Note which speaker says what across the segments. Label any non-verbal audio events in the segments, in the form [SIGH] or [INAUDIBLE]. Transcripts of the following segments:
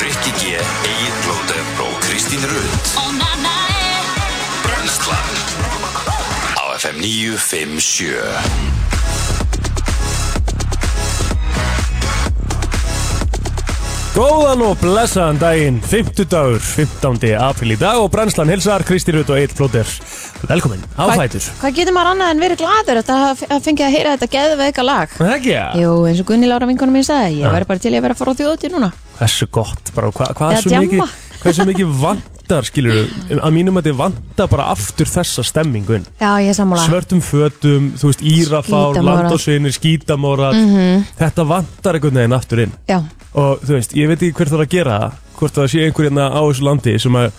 Speaker 1: Rikki G, Egil Blóter og Kristín Rund Brenslan Á FM 957
Speaker 2: Góðan og blessaðan daginn, 50 dagur, 15. apríl í dag og brennslan hilsar Kristi Rut og Eitt Flóter. Velkomin, áfætur.
Speaker 3: Hvað getur maður annað en verið gladur að það fengið að heyra þetta geðveika lag?
Speaker 2: Það ekki að?
Speaker 3: Jú, eins og Gunni Lára vinkunum mín sagði,
Speaker 2: Já.
Speaker 3: ég væri bara til í að vera að fara á þjóti núna.
Speaker 2: Hversu gott, bara hva, hvað
Speaker 3: Eða
Speaker 2: svo mikið,
Speaker 3: djamma.
Speaker 2: hvað svo mikið vantar, skilur að mínum að þið vantar bara aftur þessa stemmingun.
Speaker 3: Já, ég er sammála.
Speaker 2: Svörtum fötum, þú veist, írafár,
Speaker 3: Skítamórar.
Speaker 2: landásvinir, skítamórar,
Speaker 3: Mhm.
Speaker 2: þetta vantar einhvern veginn aftur inn.
Speaker 3: Já,
Speaker 2: og þú veist, ég veit ekki hver þarf að gera það hvort það sé einhver hérna á þessu landi sem að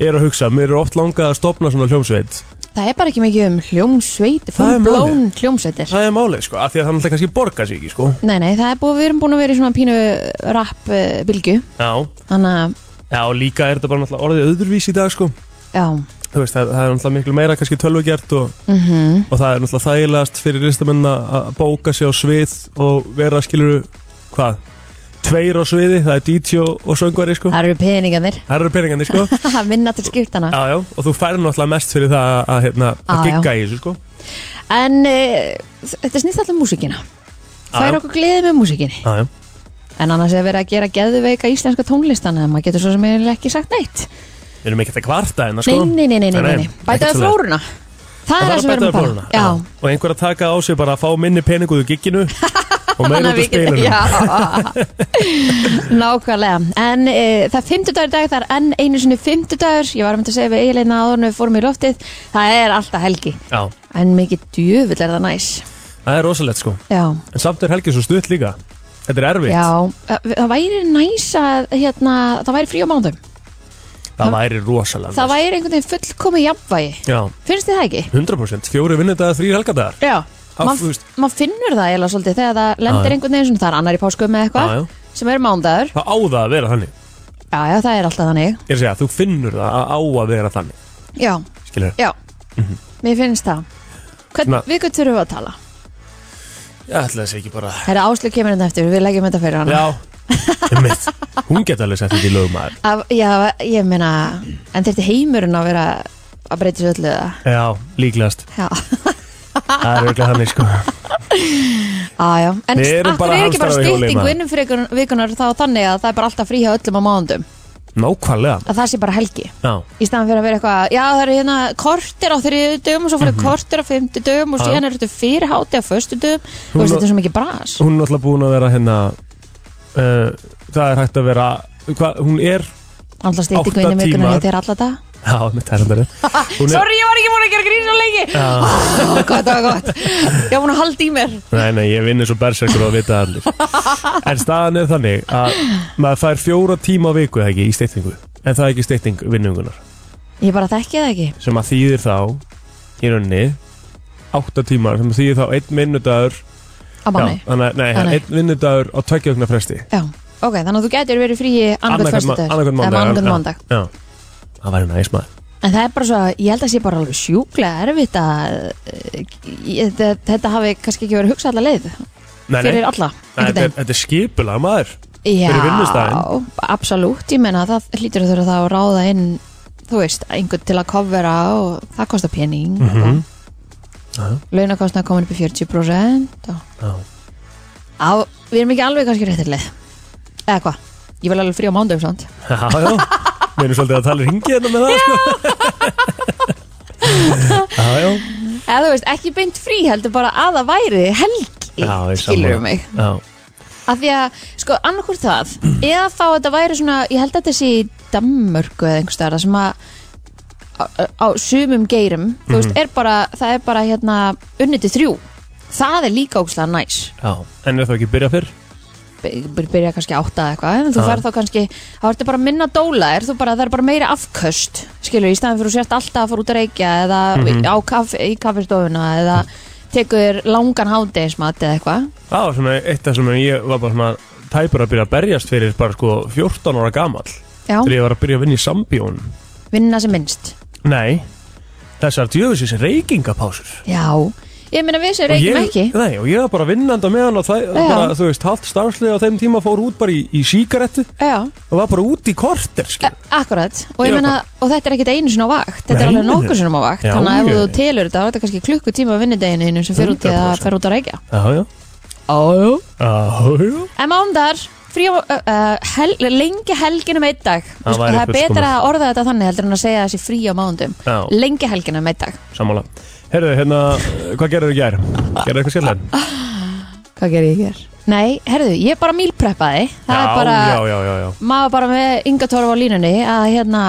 Speaker 2: er að hugsa, mér er oft langað að stopna svona hljómsveit,
Speaker 3: það er bara ekki mikið um hljómsveit,
Speaker 2: Það er
Speaker 3: fullblón hljómsveitir.
Speaker 2: það er málið sko af því að það náttúrulega kannski borga sig ekki sko
Speaker 3: Nei, nei, það er búið, við erum búin að vera í svona pínu rap uh, bylgu,
Speaker 2: já,
Speaker 3: þannig að,
Speaker 2: já, og líka er þetta bara náttúrulega orðið öðruvís í dag sko
Speaker 3: já,
Speaker 2: þú veist, það, það er náttúrulega miklu meira kannski tölvugjart og,
Speaker 3: mhm,
Speaker 2: og það er náttúrulega þægilegast fyrir listamennina að bóka sig á svið og vera skiluru, hvað tveir á sviði, það er DJ og, og söngvari sko,
Speaker 3: það eru peningarnir,
Speaker 2: það eru peningandi sko
Speaker 3: [LAUGHS] að vinna til skiptana.
Speaker 2: já, já, og þú færir náttúrulega mest fyrir það að, að, hérna, að
Speaker 3: Já, já.
Speaker 2: gigga í þessu sko
Speaker 3: En uh, þetta snýst alltaf um músíkina. Það
Speaker 2: já.
Speaker 3: er okkur gleðið með músíkinni.
Speaker 2: já, já.
Speaker 3: En annars er verið að gera geðveika íslenska tónlistan eða maður getur svo sem eiginlega ekki sagt neitt.
Speaker 2: Við erum ekkert að kvarta hérna sko
Speaker 3: Nei, nei, nei, nei, nei, nei.
Speaker 2: ekkert
Speaker 3: Bætaðu
Speaker 2: svoleiðis.
Speaker 3: flóruna. Það er það sem við erum að
Speaker 2: bæta við
Speaker 3: fara. Já.
Speaker 2: flóruna. Og einhver að taka á sig bara að fá minni peninguðu
Speaker 3: [LAUGHS]
Speaker 2: gigginu og meira út af spilinu
Speaker 3: Já, nákvæmlega. En e, það er fimmtudagur í dag, það er enn einu sinni fimmtudagur. Ég var um að segja við eiginlega áður en við fórum í loftið. Það er alltaf helgi.
Speaker 2: Já,
Speaker 3: En mikið djöfull er það næs.
Speaker 2: það er rosalegt sko
Speaker 3: Já,
Speaker 2: En samt er helgið svo stutt líka Þetta er erfitt
Speaker 3: já. Það væri næs að, hérna, það væri frí á mánudum.
Speaker 2: Það væri rosalegt
Speaker 3: Það væri einhvern veginn fullkomi jafnvægi.
Speaker 2: Já,
Speaker 3: Finnst þið það ekki?
Speaker 2: 100% Fjóri vinnudagar, þrýr helgadagar
Speaker 3: Já,
Speaker 2: Af- þú
Speaker 3: maður
Speaker 2: veist-
Speaker 3: mað finnur það eiginlega svolítið þegar það
Speaker 2: Já, já.
Speaker 3: lendir einhvern veginn svona, það er annar í páskum með
Speaker 2: Já, já.
Speaker 3: eitthvað sem er mándagur,
Speaker 2: Það á það að vera þannig
Speaker 3: já já það er alltaf þannig
Speaker 2: Ég er að segja, þú finnur það að á að vera þannig
Speaker 3: Já,
Speaker 2: Skilur
Speaker 3: já, mér finnst það Hvern,
Speaker 2: Mhm. Svona-
Speaker 3: Við hvað þurfum við að tala?
Speaker 2: Ég ætla þessi ekki bara
Speaker 3: Það er áslug kemur hérna eftir, við leggjum þetta fyrir hana
Speaker 2: Já, einmitt Hún geta alveg sett þetta í lögumæður
Speaker 3: Af, Já, ég meina, en þetta heimurinn að vera að breyta svo öllu það
Speaker 2: Já, líklegast
Speaker 3: Já, [LAUGHS]
Speaker 2: Það er auðvitað þannig sko
Speaker 3: á, Ah, já En
Speaker 2: Við erum
Speaker 3: af
Speaker 2: bara
Speaker 3: hverju er ekki bara
Speaker 2: hamstrar á hjóli,
Speaker 3: stýtting
Speaker 2: maður.
Speaker 3: vinnum fyrir vikunar þá þannig að það er bara alltaf frí hjá öllum á mándum
Speaker 2: Nákvæmlega
Speaker 3: að það sé bara helgi
Speaker 2: Já,
Speaker 3: í staðan fyrir að vera eitthvað já það eru hérna kortir á þriðu dögum og svo fyrir kortir á fymtu dögum og
Speaker 2: Mhm. Já.
Speaker 3: síðan eru þetta fyrir háti á föstu dögum þú veist
Speaker 2: Hún var-
Speaker 3: þetta er svo mikið bras
Speaker 2: hún er náttúrulega búin að vera hérna uh, það er hægt að vera hva, hún er [LAUGHS]
Speaker 3: alltaf stýtingu
Speaker 2: átta
Speaker 3: inn í vikuna
Speaker 2: tímar.
Speaker 3: hjá þér alla dag
Speaker 2: já, mitt er þetta rétt. [LAUGHS] hún er,
Speaker 3: sorry ég var ekki búin að gera grín svo lengi Ó, gott, [LAUGHS] það var gott ég var búin að halda í mér
Speaker 2: nei, nei, ég vinn eins og berserkur og vita allir en staðan er þannig að maður fær fjóra tíma á viku eða ekki í steytingu en það er ekki steyting vinningunar
Speaker 3: ég bara þekki það ekki
Speaker 2: sem að þýðir þá í rauninni átta tímar sem þýðir þá einn minnudagur
Speaker 3: á manni já.
Speaker 2: þannig, að- nei,
Speaker 3: Ah, nei.
Speaker 2: einn minnudagur á tveggjögna fresti
Speaker 3: ok þannig að þú getur verið frí annarkvæmt föstu dag
Speaker 2: annarkvæmt mándag
Speaker 3: mándag
Speaker 2: já, það væri næs maður
Speaker 3: En það er bara svo, ég held að sé bara alveg sjúklega erfitt að eh, ég- þetta- þetta hafi kannski ekki verið hugsað alla leið
Speaker 2: Nei, nei.
Speaker 3: fyrir alla
Speaker 2: Nei,
Speaker 3: einhvern
Speaker 2: þetta,
Speaker 3: veginn.
Speaker 2: er, þetta er skipulega maður
Speaker 3: Já,
Speaker 2: fyrir vinnustaðinn.
Speaker 3: absolutt, ég meina það hlýtur að þurfa það að ráða inn þú veist, einhvern til að covera og það kostar pening mm -hmm. launakostnað komin upp í 40% og...
Speaker 2: Já.
Speaker 3: á, við erum ekki alveg kannski réttileg eða hvað, ég vil alveg frí á mándum samt
Speaker 2: Já, já, við erum svolítið að tala ringið hérna með það, sko. Já, já,
Speaker 3: eða þú veist, ekki beint frí heldur bara að það væri helgi
Speaker 2: já, ég
Speaker 3: skilur
Speaker 2: sammála.
Speaker 3: mig
Speaker 2: Já,
Speaker 3: af því að, sko, annarkur það eða þá að þetta væri svona, ég held að þetta sé í Danmörku eða einhvers staðar þar sem að á, á sumum geirum, þú
Speaker 2: Mhm.
Speaker 3: veist, er bara það er bara hérna unnið til þrjú það er líka ógslag næs
Speaker 2: já, en er það ekki byrjað fyrr?
Speaker 3: By- byrja kannski átta eða eitthvað en þú
Speaker 2: Já.
Speaker 3: færð þá kannski, þá ertu bara að minna dóla er þú bara, það er bara meira afköst skilur, í staðan fyrir þú sért alltaf að fara út að reykja eða
Speaker 2: Mhm.
Speaker 3: á kaff, í kaffistofuna eða tekur þér langan hátdeismat eða eitthvað
Speaker 2: Það var svona eitt af sem ég var bara svona tæpur að byrja að berjast fyrir bara sko 14 ára gamall
Speaker 3: Já,
Speaker 2: þegar ég var að byrja að vinna í sambjón.
Speaker 3: vinna sem minnst
Speaker 2: Nei, þessar djöfusins reykingapásur.
Speaker 3: Já, Ég meina við sem
Speaker 2: Og
Speaker 3: reykjum
Speaker 2: ég-
Speaker 3: ekki
Speaker 2: Nei, og ég var bara vinnandi á meðan og það,
Speaker 3: Já.
Speaker 2: bara, þú veist, halvt starfslið á þeim tíma fór út bara í, í síkarettu
Speaker 3: Já,
Speaker 2: og var bara út í korter, skil.
Speaker 3: a- akkurat og,
Speaker 2: Ég
Speaker 3: ég
Speaker 2: var
Speaker 3: meina, og þetta er ekkit einu sinni á vakt Þetta er
Speaker 2: Nei,
Speaker 3: alveg nokkur
Speaker 2: nei.
Speaker 3: sinni á vakt
Speaker 2: Já,
Speaker 3: Þannig að
Speaker 2: ég-
Speaker 3: ef þú telur þetta, þá er þetta kannski klukkutíma á vinnudeginu þínum sem fer út, í að,
Speaker 2: 100%.
Speaker 3: fer út að reykja
Speaker 2: Já, já.
Speaker 3: Ójú
Speaker 2: Já, já.
Speaker 3: En mándar, frí á, uh, uh, hel, lengi helgin um einn dag
Speaker 2: Það
Speaker 3: Þú veist,
Speaker 2: væri
Speaker 3: Það er
Speaker 2: fullkomið.
Speaker 3: betra að orða þetta þannig heldur en að segja þessi frí á mándum
Speaker 2: Já.
Speaker 3: Lengi helgin um einn dag
Speaker 2: Sammála. Herðu, hérna, hvað gerðu þið gær? Gerðu eitthvað skilðan?
Speaker 3: Hvað gerir ég hér? Nei, herðu, ég bara mílpreppaði Það er bara,
Speaker 2: Já, já, já, já.
Speaker 3: maður bara með Inga Torf á línunni að hérna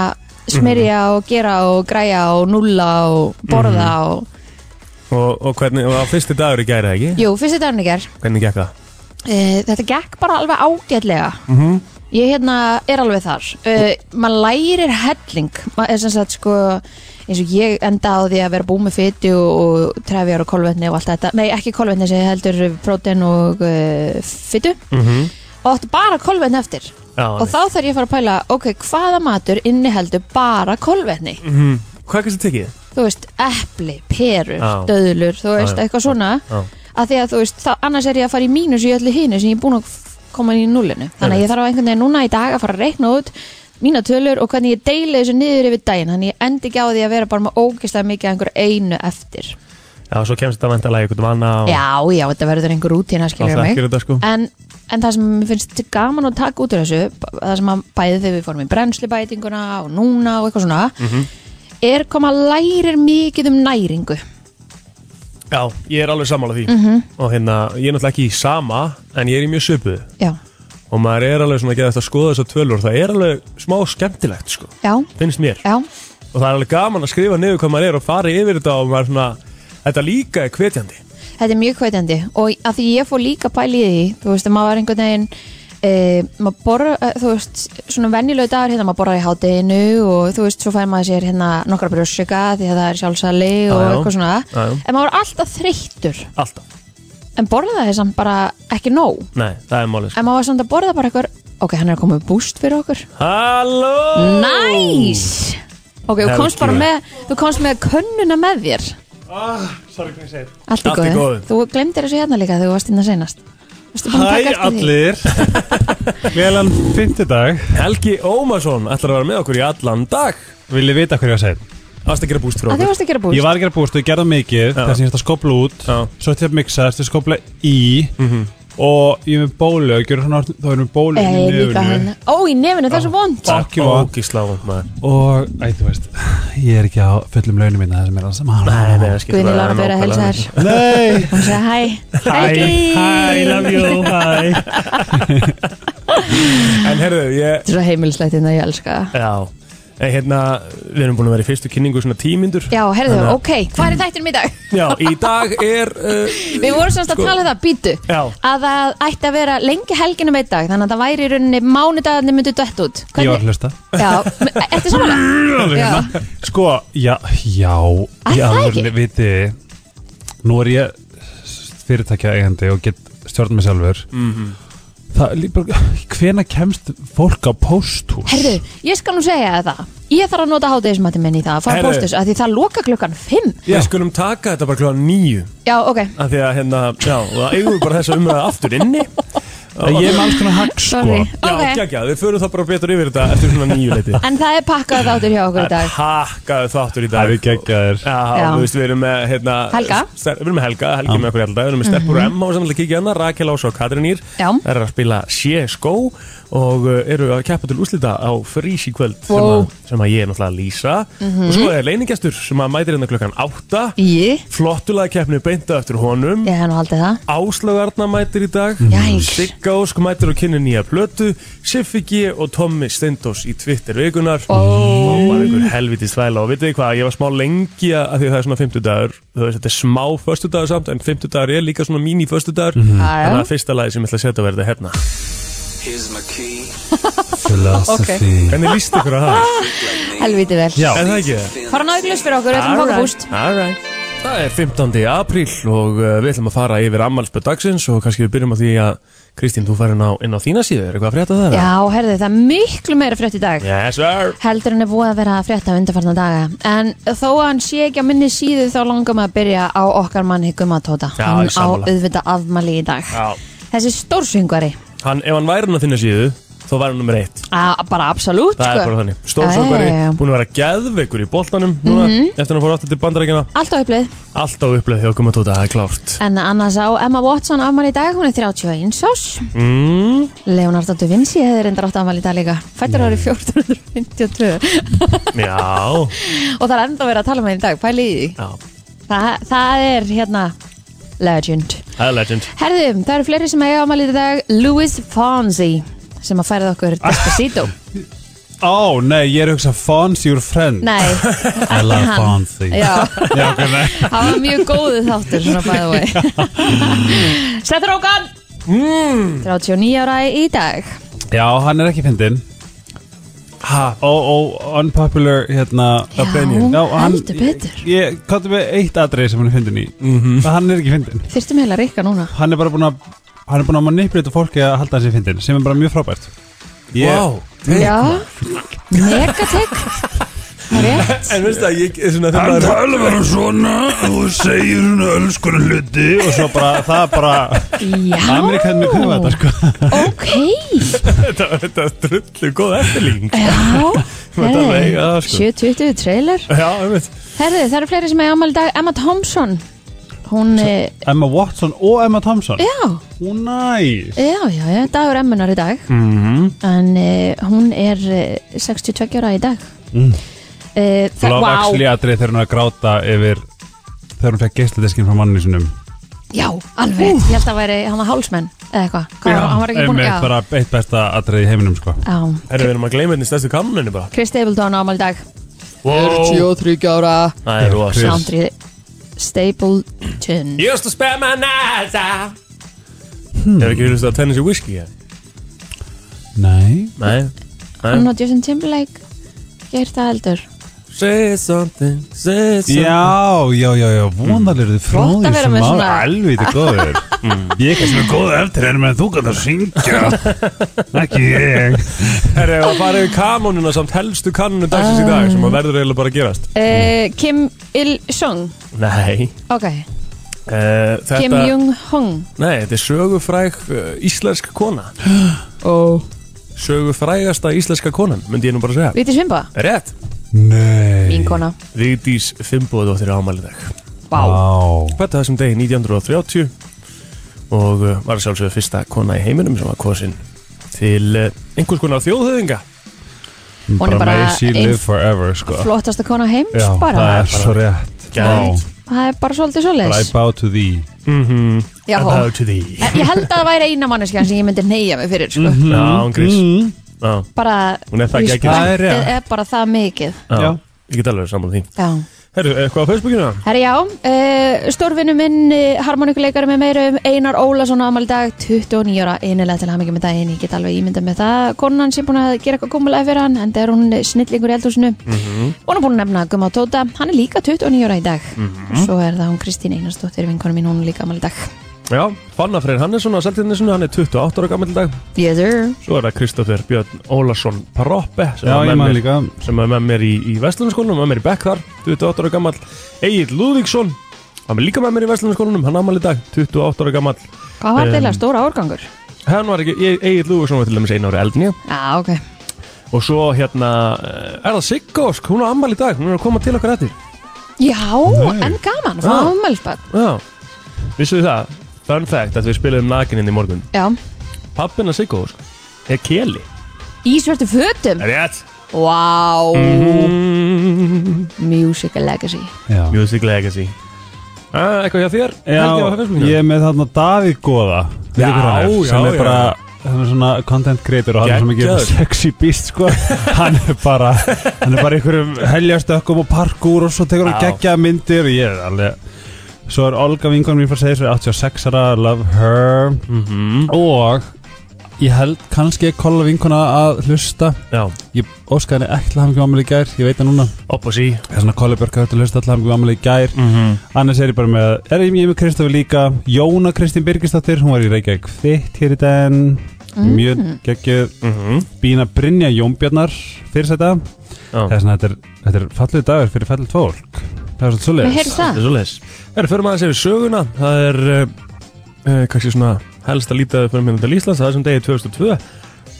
Speaker 3: smyrja
Speaker 2: Mhm.
Speaker 3: og gera og græja og nulla og borða og
Speaker 2: Og, og hvernig, og á fyrsti dagur í gæri, ekki?
Speaker 3: Jú, fyrstu dagurinn í gerð
Speaker 2: Hvernig gekk það?
Speaker 3: Uh, þetta gekk bara alveg ágætlega ég hérna er alveg þar uh, maður lærir helling maður er sem sagt sko eins og ég enda á því að vera búið með fytu og trefjar og kolvetni og allt þetta nei ekki kolvetni sem heldur prótein og uh, fytu
Speaker 2: Mm -hmm.
Speaker 3: og áttu bara kolvetni eftir
Speaker 2: Já,
Speaker 3: og þá þarf ég að fara að pæla ok, hvaða matur inniheldur bara kolvetni
Speaker 2: mm -hmm. Hvað kannski tekið?
Speaker 3: þú veist, epli, perur,
Speaker 2: Já.
Speaker 3: döðlur þú veist,
Speaker 2: já.
Speaker 3: eitthvað svona
Speaker 2: Já.
Speaker 3: að því að þú veist, þá, annars er ég að fara í mínus í öllu hinu sem ég er búin að f- koma í núlinu þannig að ég þarf að einhvern veginn núna í dag að fara að reikna út mína tölur og hvernig ég deili þessu niður yfir daginn þannig að ég endi ekki á því að vera bara með ógeðslega mikið af einhverju einu eftir
Speaker 2: Já, svo kemst þetta vantalega í einhvern manna og
Speaker 3: já, já, þetta verður einhver rútína
Speaker 2: og
Speaker 3: skilur mig
Speaker 2: þekkir þetta, sko.
Speaker 3: en, en það sem mér finnst gaman að taka út úr þessu b- það sem að bæði þegar við fórum í brennslubætinguna og núna og eitthvað svona
Speaker 2: Mhm.
Speaker 3: er koma lærir mikið um næringu
Speaker 2: Já, ég er alveg sammála því.
Speaker 3: Mhm.
Speaker 2: Og hérna, ég er náttúrulega ekki í sama, en ég er í mjög söpuðu.
Speaker 3: já,
Speaker 2: Og maður er alveg svona að geta þetta að skoða þessar tölur. Það er alveg smá skemmtilegt, sko.
Speaker 3: já,
Speaker 2: Finnst mér.
Speaker 3: já,
Speaker 2: Og það er alveg gaman að skrifa niður hvað maður er og fara yfir þetta og maður er svona, þetta líka er hvetjandi.
Speaker 3: þetta er mjög hvetjandi og að því ég fór líka pæli í því þú veist, maður var einhvern veginn Uh, maður borra, uh, þú veist, svona venjulegu dagur hérna, maður borrar í hátteginu og þú veist, svo fær maður sér hérna nokkra brjósika því að það er sjálfsali og
Speaker 2: Já, já.
Speaker 3: eitthvað svona
Speaker 2: Já, já.
Speaker 3: en maður er alltaf þreyttur
Speaker 2: Alltaf.
Speaker 3: en borðaði samt bara ekki nóg
Speaker 2: Nei, það er málið, sko.
Speaker 3: en maður var samt að borða bara eitthvað ok, hann er að koma með búst fyrir okkur
Speaker 2: Halló!
Speaker 3: Nice! ok, þú
Speaker 2: Hell
Speaker 3: komst bara
Speaker 2: yeah.
Speaker 3: með þú komst með könnuna með þér
Speaker 2: Ah, sorry, hvernig ég segir.
Speaker 3: allt í
Speaker 2: Allt í
Speaker 3: góðu,
Speaker 2: góðu.
Speaker 3: þú glemdir þessu hérna líka þegar þú varst inn að seinast Varstu búin að
Speaker 4: Hæ
Speaker 3: taka eftir því?
Speaker 4: allir Gleðan fymtudag
Speaker 2: Helgi Ómarsson ætlar að vera með okkur í allan dag.
Speaker 4: Vil ég vita hvað ég var að segja
Speaker 2: Varst að gera búst fyrir
Speaker 3: að þið
Speaker 2: okkur?
Speaker 3: varst að gera
Speaker 4: Ég
Speaker 3: búst
Speaker 4: var að gera búst og ég gerði mikið
Speaker 2: Já.
Speaker 4: Þess að ég ætti að skopla út
Speaker 2: Já. Mhm.
Speaker 4: Svo ætti ég að mixa, þess að skopla í Og ég er með bólu og gerði svona, Þá erum við bólu
Speaker 3: Ei,
Speaker 4: í
Speaker 3: Eh, líka hann
Speaker 4: nefnu
Speaker 3: ó, í nefinu, það er svo vond
Speaker 4: Ó.
Speaker 2: Ekki
Speaker 4: vont.
Speaker 2: Ógísla vond maður.
Speaker 4: Og, æ, þú veist Ég er ekki á fullum launum minna Það sem er alls saman
Speaker 2: Nei, nei, það skiptir
Speaker 3: Guðni
Speaker 2: bara
Speaker 3: Lára fyrir að helsa
Speaker 2: nákvæmlega.
Speaker 3: þér
Speaker 4: Nei
Speaker 3: hún segi hæ Helgi.
Speaker 2: you, hi. en herðu, ég...
Speaker 3: þetta er svo heimilslætt en það ég elska það.
Speaker 2: Já. En hérna, við erum búin að vera í fyrstu kynningu svona tímindur.
Speaker 3: já, herðu,
Speaker 2: Þannig að-
Speaker 3: ok, hvað er þættinum
Speaker 4: [LAUGHS]
Speaker 3: í dag?
Speaker 2: Já, í dag
Speaker 3: [LAUGHS]
Speaker 2: er... Uh,
Speaker 3: Við vorum semst
Speaker 4: Sko-
Speaker 3: að tala um það, býtu
Speaker 2: Já.
Speaker 3: að það ætti að vera lengi helginum eitt dag þannig að það væri í rauninni mánudagarnir myndu dött út
Speaker 4: Ég var að hlusta
Speaker 3: Já, m- e, ertu saman? Já.
Speaker 4: Sko, já, já
Speaker 3: Æ,
Speaker 4: í
Speaker 3: það
Speaker 4: alvörunni,
Speaker 3: ekki?
Speaker 4: vitiði, Nú er ég fyrirtækja eigandi og get stjórn mig sjálfur mm -hmm. Það er líka Hvena kemst fólk á pósthús?
Speaker 3: Herðu, ég skal nú segja þér það Ég þarf að nota hátegismatinn minn í það að fara
Speaker 2: Herðu.
Speaker 3: postus að því það loka klukkan 5
Speaker 2: við skulum taka þetta bara kljóðan nýju.
Speaker 3: Já, ok,
Speaker 2: Af því að hérna, já, og það eigum við bara þessa umræða aftur inni.
Speaker 4: Það ég er með alls konar hagg sko
Speaker 3: sorry
Speaker 2: Já,
Speaker 3: Ok.
Speaker 2: okay. já, við förum það bara betur yfir þetta eftir svona nýju leiti.
Speaker 3: En það er pakkað þáttur hjá okkur í dag
Speaker 2: Hakkaðu þáttur í dag.
Speaker 4: Það er geggjaðir
Speaker 2: Já,
Speaker 3: Já.
Speaker 2: þú veist, við erum með hérna,
Speaker 3: Helga. Mhm.
Speaker 2: ster, Við erum með Helga, Helgi með okkur í alltaf Við erum með Stelpur M á samlega kikið hana hérna, Rakel Ás og Katrin Ír
Speaker 3: Já.
Speaker 2: Það eru að spila CSGO Og uh, eru að keppa til úslita á frís í kvöld sem,
Speaker 3: Wow.
Speaker 2: að, sem að ég er náttúrulega að lýsa Og svo er leiningestur sem að mætir hérna klukkan 8
Speaker 3: Mhm. Í,
Speaker 2: Flottulega keppni beinta eftir honum
Speaker 3: ég hef nú haldið það [LAUGHS]
Speaker 2: Áslaugarna mætir í dag Mm.
Speaker 3: Jæks.
Speaker 2: Sigga Ósk mætir og kynni nýja plötu Siffi G og Tommi Stendós í Twitter vikunar
Speaker 3: Ó.
Speaker 2: og bara einhver helvitist þvæla og vitið þið hvað, ég var smá lengi að af því að það er svona 50 dagur þú veist þetta er smá förstu dagur samt en 50 dagur er líka svona mín í förstu dagur
Speaker 3: Já,
Speaker 2: þannig
Speaker 3: já.
Speaker 2: að fyrsta lagi sem ég ætla að setja verði
Speaker 3: [LAUGHS]
Speaker 2: hérna
Speaker 1: Here's my key
Speaker 4: Philosophy
Speaker 2: Hvernig líst ykkur að það?
Speaker 3: Helviti vel
Speaker 4: Já.
Speaker 2: Er það ekki það?
Speaker 3: Fara náðu glust fyrir okkur, við ætlum að fokka búst
Speaker 2: Alright Það er 15. apríl og uh, við ætlum að fara yfir ammalspöð dagsins og kannski við byrjum á því að Kristín, þú fær inn á, inn á þína síðu, er eitthvað að frétta það?
Speaker 3: Já, herðu, það er miklu meira frétt í dag
Speaker 2: Yes sir
Speaker 3: heldur en er búið að vera að frétta undarfarna daga en þó að hann sé ekki á minni síðu þá langar maður að byrja á okkar manni Gummatóta,
Speaker 2: Já,
Speaker 3: hann
Speaker 2: ég
Speaker 3: á
Speaker 2: sammála.
Speaker 3: auðvita afmæli í dag
Speaker 2: Já.
Speaker 3: þessi stórsöngvari,
Speaker 2: Hann, ef hann væri hann á þína síðu, þá væri hann nummer eitt
Speaker 3: A- bara absolutt sko.
Speaker 2: Það er bara þannig Stórsöngari,
Speaker 3: Já, Mhm. já, já.
Speaker 2: búin að vera geðveikur í boltanum núna, Eftir hann fór aftur til bandarækina
Speaker 3: allt á upplið
Speaker 2: Alltaf uppleið hjá Gummatóta, það er klárt
Speaker 3: en annars á Emma Watson afmæli í dag hún er 31 ás
Speaker 2: mm.
Speaker 3: Leonardo da Vinci hefði reyndar átt afmæli í dag líka fættur árið 1452
Speaker 2: Já,
Speaker 3: og það er enda verið að tala með hann í dag, pæli í því
Speaker 2: já,
Speaker 3: Þa, það er hérna legend
Speaker 2: það er legend
Speaker 3: Herðum, það eru fleiri sem eiga ámælið í dag Louis Fonsi sem að færið
Speaker 4: [LAUGHS]
Speaker 3: okkur Despacito
Speaker 4: Ó, nei, ég er að hugsa Fonzie úr Friends
Speaker 3: Nei,
Speaker 4: I love
Speaker 3: hann.
Speaker 4: Fonzie
Speaker 3: já,
Speaker 4: Já, ok, nei.
Speaker 3: það var mjög góðu þáttur svona bæða vei
Speaker 4: [LAUGHS]
Speaker 3: Seth Rogen 39 ára í dag
Speaker 4: Já, hann er ekki fyndin
Speaker 2: Ha,
Speaker 4: Ó, ó, unpopular, hérna
Speaker 3: Já,
Speaker 4: opinion.
Speaker 3: heldur betur.
Speaker 4: Ég káttu með eitt atrið sem hann er fyndin í mm -hmm. Hann er ekki fyndin
Speaker 3: Þyrstum heila rikka núna
Speaker 4: Hann er bara búin að Hann er búin að manipulita fólki að halda hans í fyndin Sem er bara mjög frábært Ég-
Speaker 2: wow
Speaker 3: Já, megatek Það er rétt
Speaker 2: En veistu að ég er svona þegar maður
Speaker 4: tala bara svona og segir svona öllskona hluti Og svo bara, það er bara Amerikanni
Speaker 3: Já,
Speaker 4: kufa þetta, sko
Speaker 3: ok
Speaker 2: Þetta þetta er drullu góð eftirlíking
Speaker 3: Já,
Speaker 2: ert alveg að eiga það, sko.
Speaker 3: 720 trailer
Speaker 2: Já, ég veit
Speaker 3: Herðu, það eru fleiri sem eiga ámælið í dag Emma Thompson Hún, eh,
Speaker 4: Emma Watson og Emma Thompson
Speaker 3: já
Speaker 4: Ó, næs
Speaker 3: Já, já, já, dagur emmunar í dag En uh, hún er uh, 62 ára í dag mm. uh,
Speaker 4: Love
Speaker 3: Vá,
Speaker 4: Actually atrið þegar hún er að gráta yfir þegar hún fekk geisladiskin frá manni sinum
Speaker 3: já, alveg rétt. Ég held að væri hann að hálsmenn Eða eitthvað, Hvað var- hann var ekki búin
Speaker 4: Einmitt,
Speaker 3: að
Speaker 4: bara eitt besta atrið í heiminum sko
Speaker 3: Já,
Speaker 2: Herra, við erum að gleyma hérna í stærstu kanuninu bara
Speaker 3: Chris Stapleton á ámæli í dag
Speaker 2: Wow
Speaker 3: 43 ára
Speaker 2: Það er rosa
Speaker 4: Chris.
Speaker 3: Andri Stapleton
Speaker 2: Used to spend my nights out Hefur ekki hlust að Tennessee Whiskey ég?
Speaker 4: Nei
Speaker 2: Nei
Speaker 3: Hann og Justin Timberlake Geir það heldur
Speaker 2: Say something, say something
Speaker 4: Já, já, já, já, vonalir þið frá
Speaker 3: Gott að
Speaker 4: því
Speaker 3: vera
Speaker 4: sem
Speaker 3: með
Speaker 4: maður
Speaker 3: svona- Mm.
Speaker 4: alveg
Speaker 3: [LAUGHS]
Speaker 4: góður Ég er ekki svona góð eftir en menn þú kannar að
Speaker 2: [LAUGHS]
Speaker 4: syngja Ekki ég
Speaker 2: Herra, það farið í kanunina samt helstu kanunu dagsins í dag sem að verður eiginlega bara að gerast
Speaker 3: uh, Kim Il-sung
Speaker 2: Nei
Speaker 3: Ok,
Speaker 2: uh, Þetta
Speaker 3: Kim Jung-hung
Speaker 2: Nei, þetta er sögufræg uh, íslensk
Speaker 3: [GASPS]
Speaker 2: kona
Speaker 3: oh.
Speaker 2: Sögufrægasta íslenska konan, myndi ég nú bara segja
Speaker 3: Viti Svimba,
Speaker 2: Rétt
Speaker 4: Nei
Speaker 3: mín kona
Speaker 2: Vigdís Fimboðóttir ámælidag
Speaker 3: Vá,
Speaker 2: Hvað er þessum degi 1930 og uh, var sjálfsögðu fyrsta kona í heiminum sem var kosin til uh, einhvers konar
Speaker 3: Hún
Speaker 2: þjóðhöðinga
Speaker 3: er
Speaker 4: Mm, Bara
Speaker 3: bara
Speaker 4: may she live
Speaker 3: ein-
Speaker 4: forever sko
Speaker 3: flottasta kona heims
Speaker 4: Já,
Speaker 3: bara
Speaker 4: það er svo rétt
Speaker 2: Geðveikt.
Speaker 4: Vá.
Speaker 3: Það er bara svolítið
Speaker 4: But I
Speaker 3: svoleiðis
Speaker 4: bow to thee
Speaker 3: Já,
Speaker 2: And how to thee
Speaker 3: En ég held að það væri eina manneskjan sem ég myndi neyja mig fyrir sko.
Speaker 2: Mhm. Já, hún grís
Speaker 4: Mm,
Speaker 2: Já,
Speaker 3: Bara Eh,
Speaker 2: Hún er það
Speaker 3: respektið
Speaker 2: geggjuð.
Speaker 4: Það er rétt.
Speaker 3: er bara það mikið
Speaker 2: já
Speaker 4: Já.
Speaker 2: Ég get alveg saman því
Speaker 3: Já
Speaker 2: Herru, eitthvað á Facebookinu?
Speaker 3: Herra já, uh, stórvinu minn uh, harmonikuleikari með meirum Einar Ólason ámæli dag 29 ára einilega til hamingi með daginn, ég get alveg ímyndað með það konan sem búin að gera eitthvað kummulega fyrir hann en það er hún snillingur í eldhúsinu hún er búin að nefna Gumma Tóta, hann er líka 29 ára í dag
Speaker 4: Mhm.
Speaker 3: svo er það hún Kristín Einarsdóttir vinkonu mín, hún er líka ámæli dag
Speaker 2: Já, Fanna Freyr Hannesson á Seltirnessonu, hann er 28 ára gammal dag
Speaker 3: yes, sir.
Speaker 2: Svo er það Kristoffer Björn Ólason Proppe sem
Speaker 4: Já,
Speaker 2: var með
Speaker 4: ég man
Speaker 2: mér-
Speaker 4: líka
Speaker 2: sem er með mér í, í Vestlunarskólanum, með mér í Bekk þar, 28 ára gammal Egil Lúðvíksson, hann er líka með mér í Vestlunarskólanum, hann ámali í dag, 28 ára gammal
Speaker 3: hvað var
Speaker 2: Em.
Speaker 3: um, stóra árgangur?
Speaker 2: Hann var ekki, E- Egil Lúðvíksson var til dæmis einu ári eldin ég
Speaker 3: Já, ok
Speaker 2: og svo hérna, eh, er það Siggósk, hún á ámali í dag, hún er að koma til okkar eftir
Speaker 3: Já, en gaman, fá
Speaker 2: Ah.
Speaker 3: ámælspad
Speaker 2: Já, vissuðu það, fun fact að við spilaðum nakininn í morgun
Speaker 3: Já,
Speaker 2: Pappina Siggósk er Keli
Speaker 3: í svörtu fötum
Speaker 2: Rétt
Speaker 3: Wow
Speaker 2: mm,
Speaker 3: Musical Legacy
Speaker 4: Já
Speaker 2: Music Legacy Ah, eitthvað hjá þér? Helgi á
Speaker 4: Já,
Speaker 2: Facebookinu?
Speaker 4: ég er með þarna Davíð Góða Veitir
Speaker 2: Já,
Speaker 4: hver hann er?
Speaker 2: já,
Speaker 4: sem er
Speaker 2: já.
Speaker 4: bara hann er svona content creator og hann er svo mikið
Speaker 2: Geggjaður.
Speaker 4: sexy beast sko hann er bara hann er bara í einhverjum heljastökkum og parkour og svo tekur hann
Speaker 2: Já.
Speaker 4: geggjaða myndir og ég er alveg svo er Olga vinkonum mín frá segir svo er 86 ára, love her
Speaker 2: Mhm.
Speaker 4: og ég held kannski að kolla vinkona að hlusta
Speaker 2: Já,
Speaker 4: Ég óskaði henni ekki til hamingju ammali í gær, ég veit það núna
Speaker 2: opp og sí
Speaker 4: Það er svona kolla börk að hlusta til hamingju ammali í gær
Speaker 2: Mhm.
Speaker 4: Annars er ég bara með, er ég ég er með Kristofi líka Jóna Kristín Birgisdóttir, hún var í Reykjavík Fitt hér í den
Speaker 3: Mm.
Speaker 2: Mm-hmm.
Speaker 4: Mjög geggjöð Bína Brynja Jónbjarnar fyrir þetta Það
Speaker 2: Já,
Speaker 4: er svona, þetta er, þetta er fallið dagur fyrir fallið fólk Það er svona
Speaker 3: Við
Speaker 4: svoleiðis
Speaker 3: heyrðum það
Speaker 2: þetta er svoleiðis Það er fyrir maður að segja söguna Það er uh, uh, kannski svona helst að líta fyrir myndan til Íslands Það er sem degi 2002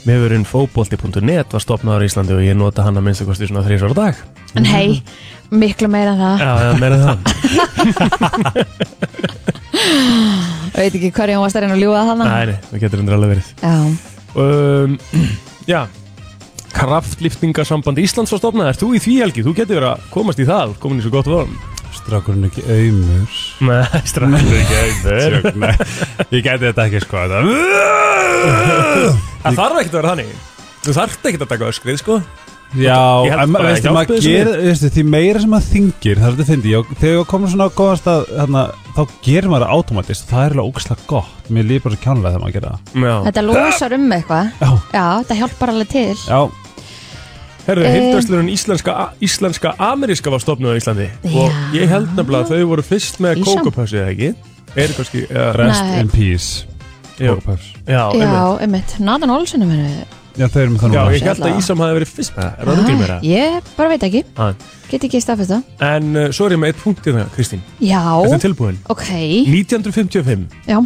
Speaker 2: Mefurinn fótbolti.net var stopnaður í Íslandi og ég nota hann að minnstakosti svona þrísvara dag
Speaker 3: En hei, miklu meira en það
Speaker 2: Já, já, meira en það
Speaker 3: Ég veit ekki hverju hún varst að reyna að ljúga þannig
Speaker 2: Nei, nei, það getur endur alveg verið
Speaker 3: Já,
Speaker 2: um, [CLEARS THROAT] Já Kraftliftingasamband Íslands var stopnað Er þú í því helgi? Þú getur verið að komast í það Komin í svo gott vorm
Speaker 4: Strákurinn ekki auðmur
Speaker 2: Nei, strafnir
Speaker 4: [LAUGHS]
Speaker 2: ekki auðvitað
Speaker 4: Nei, ég gæti þetta ekki sko þetta.
Speaker 2: Það þarf ekkert að vera þannig Þú þarft ekkert að taka öskrið, sko
Speaker 4: Já,
Speaker 2: Ég held
Speaker 4: en
Speaker 2: bara að
Speaker 4: veistu,
Speaker 2: hjálpi
Speaker 4: maður
Speaker 2: þessu
Speaker 4: gerir, veistu, því meira sem maður þingir, það er þetta fyndi, ég, þegar ég komur svona á góðan stað, þarna, þá gerir maður það automatist og það er alveg ógislega gott, mér líður bara svo kjánlega þegar maður gerir það.
Speaker 2: Já
Speaker 3: þetta losar um eitthvað
Speaker 4: Já,
Speaker 3: Já, þetta hjálpar alveg til
Speaker 4: já,
Speaker 2: Herðu,
Speaker 3: Eh.
Speaker 2: hildverslunum íslenska, íslenska ameríska var stopnað á Íslandi Og
Speaker 3: Já.
Speaker 2: ég held nefnilega að þau voru fyrst með
Speaker 3: Í sam-
Speaker 2: kókopössið, eða ekki Er kannski uh,
Speaker 4: rest
Speaker 3: Nei.
Speaker 4: in peace,
Speaker 2: Já,
Speaker 4: Kókapöfs.
Speaker 2: já,
Speaker 3: Já,
Speaker 2: einmitt.
Speaker 3: einmitt, Nathan Olsen er minni
Speaker 4: Já, þau eru með það
Speaker 2: já
Speaker 4: núna.
Speaker 2: ég held að Ísam hafi verið fyrst með það Er það rugglir mér að?
Speaker 3: Ah. Ég bara veit ekki,
Speaker 2: Ah.
Speaker 3: get ekki staðfist það
Speaker 2: En uh, svo er ég með eitt punkt í það, Kristín
Speaker 3: Já,
Speaker 2: Þetta er tilbúin
Speaker 3: ok,
Speaker 2: 1955
Speaker 3: já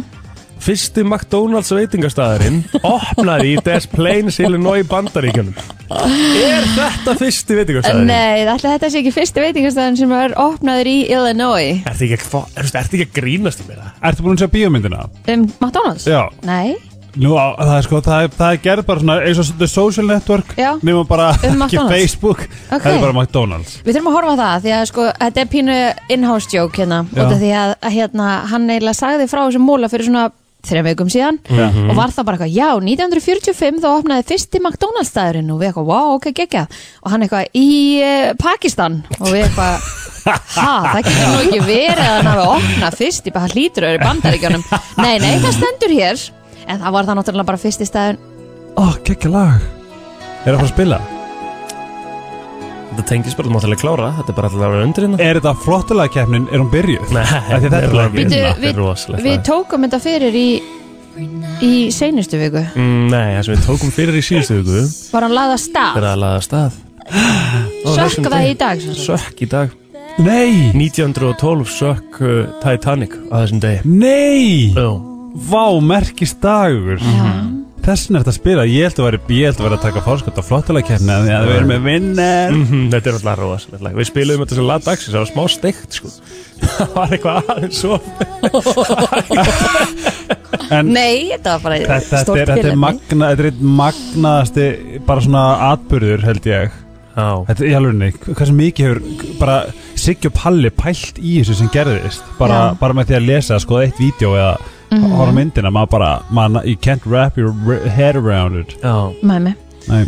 Speaker 2: Fyrsti McDonalds veitingastæðurinn opnaði í Des Plaines, Illinois, Bandaríkjunum. Er þetta fyrsti veitingastæðurinn?
Speaker 3: Nei, ætli þetta sé ekki fyrsti veitingastæðin sem er opnaður í Illinois
Speaker 2: Ertu ekki, að hva- ertu- ertu ekki að grínast í mér það?
Speaker 4: Ertu búin að sjá bíómyndina?
Speaker 3: Um McDonalds?
Speaker 4: Já.
Speaker 3: Nei,
Speaker 4: Nú, á, það er sko, það er, það er gerð bara svona eins og The Social Network,
Speaker 3: Já.
Speaker 4: nema bara
Speaker 3: Um
Speaker 4: ekki
Speaker 3: McDonald's.
Speaker 4: Facebook, það er bara McDonald's.
Speaker 3: við þurfum að horfa á það því að sko, þetta er pínu in-house joke hérna,
Speaker 4: Já.
Speaker 3: út af því að, að hérna, hann eiginlega sagði frá þessum móla fyrir svona þrejum vikum síðan
Speaker 2: Mm.
Speaker 3: og var það bara eitthvað, já, 1945 þá opnaði fyrsti McDonalds staðurinn og við eitthvað, wow, ok, geggja og hann eitthvað í uh, Pakistan og við eitthvað Ha, það getur nú ekki verið að hann hafi opnað fyrst í bara hlýtur öðru bandaríkjónum Nei, nei, það stendur hér En það var það náttúrulega bara fyrsti staðurinn
Speaker 4: Ó, geggja lag. Er það fara að spila?
Speaker 2: Þetta tengis bara, þú mátt alveg klára, þetta er bara alltaf að vera undir hérna.
Speaker 4: Er þetta flottulega keppnin, er hún byrjuð?
Speaker 2: Nei,
Speaker 4: Af því þetta er
Speaker 2: nefnilega
Speaker 4: alveg
Speaker 2: ekki.
Speaker 4: Bíddu,
Speaker 2: Þetta er
Speaker 3: við,
Speaker 2: rosalegt.
Speaker 3: við tókum þetta fyrir í í seinustu viku
Speaker 2: Mm, Nei, það sem við tókum fyrir í síðustu viku,
Speaker 3: var hann lagða stað
Speaker 2: þegar að laða af stað. Á þessum
Speaker 3: sökka Ah. það í
Speaker 2: degi.
Speaker 3: dag sem sagt.
Speaker 2: Sökk í dag.
Speaker 4: Nei!
Speaker 2: 1912 sökk uh, Titanic á þessum degi.
Speaker 4: Nei!
Speaker 2: Jú.
Speaker 4: Vá, merkist dagur Þessin er þetta að spila Ég held að vera, ég held að, vera að taka fórskot á flottulega kemna Því að við erum með vinnar
Speaker 2: Mhm, Þetta er alltaf rosalegt lag. Við spilum þetta sem lag dagsins, það var smá steikt sko. Það var eitthvað aðeins svo
Speaker 3: Nei, þetta var bara
Speaker 4: Þetta, þetta,
Speaker 3: Eh, stórt
Speaker 4: er, þetta er
Speaker 3: tilefni
Speaker 4: magna Þetta er einn magnaðasti Bara svona atburður held ég
Speaker 2: Já,
Speaker 4: Þetta er í alvegni Hversu mikið hefur bara Siggi og Palli pælt í þessu sem gerðist Bara,
Speaker 3: Já. Mhm.
Speaker 4: bara með því að lesa Skoða eitt vídeo eða mm -hmm. horfa á myndina Maður bara man, You can't wrap your head around it
Speaker 2: já
Speaker 3: Með mig
Speaker 4: Nei.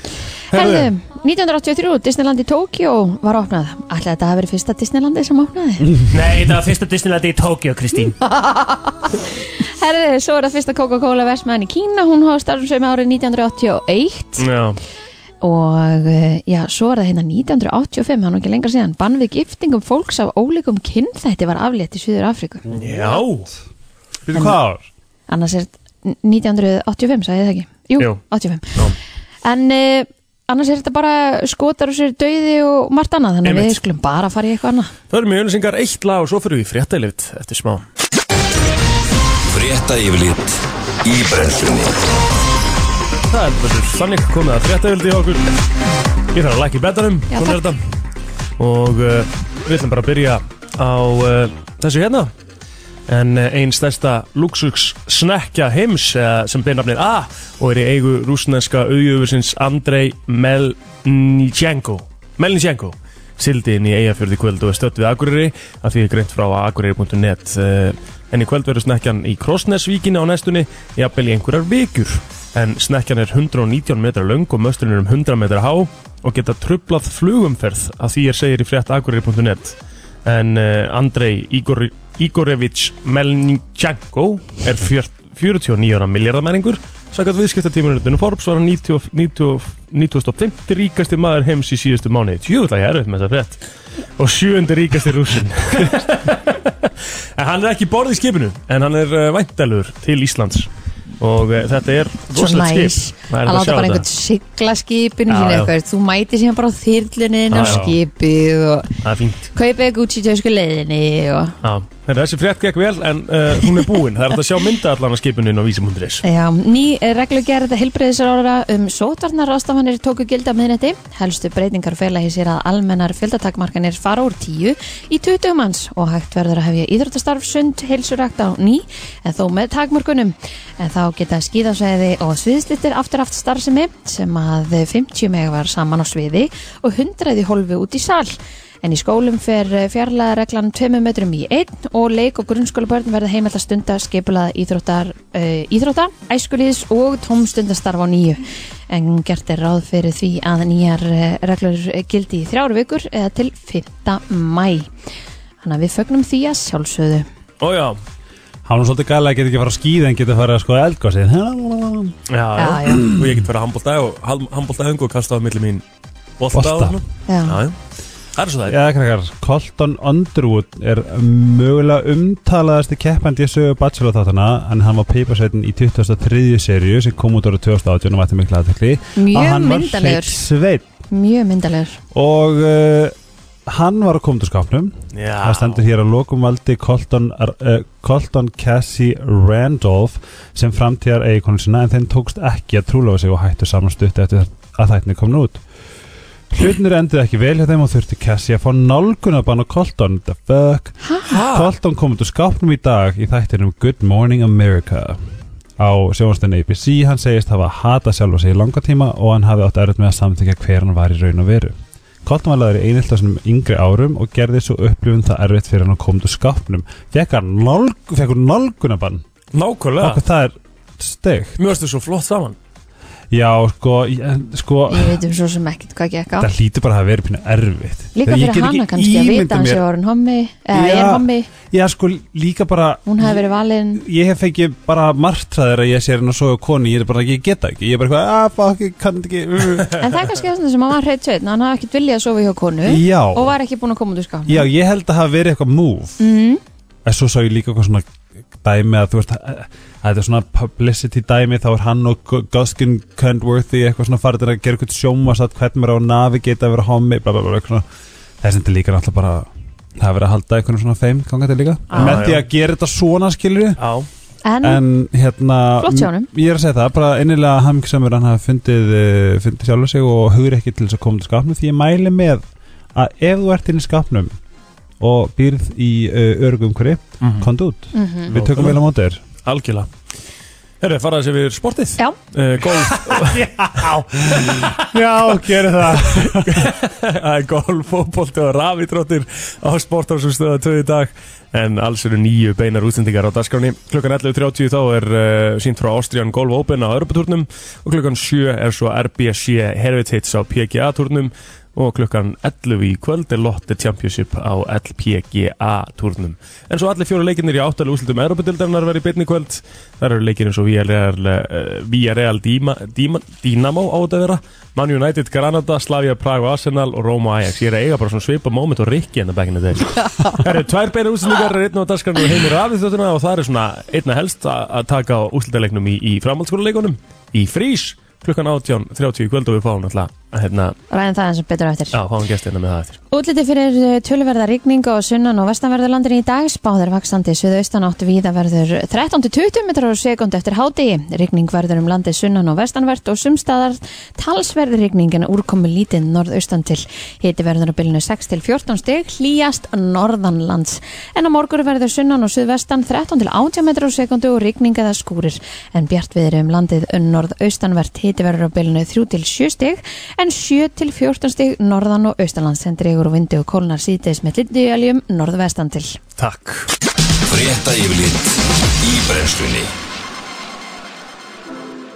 Speaker 3: Herðu, 1983, Disneyland í Tókjó var opnað Ætli þetta hafi verið fyrsta Disneylandi sem opnaði
Speaker 2: [LAUGHS] Nei, þetta var fyrsta Disneylandi í Tókjó, Kristín
Speaker 3: Herðu, svo er það fyrsta Coca-Cola versmaðan í Kína Hún hóð starfum sem árið 1981
Speaker 2: Já,
Speaker 3: Og eh, já, svo er það hérna 1985, það er nú ekki lengra síðan Bann við giftingum fólks af ólíkum kynþætti var aflétt í Suður Afríku
Speaker 2: já
Speaker 4: Býttu hvað ár?
Speaker 3: annars er 1985 sagði ég það ekki, jú,
Speaker 2: Jú.
Speaker 3: 85
Speaker 2: Já.
Speaker 3: en uh, annars er þetta bara skotar og sér döiði og margt annað þannig að
Speaker 2: Einmitt.
Speaker 3: við skulum bara fara í eitthvað annað
Speaker 2: Það eru mjög öllusingar eitt lag og svo fyrir við í fréttalift eftir smá
Speaker 1: Frétta yfirlit í brennslunni
Speaker 2: Það er bara þannig komið að fréttalift í okkur Ég þarf að lækja í betanum
Speaker 3: Já,
Speaker 2: Svona er þetta Og uh, við ætlum bara að byrja á uh, þessu hérna En uh, ein stærsta luxus snekja heims uh, sem byrja nafnið A og er í eigu rúsneska auðjöfusins Andrei Melnichenko Melnichenko sildi inn í eigafjörði kvöld og er stödd við Akureyri að því er greint frá akureyri.net uh, en í kvöld verður snekkjan í Krossnesvíkinni á næstunni jafnvel í einhverjar vikur en snekkjan er 119 metra löng og mösturinn er um 100 metra há og geta trublað flugumferð að því er segir í frétt akureyri.net en uh, Andrei Igor, Igorevich Melnichenko er fjör, 49 ára miljardamæringur Sannkvæmt viðskiptatímanutinu Forbes var hann 90 90 9050 ríkasti maður heims í síðustu mánuði Tjóðlega ég er auðvitað með þetta frétt Og sjöundi ríkasti rúsin En hann er ekki borðið í skipinu En hann er uh, væntalur til Íslands Og uh, þetta er
Speaker 3: Svo
Speaker 2: rosalegt
Speaker 3: næs
Speaker 2: skip Það
Speaker 3: að
Speaker 2: er að
Speaker 3: láta
Speaker 2: sjá
Speaker 3: bara
Speaker 2: þetta.
Speaker 3: einhvern sigla skipinu
Speaker 2: Já,
Speaker 3: sín
Speaker 2: já.
Speaker 3: eitthvað Þú mæti síðan bara á þyrlunin
Speaker 2: Já,
Speaker 3: og
Speaker 2: já.
Speaker 3: skipið og
Speaker 2: Það er fínt
Speaker 3: kaupið Gucci tösku leiðinni og
Speaker 2: Já, Þetta, þessi frétt gekk vel en uh, hún er búin Það er hægt að sjá mynda allan að skipinu inn á vísum.is
Speaker 3: Já, ný reglugerð heilbreyðisrára um sótvarnarástafanir tóku gildi á miðnætti. Helstu breytingar fela í sér að almennar fjöldatakmarkanir fara úr 10 í 20 manns og hægt verður að hefja íþróttastarf sund heilsurakt á ný en þó með takmarkunum. En þá geta skíðasvæði og sviðslittir aftur haft starfsemi sem að 50 mega var saman á sviði og 100 í holfi út í sal. En í skólum fer fjarlæða reglan 2 metrum í 1 og leik og grunnskólabörn verða heimilt að stunda skipulaða íþróttar, uh, íþrótta, æskulíðs og tómstundastarf á nýju. En gert er ráð fyrir því að nýjar eh, reglur gildi í þrjár vikur eða til 5. mæ. Þannig að við fögnum því að sjálfsögðu.
Speaker 2: Ójá,
Speaker 4: Hann var svolítið gæla að geta ekki að fara að skýða en geta að fara að skoða eldgósið
Speaker 2: já, já,
Speaker 3: Já, já.
Speaker 2: og ég get verið að handbólta og handbólta hengu og kasta á milli mín bolta á
Speaker 4: Bolta.
Speaker 2: hann
Speaker 3: Já.
Speaker 2: Já, já. það er svo það er.
Speaker 4: Já, krakkar, Colton Underwood er mögulega umtalaðasti keppandi í sögu Bachelor þáttana en hann var peiparsveitin í 23. seríu sem kom út ára 2018 og vætti mikla aðtekli
Speaker 3: Mjög
Speaker 4: að hann
Speaker 3: myndarlegur.
Speaker 4: var sveit
Speaker 3: Mjög myndalegur.
Speaker 4: og uh, hann var á komundurskapnum
Speaker 2: Já.
Speaker 4: Það stendur hér að lokum valdi Colton, uh, Colton Cassie Randolph sem framtíðar eigikonu sína en þeim tókst ekki að trúlega sig og hættu samanstutt eftir að þættinni komin út. Hlutinir endur ekki vel hjá þeim og þurfti Cassie að fá nálgunabann á Colton. The fuck?
Speaker 2: Ha?
Speaker 4: Colton kom út úr skápnum í dag í þættinum Good Morning America á sjónastunni ABC hann segist hafa hata sjálfa sig í langa tíma og hann hafi átt erfitt með að samþykja hver hann var í raun og veru Colton var laður í einhilt á sinum yngri árum og gerði svo upplifun það erfitt fyrir hann að koma út úr skápnum fekk hann nálg, fekk hann nálgunabann
Speaker 2: Nákvæmlega,
Speaker 4: okkur það er steg
Speaker 2: mjög stu svo flott saman
Speaker 4: já sko, ég- sko
Speaker 3: Ég
Speaker 4: [SIGHS]
Speaker 3: veit um svo sem ekkert hvað gekk á.
Speaker 4: það hlýtur bara að hafa verið pínu erfitt
Speaker 3: Líka
Speaker 4: Þegar ég
Speaker 3: fyrir
Speaker 4: get ekki
Speaker 3: hana kannski að
Speaker 4: ímyndað
Speaker 3: vita hans
Speaker 4: mér-
Speaker 3: ég var hann hommi, eða ég
Speaker 4: Já.
Speaker 3: er hommi,
Speaker 4: já sko líka bara
Speaker 3: hún hafi verið valinn
Speaker 4: ég hef fengið bara martraðir að ég sé hérna svo koni, ég er bara ekki, ég geta ekki ég er bara eitthvað, að fuck, ég kann þetta ekki
Speaker 3: En það er kannski þess að hann var hreitt sveitn, hann hafði ekkert viljað að sofa hjá konu
Speaker 4: já,
Speaker 3: og var ekki búin að koma út úr skapnum.
Speaker 4: já, ég held að hafa verið eitthvað move
Speaker 3: Mm,
Speaker 4: en svo sá ég líka eitthvað svona dæmi að þú veist, að að þetta er svona publicity dæmi, þá er hann og Gu- Guskin Cuntworthy eitthvað svona farið að gera eitthvað sjómasat, hvernig maður á að navigata að vera homi, bla bla bla, eitthvað svona þess að þetta er líka náttúrulega bara það er verið að halda eitthvað svona fame ganga til líka
Speaker 3: Ah,
Speaker 4: með því
Speaker 2: já.
Speaker 4: að gera þetta svona skilur
Speaker 2: Já,
Speaker 3: en
Speaker 4: en hérna
Speaker 3: Flott hjá honum.
Speaker 4: m- ég er að segja það, bara innilega hamingsamur hann hafi fundið, uh, fundið sjálfur sig og hugur ekki til þess að koma til skapnum því ég mæli með að ef þú ert inn í skapnum og býrð í uh, örgum hverju,
Speaker 2: Mhm.
Speaker 4: kondu út
Speaker 3: mm
Speaker 4: við tökum vel á móti [LAUGHS] þér
Speaker 2: algjörlega Herru, faraði sér við sportið
Speaker 3: Já.
Speaker 2: uh, Golf,
Speaker 4: já, gerir það
Speaker 2: það er golf, fótbolti og rafitróttir á sporthársum stöða tvö í dag en alls eru nýju beinar útsendingar á dagskráni klukkan 11.30 þá er uh, sínt frá Austrian Golf Open á Europatúrnum og klukkan 7 er svo RBC Heritage á PGA-túrnum og klukkan 11 í kvöld er Lotte Championship á LPGA-túrnum en svo allir fjóru leikinnir í áttalega úslutum Europatildarnar verið byrni kvöld þar eru leikinn eins og Villarreal uh, Villarreal Díma- Díma- Dynamo á þetta að vera Man United, Granada, Slavia, Praga, Arsenal og Roma Ajax ég er að eiga bara svona svipa moment og rikki en það back in the day Það eru tvær beina úrslendingar er einn á daskarnu og heimir rafið þjóttuna og það er svona einna helst að að taka á úrslendalegnum í, í framhaldsskóluleikunum í frís klukkan 18.30 í kvöld og við fáum alltaf hérna,
Speaker 3: ræðum það eins og betur á eftir.
Speaker 2: já, fáum gestina með það eftir
Speaker 3: Útliti fyrir eh, töluverða rigning á sunnan og vestanverðurlandin í dag spáðir vaksandi suðaustan átt víða verður 13-20 metrar á sekund eftir hádegi. Rigning verður um landi sunnan og vestanvert og sumstaðar talsverði rigningin úrkomu lítið norðaustan til. Hiti verður á bylnu 6-14 steg hlýjast norðanlands. En á morgur verður sunnan og suðvestan 13-18 metrar á sekundu og rigning eða skúrir. En bjart viður um landið norðaustanvert hiti verður á bylnu 3-7 steg en 7-14 steg norðan og austanlands en dregur og vindu og kólnar síðdeis með litliðaljum norðvestan til.
Speaker 2: Takk
Speaker 1: Frétta yfirlit í brennslunni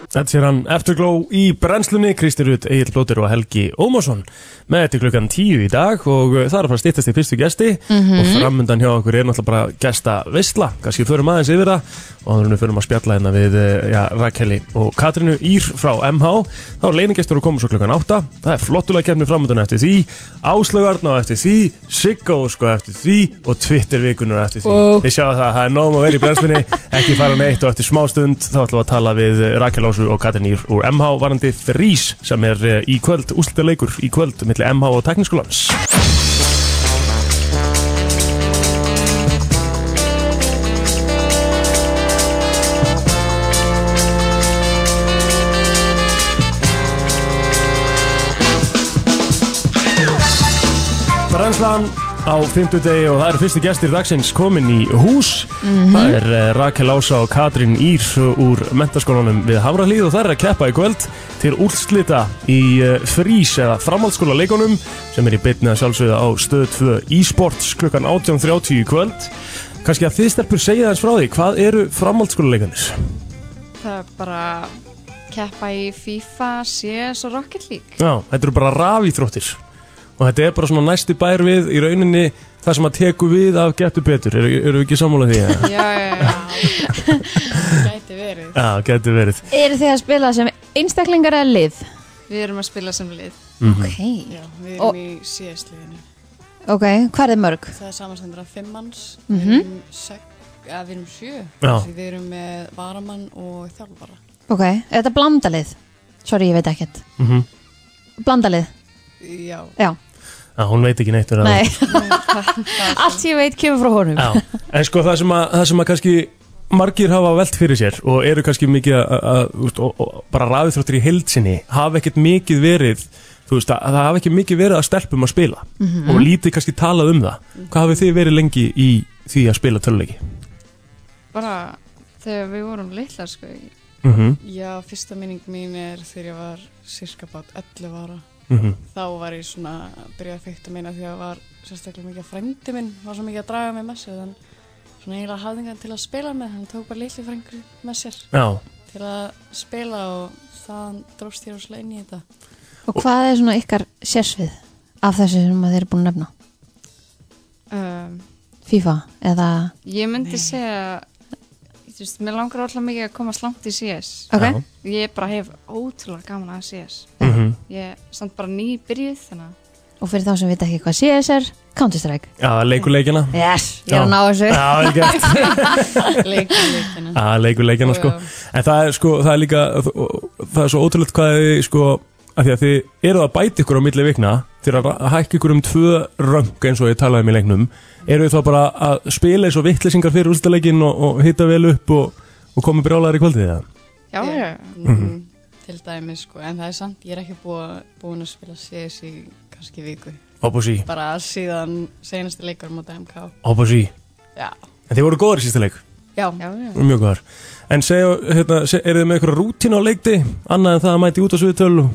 Speaker 2: Þetta sér hann Efterglow í brennslunni Kristi Rut, Egil Blóter og Helgi Ómarsson með þetta er klukkan tíu í dag og uh, það er að fara að stýttast í fyrstu gesti og framundan hjá okkur er náttúrulega bara gesta veistla, kannski förum aðeins yfir það og þannig við förum að spjalla hérna við uh, já, Rakeli og Katrinu Ír frá MH þá er leiningestur og komum svo klukkan átta það er flottulega kemni framundan eftir því Áslaugarna eftir því Siggó sko eftir því og Twitter vikunar eftir því
Speaker 3: Ó.
Speaker 2: Við sjáum það, það er nóg um að vera í brennslunni ekki fara neitt og eftir smá stund þá ætlum við að tala við eh, Rakel Ásu og Katrin Ír úr MH varandi Frís sem er eh, í kvöld, úslitaleikur í kvöld milli MH og Tekniskólans Brennslan á fimmtudegi og það eru fyrstu gestir dagsins komin í hús Það er eh, Rakel Ása og Katrín Ír úr mentaskólanum við Hamralíð og það er að keppa í kvöld til úrslita í eh, frís eða framhaldsskóla leikunum sem er í byrni að sjálfsögða á stöð 2 e-sports klukkan 18.30 í kvöld Kannski að þið stelpur segja þess frá því, hvað eru framhaldsskóla leikunir?
Speaker 5: Það er bara keppa í FIFA, CS og Rocket League.
Speaker 2: Já, þetta eru bara rafíþróttir og þetta er bara svona næsti bær við í rauninni það sem að teku við af getur betur, eru, eru ekki sammála því? eða?
Speaker 5: Já, já, já.
Speaker 3: [LAUGHS]
Speaker 5: Gæti verið.
Speaker 2: Já, getur verið
Speaker 3: Eru þið að spila sem einstaklingar eða lið?
Speaker 5: Við erum að spila sem lið.
Speaker 3: Ok,
Speaker 6: Já, við erum
Speaker 3: Og-
Speaker 6: í CS-liðinu.
Speaker 3: ok, hvað er þið mörg? Mhm.
Speaker 6: Það er samanstendur af fimm manns, við erum sek, eða við erum sjö,
Speaker 2: Já.
Speaker 6: því við erum með varamann og þjálfara.
Speaker 3: Ok, er þetta blandalið? Sorry, ég veit ekkert
Speaker 2: Mhm.
Speaker 3: Blandalið,
Speaker 6: Já,
Speaker 3: já,
Speaker 2: Já, hún veit ekki neitt um verið
Speaker 3: nei Allt sem ég veit kemur frá honum
Speaker 2: Já, en sko það sem að, það sem að kannski margir hafa velt fyrir sér og eru kannski mikið að, að, þú veist, og, og bara rafiðþróttir í heildsinni hafa ekkert mikið verið þú veist að, að það hafa ekki mikið verið að stelpum að spila
Speaker 3: Mhm.
Speaker 2: og lítið kannski talað um það hvað hafið þið verið lengi í því að spila töluleiki?
Speaker 5: Bara þegar við vorum litla, sko. í-
Speaker 2: Mm -hmm.
Speaker 6: já, fyrsta minning mín er þegar ég var cirka bát 11 ára.
Speaker 2: Mm -hmm.
Speaker 6: Þá var ég svona að byrja að fykta minna því að var sérstaklega mikið að frændi minn, var svo mikið að draga mig með sér, þann svona eiginlega hafðingan til að spila með, hann tók bara litli frængur með sér
Speaker 2: Já,
Speaker 6: til að spila og þaðan dróst ég rosalega inn í þetta.
Speaker 3: Og hvað er svona ykkar sérsvið af þessu sem að þið eru búin að nefna?
Speaker 5: Um,
Speaker 3: FIFA eða,
Speaker 5: ég myndi segja, þú veist, mér langar alltaf mikið að komast langt í CS.
Speaker 3: ok,
Speaker 2: Já.
Speaker 5: Ég bara hef ótrúlega gaman að CS.
Speaker 2: mm -hmm.
Speaker 5: Ég er samt bara nýbyrjuð, þannig að
Speaker 3: og fyrir þá sem veit ekki hvað CS er Counter Strike
Speaker 2: Já leikuleikina
Speaker 3: Yes, ég er að
Speaker 2: Já.
Speaker 3: ná þessu
Speaker 2: Já, vel
Speaker 3: [LAUGHS]
Speaker 2: gert.
Speaker 6: Leikin, leikinu.
Speaker 2: Já, leikuleikina sko
Speaker 6: Og-
Speaker 2: En það er sko, það er líka Það er svo ótrúlegt hvað þið sko að Því að þið eruð að bæta ykkur á milli vikna Þið eru að ra- hækka ykkur um tvö röng Eins og ég talaði um í leiknum Eru þið þá bara að spila eins og vittlesingar fyrir úrstæleikin og, og hitta vel upp Og, og koma brjálæðar í kvöldið það
Speaker 5: já,
Speaker 6: Já.
Speaker 5: já,
Speaker 6: Mhm. til dæmi sko, en það er samt, ég er ekki búa, búin að spila CS í kannski viku,
Speaker 2: Opposí,
Speaker 6: bara síðan senastu leikur móta MK
Speaker 2: opposí
Speaker 6: Já,
Speaker 2: En þið voru góðar í sísta leik,
Speaker 6: já,
Speaker 5: já, já.
Speaker 2: mjög góðar En segja, hérna, se- eru þið með ykkur rútín á leikti Annað en það að mæti út á sviðtölu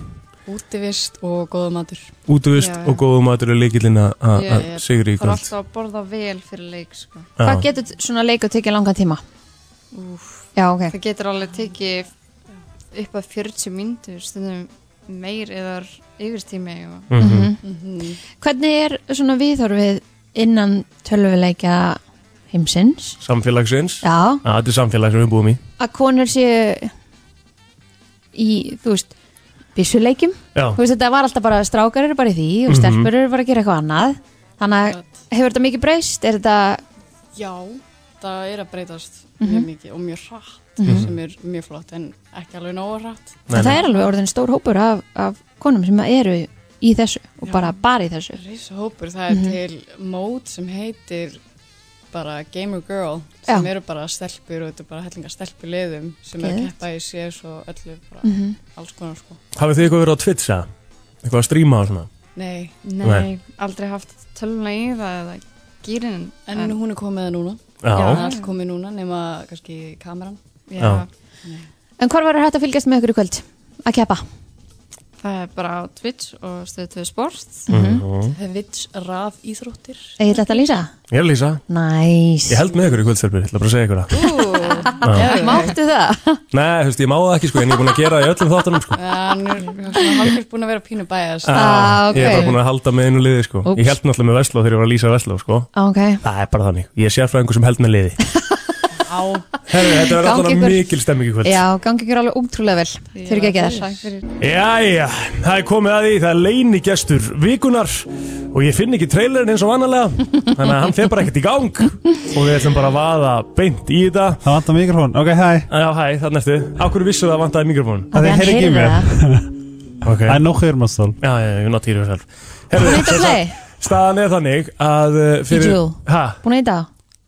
Speaker 6: útivist og góða matur
Speaker 2: Útvist
Speaker 5: Já, já.
Speaker 2: og góðum aður er leikillin að
Speaker 6: Ég
Speaker 2: að
Speaker 6: er-
Speaker 2: sigri
Speaker 5: Það er
Speaker 2: í kvöld
Speaker 5: alltaf að borða vel fyrir leik, sko.
Speaker 2: Já.
Speaker 3: Hvað getur svona leikur tekið langan tíma? Já, ok,
Speaker 5: Það getur alveg tekið upp að 40 myndur, stundum meir eða yfirtími og
Speaker 2: Mhm.
Speaker 6: mm
Speaker 3: hvernig er svona viðhorfið innan tölvuleikja heimsins?
Speaker 2: Samfélagsins
Speaker 3: Já,
Speaker 2: Já, þetta er samfélag sem við búum í
Speaker 3: að konur séu í, þú veist, byssuleikjum
Speaker 2: Já, Mhm.
Speaker 3: þú veist þetta var alltaf bara strákar eru bara í því og stelpur eru bara að gera eitthvað annað þannig að hefur þetta mikið breyst er þetta,
Speaker 6: Já, það er að breytast
Speaker 5: Mhm.
Speaker 6: mjög mikið og mjög hratt sem er mjög flott en ekki alveg nógu hratt
Speaker 2: Mhm. Nei,
Speaker 3: það
Speaker 2: nei.
Speaker 3: er alveg orðin stór hópur af, af konum sem eru í þessu og
Speaker 6: Já.
Speaker 3: bara bara í þessu
Speaker 6: Rísa hópur, það
Speaker 3: Mhm.
Speaker 6: er til mót sem heitir bara Gamer Girl sem
Speaker 3: Já.
Speaker 6: eru bara stelpur og þetta er bara hellinga stelpur liðum sem eru að
Speaker 3: Geðveikt. Mhm.
Speaker 6: keppa í CS og öllu bara alls konar sko
Speaker 2: Hafið þið eitthvað verið á Twitch eða? Eitthvað að stríma og svona?
Speaker 6: Nei,
Speaker 5: nei,
Speaker 2: Nei.
Speaker 5: aldrei haft töluna í það eða gýrin.
Speaker 6: En, hún er komið núna,
Speaker 2: Já,
Speaker 6: hún er allt komið núna nema kannski kameran
Speaker 5: já,
Speaker 2: Já.
Speaker 3: en hvar var hægt að fylgjast með ykkur í kvöld að keppa
Speaker 5: það er bara á Twitch og stöðtöðu sport.
Speaker 2: Mhm.
Speaker 3: Mhm.
Speaker 6: Vits raf íþróttir
Speaker 3: ég ætla þetta að lýsa
Speaker 2: Ég er Lísa
Speaker 3: næs
Speaker 2: Ég held með ykkur í kvöldstelpur, ég ætla bara að segja ykkur það
Speaker 5: Ú,
Speaker 3: Máttu það?
Speaker 2: Nei, þú veist, ég má það ekki sko, en ég er búin að gera það í öllum þáttunum sko.
Speaker 7: Já, hann er halkast búin að vera pínu bæðast
Speaker 3: Ah, ok.
Speaker 2: Ég er bara búin að halda með einu liði sko.
Speaker 3: Úps.
Speaker 2: Ég held náttúrulega með Vestló þegar ég var að lýsa Vestló sko.
Speaker 3: Ok,
Speaker 2: Það er bara þannig. Ég er sérfræðingur sem held með liði.
Speaker 7: á
Speaker 2: Herru, þetta verður
Speaker 3: Gangi
Speaker 2: alltaf
Speaker 3: ykkur.
Speaker 2: mikil stemming í kvöld.
Speaker 3: já, gangi ykkur alveg útrúlega vel Fyrir ekki að
Speaker 5: Takk fyrir
Speaker 2: Jæja, það er komið að því, það er leinigestur vikunar og ég finn ekki trailerinn eins og vanalega, þannig að hann fer bara ekkert í gang og við ætlum bara að vaða beint í þetta.
Speaker 4: Það vantar mikrofón, ok, hæ
Speaker 2: Já, hæ, þarna ertu. Á hverju vissu það vantaði mikrofón?
Speaker 4: Það er heyri ekki í mér
Speaker 3: það
Speaker 4: [LAUGHS]
Speaker 2: Ok.
Speaker 4: Það er nóg heyrum að stól
Speaker 2: Já, já, já, ég nátt í þér sjálf.
Speaker 3: Búin að
Speaker 2: Herru,
Speaker 3: hýta play?
Speaker 2: staðan er þannig að uh, fyrir...
Speaker 3: Júl.
Speaker 2: Hæ?
Speaker 3: Búin að hýta á?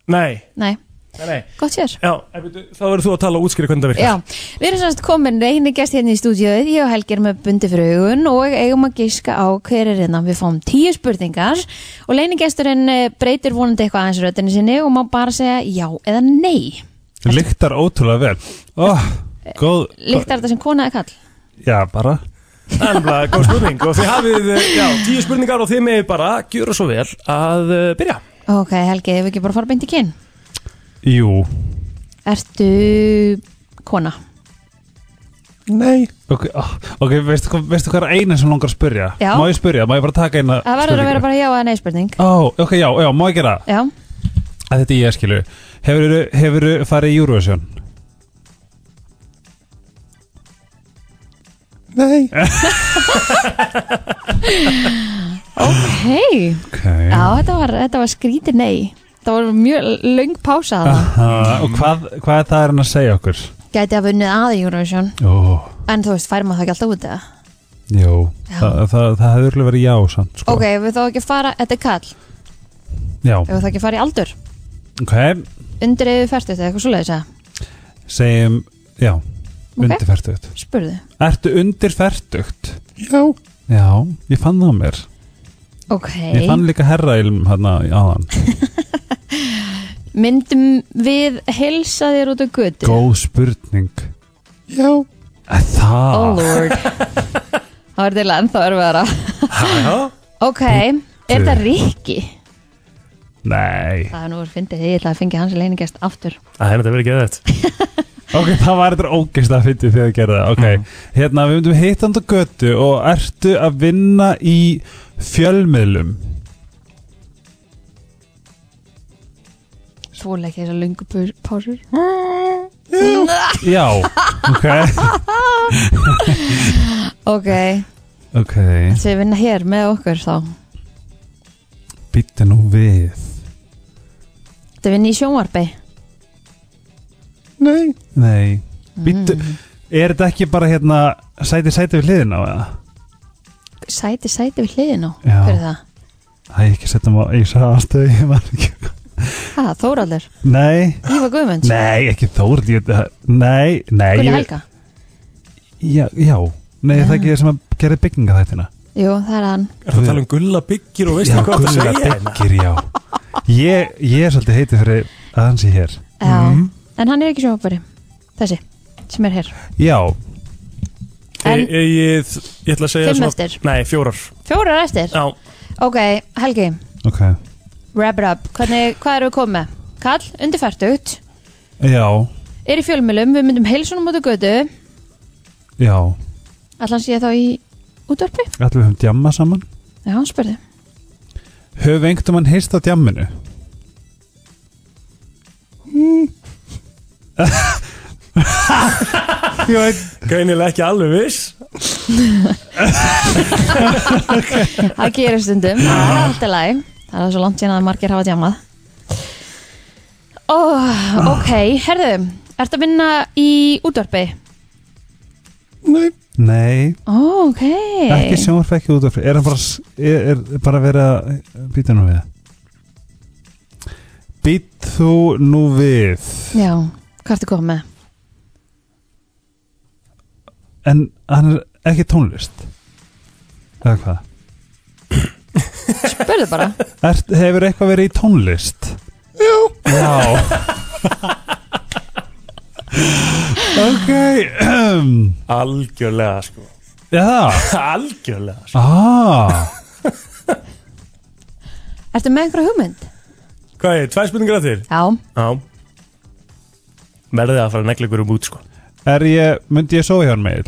Speaker 2: Nei,
Speaker 3: Nei,
Speaker 2: nei, nei.
Speaker 3: gott sér
Speaker 2: Já, en byrju, þá verður þú að tala og útskýra hvernig það virkar.
Speaker 3: Já, við erum semst komin reynigest hérna í stúdíóið, ég og Helgi erum með bundi fyrir augun og eigum að gíska á hver er hérna, við fáum tíu spurningar og leynigesturinn eh, breytir vonandi eitthvað aðeins röddinni sinni og má bara segja já eða nei.
Speaker 4: Lyktar ótrúlega vel oh, Góð
Speaker 3: Líktar þetta sem kona eða kall?
Speaker 4: Já, bara
Speaker 2: Það er nefnilega góð spurning og þið hafið, uh, já, tíu spurningar og þið með bara gjöra svo vel að uh, byrja.
Speaker 3: Ok, Helgi, ef við ekki bara fara beint í kyn.
Speaker 4: Jú
Speaker 3: Ertu kona?
Speaker 2: Nei.
Speaker 4: Ok, oh, okay veistu, hvað- veistu hvað er eina sem langar að spyrja?
Speaker 3: Já.
Speaker 4: Má ég spyrja? Má ég bara taka eina
Speaker 3: Það verður að vera bara já eða nei spurning.
Speaker 4: Ó, ok, já, já, má ég gera það?
Speaker 3: Já,
Speaker 4: Að Þetta er ég að skilu Hefurðu hefur farið í Eurovision?
Speaker 2: Nei.
Speaker 3: hei,
Speaker 4: Ok
Speaker 3: já, þetta var, þetta var skríti nei. Það var mjög löng pása að það.
Speaker 4: Ha, Og hvað, hvað er það er hann að segja okkur?
Speaker 3: Gæti að vunnið aði Eurovision,
Speaker 4: Ó,
Speaker 3: en þú veist, fær maður það ekki alltaf út eða?
Speaker 4: jú
Speaker 3: Já.
Speaker 4: Þa, það, það hefur örugglega verið já samt sko.
Speaker 3: Ok, ef við þá ekki að fara, þetta er kall Ef
Speaker 4: Já,
Speaker 3: við þá ekki að fara í aldur
Speaker 4: ok
Speaker 3: Undir eða færtut eða eitthvað svoleiðis að
Speaker 4: Segjum, já
Speaker 3: Ok.
Speaker 4: Undir fertugt
Speaker 3: Spurðu
Speaker 4: Ertu undir fertugt? Já Já, ég fann það á mér
Speaker 3: Ok,
Speaker 4: Ég fann líka herrailm hérna áðan
Speaker 3: myndum við helsa þér út á götu
Speaker 4: Góð spurning Já Það
Speaker 3: Oh lord Það var til ennþá erfiðara
Speaker 2: Hæ?
Speaker 3: Ok, er þetta Rikki?
Speaker 4: [LAUGHS] Nei
Speaker 3: Það er nú verið fyndið, ég ætla að fengi hans leiningest aftur
Speaker 2: Það er þetta verið geðið þetta.
Speaker 4: [LAUGHS] Ok, það var þetta ógist að fyndi þegar þið gerði það Ok, hérna við myndum hittandi götu og ertu að vinna í fjölmiðlum
Speaker 3: Þvóla ekki þessar lungu pus- pásur
Speaker 2: [LAUGHS]
Speaker 4: Já, ok
Speaker 3: Ok,
Speaker 4: Ok,
Speaker 3: þess við vinna hér með okkur þá
Speaker 4: býttu nú við
Speaker 3: Þetta vinna í sjónvarpi
Speaker 4: Nei Nei, býttu Er þetta ekki bara hérna sæti sæti við hliðina á það?
Speaker 3: Sæti, sæti við hliðin á
Speaker 4: Já.
Speaker 3: Hver er það?
Speaker 4: Það er ekki settum á, ég sagði alltaf ég var ekki
Speaker 3: Ha, Þóraldur,
Speaker 4: Nei,
Speaker 3: Ívar Guðmunds
Speaker 4: nei, ekki Þórð ég, Nei, nei
Speaker 3: Gulli
Speaker 4: ég-
Speaker 3: Helga
Speaker 4: Já, já Nei, það er ekki það sem að gera bygginga þættina
Speaker 3: Jú, það er hann
Speaker 2: Er það að tala um gulla byggir og veistu
Speaker 4: Já,
Speaker 2: hvað það
Speaker 4: Gulla
Speaker 2: segja?
Speaker 4: Byggir, já ég, ég er svolítið heitið fyrir að hann sé hér Mhm.
Speaker 3: Já, en hann er ekki sjónvarpari Þessi, sem er hér
Speaker 4: Já,
Speaker 3: En
Speaker 2: Ég, E, ég, ég, ég ætla að segja
Speaker 3: Fimm eftir.
Speaker 2: Nei,
Speaker 4: [LAUGHS]
Speaker 2: fjórar
Speaker 3: fjórar eftir
Speaker 2: Já,
Speaker 3: Ok, Helgi,
Speaker 4: ok
Speaker 3: wrap it up Hvernig, Hvað erum við komið með? Kall, undirfærtugt
Speaker 4: Já,
Speaker 3: Er í fjölmjölum, við myndum heilsunum út á götu
Speaker 4: já
Speaker 3: Allan sé ég þá í útvarpi
Speaker 4: Ætlum við höfum djamma saman
Speaker 3: Já, hann spurði
Speaker 4: Höfum við einhvern mann heist á djamminu? ég veit
Speaker 2: greinilega ekki alveg viss
Speaker 3: Það gerir stundum, það er alltaf læg Það er svo langt síðan að margir hafa djamað oh, Ok, herðu Ertu að vinna í útvarpi?
Speaker 4: Nei Nei,
Speaker 3: Ó, ok
Speaker 4: ekki sjónvarf ekki út af fyrir Er hann bara, s- er, er bara verið að Býta nú við Být þú nú við
Speaker 3: Já, hvað ertu komið með?
Speaker 4: En hann er ekki tónlist Eða hvað?
Speaker 3: Spurðu bara
Speaker 4: Er, hefur eitthvað verið í tónlist? Jú Já Ok um,
Speaker 2: Algjörlega sko
Speaker 4: Já
Speaker 2: [LAUGHS] Algjörlega sko
Speaker 4: ah,
Speaker 3: Ertu með einhverja hugmynd?
Speaker 2: Hvað er, tvær spurningar að þér?
Speaker 3: Já,
Speaker 2: Já verðið að fara að negla ykkur um út sko
Speaker 4: Er ég, myndi ég sóa hjá hann meil?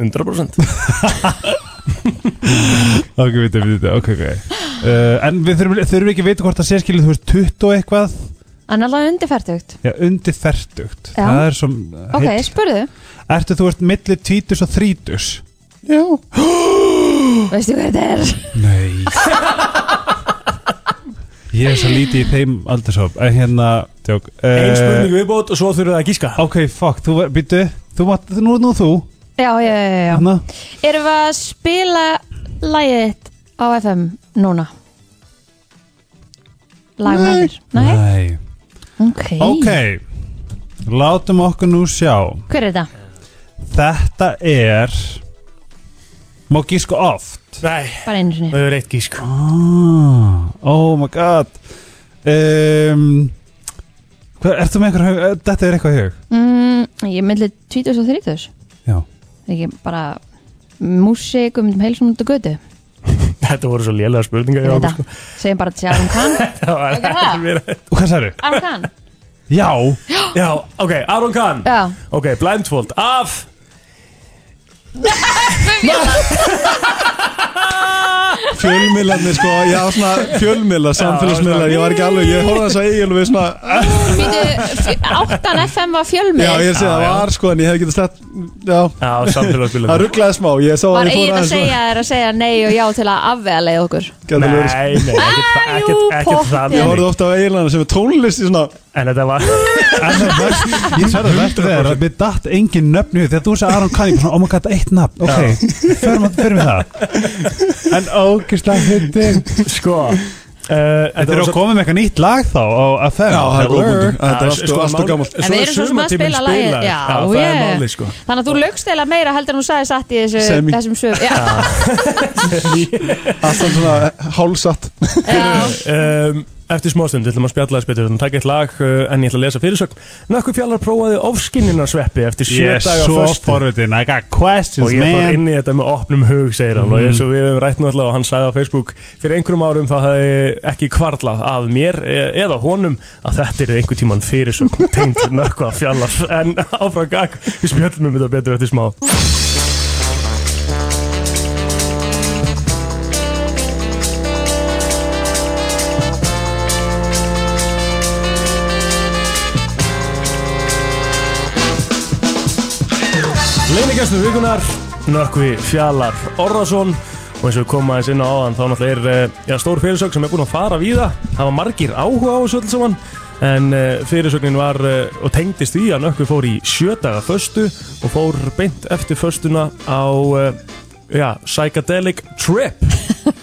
Speaker 2: 100%
Speaker 4: [LAUGHS] Ok, við þetta, við þetta, ok, ok uh, En við þurfum, þurfum ekki að vita hvort það sé skilur, þú veist, 20 og eitthvað
Speaker 3: Hann er alveg undirferðugt
Speaker 4: Já, undir fertugt
Speaker 3: Já.
Speaker 4: Það er svo
Speaker 3: Ok,
Speaker 4: heill.
Speaker 3: spurðu,
Speaker 4: Ertu þú veist milli títus og þrítus?
Speaker 2: Já
Speaker 3: [GASPS] veistu hver þetta er?
Speaker 4: Nei Ég er svo lítið í þeim aldurshóp En hérna tjók, eh,
Speaker 2: Einn spurning viðbót [LAUGHS] og svo þurfum við að gíska
Speaker 4: Ok, fuck, þú var, býttu Þú mátt, nú, nú þú
Speaker 3: Já, já, já, já, já.
Speaker 8: Hérna.
Speaker 4: Hanna,
Speaker 3: Erum við að spila lagið þitt á FM núna? Lag með þér? Nei?
Speaker 4: Nei.
Speaker 3: Ok.
Speaker 4: Ok Látum okkur nú sjá
Speaker 3: Hver er þetta?
Speaker 4: Þetta er Má gísku oft
Speaker 2: Nei,
Speaker 3: Bara einu sinni.
Speaker 2: það er eitt gísk
Speaker 4: ah, Oh my god um, Hvað, ertu með einhver hug- Þetta er eitthvað í hug
Speaker 3: Mm, ég er millir 20 og 30.
Speaker 4: Já
Speaker 3: Ekki bara músík um heilsum út á götu.
Speaker 2: Þetta voru svo lélega spurningar
Speaker 3: Ég
Speaker 2: hjá
Speaker 3: veit
Speaker 2: okkur,
Speaker 3: það. Segjum bara til Aron
Speaker 8: [LAUGHS]
Speaker 3: Khan.
Speaker 2: sko. Það var ekki verið
Speaker 4: Og hvað særu?
Speaker 3: Aron Khan?
Speaker 4: Já
Speaker 2: Já, ok, Aron Kahn
Speaker 3: Já.
Speaker 2: Ok, blindfold af
Speaker 8: Fjölmiðlarnir sko, já svona fjölmiðlar, samfélagsmiðlar, ég var ekki alveg, ég horfði þess að eigin við svona,
Speaker 3: Býtu, 8 FM var fjölmið.
Speaker 8: já ég sé það var sko en ég hef getið slett, já,
Speaker 2: Já, samfélagsbílum
Speaker 8: það rugglaði smá, ég sá að
Speaker 3: Var
Speaker 8: ég fór
Speaker 3: eigin að
Speaker 8: aðeins
Speaker 3: segja þér að segja nei og já til að afvega leið okkur.
Speaker 8: Gæti
Speaker 2: Nei,
Speaker 8: alveg
Speaker 2: nei,
Speaker 8: verið, sko.
Speaker 2: ekkert
Speaker 3: Ah, jú,
Speaker 2: ekkert- ekkert
Speaker 3: pottþétt.
Speaker 2: það
Speaker 8: Ég horfði ofta á eiginlega sem er tónlist í svona
Speaker 2: En þetta var [LAUGHS]
Speaker 4: Ég sverða verður þegar að mér datt engin nöfn í hug Þegar þú sagði Aron Kahn, ég bara svona, oh my god, eitt nafn Ok, förum að- förum við það En ógislega hittir
Speaker 2: Sko uh,
Speaker 4: Þetta
Speaker 2: Þetta
Speaker 4: er að koma með eitthvað nýtt lag þá á FM
Speaker 8: Já, það er góð punktur. Þetta er allt sko allt og
Speaker 2: mál-
Speaker 8: gammalt
Speaker 2: svo
Speaker 3: En við erum svo sem að
Speaker 2: sumartíminn
Speaker 3: spila lagið,
Speaker 2: spilaður.
Speaker 3: já, oh
Speaker 2: það er
Speaker 3: yeah.
Speaker 2: málið sko
Speaker 3: Þannig að þú lögst eða meira heldur en þú sagði satt í þessu,
Speaker 8: Semi.
Speaker 3: þessum sög. Já,
Speaker 8: Alltaf svona hálsatt
Speaker 2: [LAUGHS]
Speaker 3: já.
Speaker 2: um, Eftir smástund, við ætlum að spjalla þess betur Þannig að taka eitt lag, uh, en ég ætla að lesa fyrirsögn Nökkur fjallar prófaði ofskinninarsveppi Eftir sjö
Speaker 4: Ég er
Speaker 2: daga
Speaker 4: svo
Speaker 2: föstu
Speaker 4: forvitin, I got questions
Speaker 2: og ég fór
Speaker 4: man Mm.
Speaker 2: inn í þetta með opnum hug segir hann og eins og við hefum rætt náttúrulega og hann sagði á Facebook fyrir einhverjum árum það hefði ekki kvarlað að mér e- eða honum að þetta er einhver tíman fyrirsögn tengd nökkva fjallar en áfram gag við spjöllum um þetta betur eftir smá Leinigastu vikunar, Nökkvi Fjallar Orðarsson og eins og við komum aðeins inn á áðan þá náttúrulega er eh, já, stór fyrirsögn sem er búin að fara víða það var margir áhuga á þessu öll saman en eh, fyrirsögnin var eh, og tengdist því að Nökkvi fór í sjödaga föstu og fór beint eftir föstuna á eh, já, psychedelic trip
Speaker 3: [LAUGHS]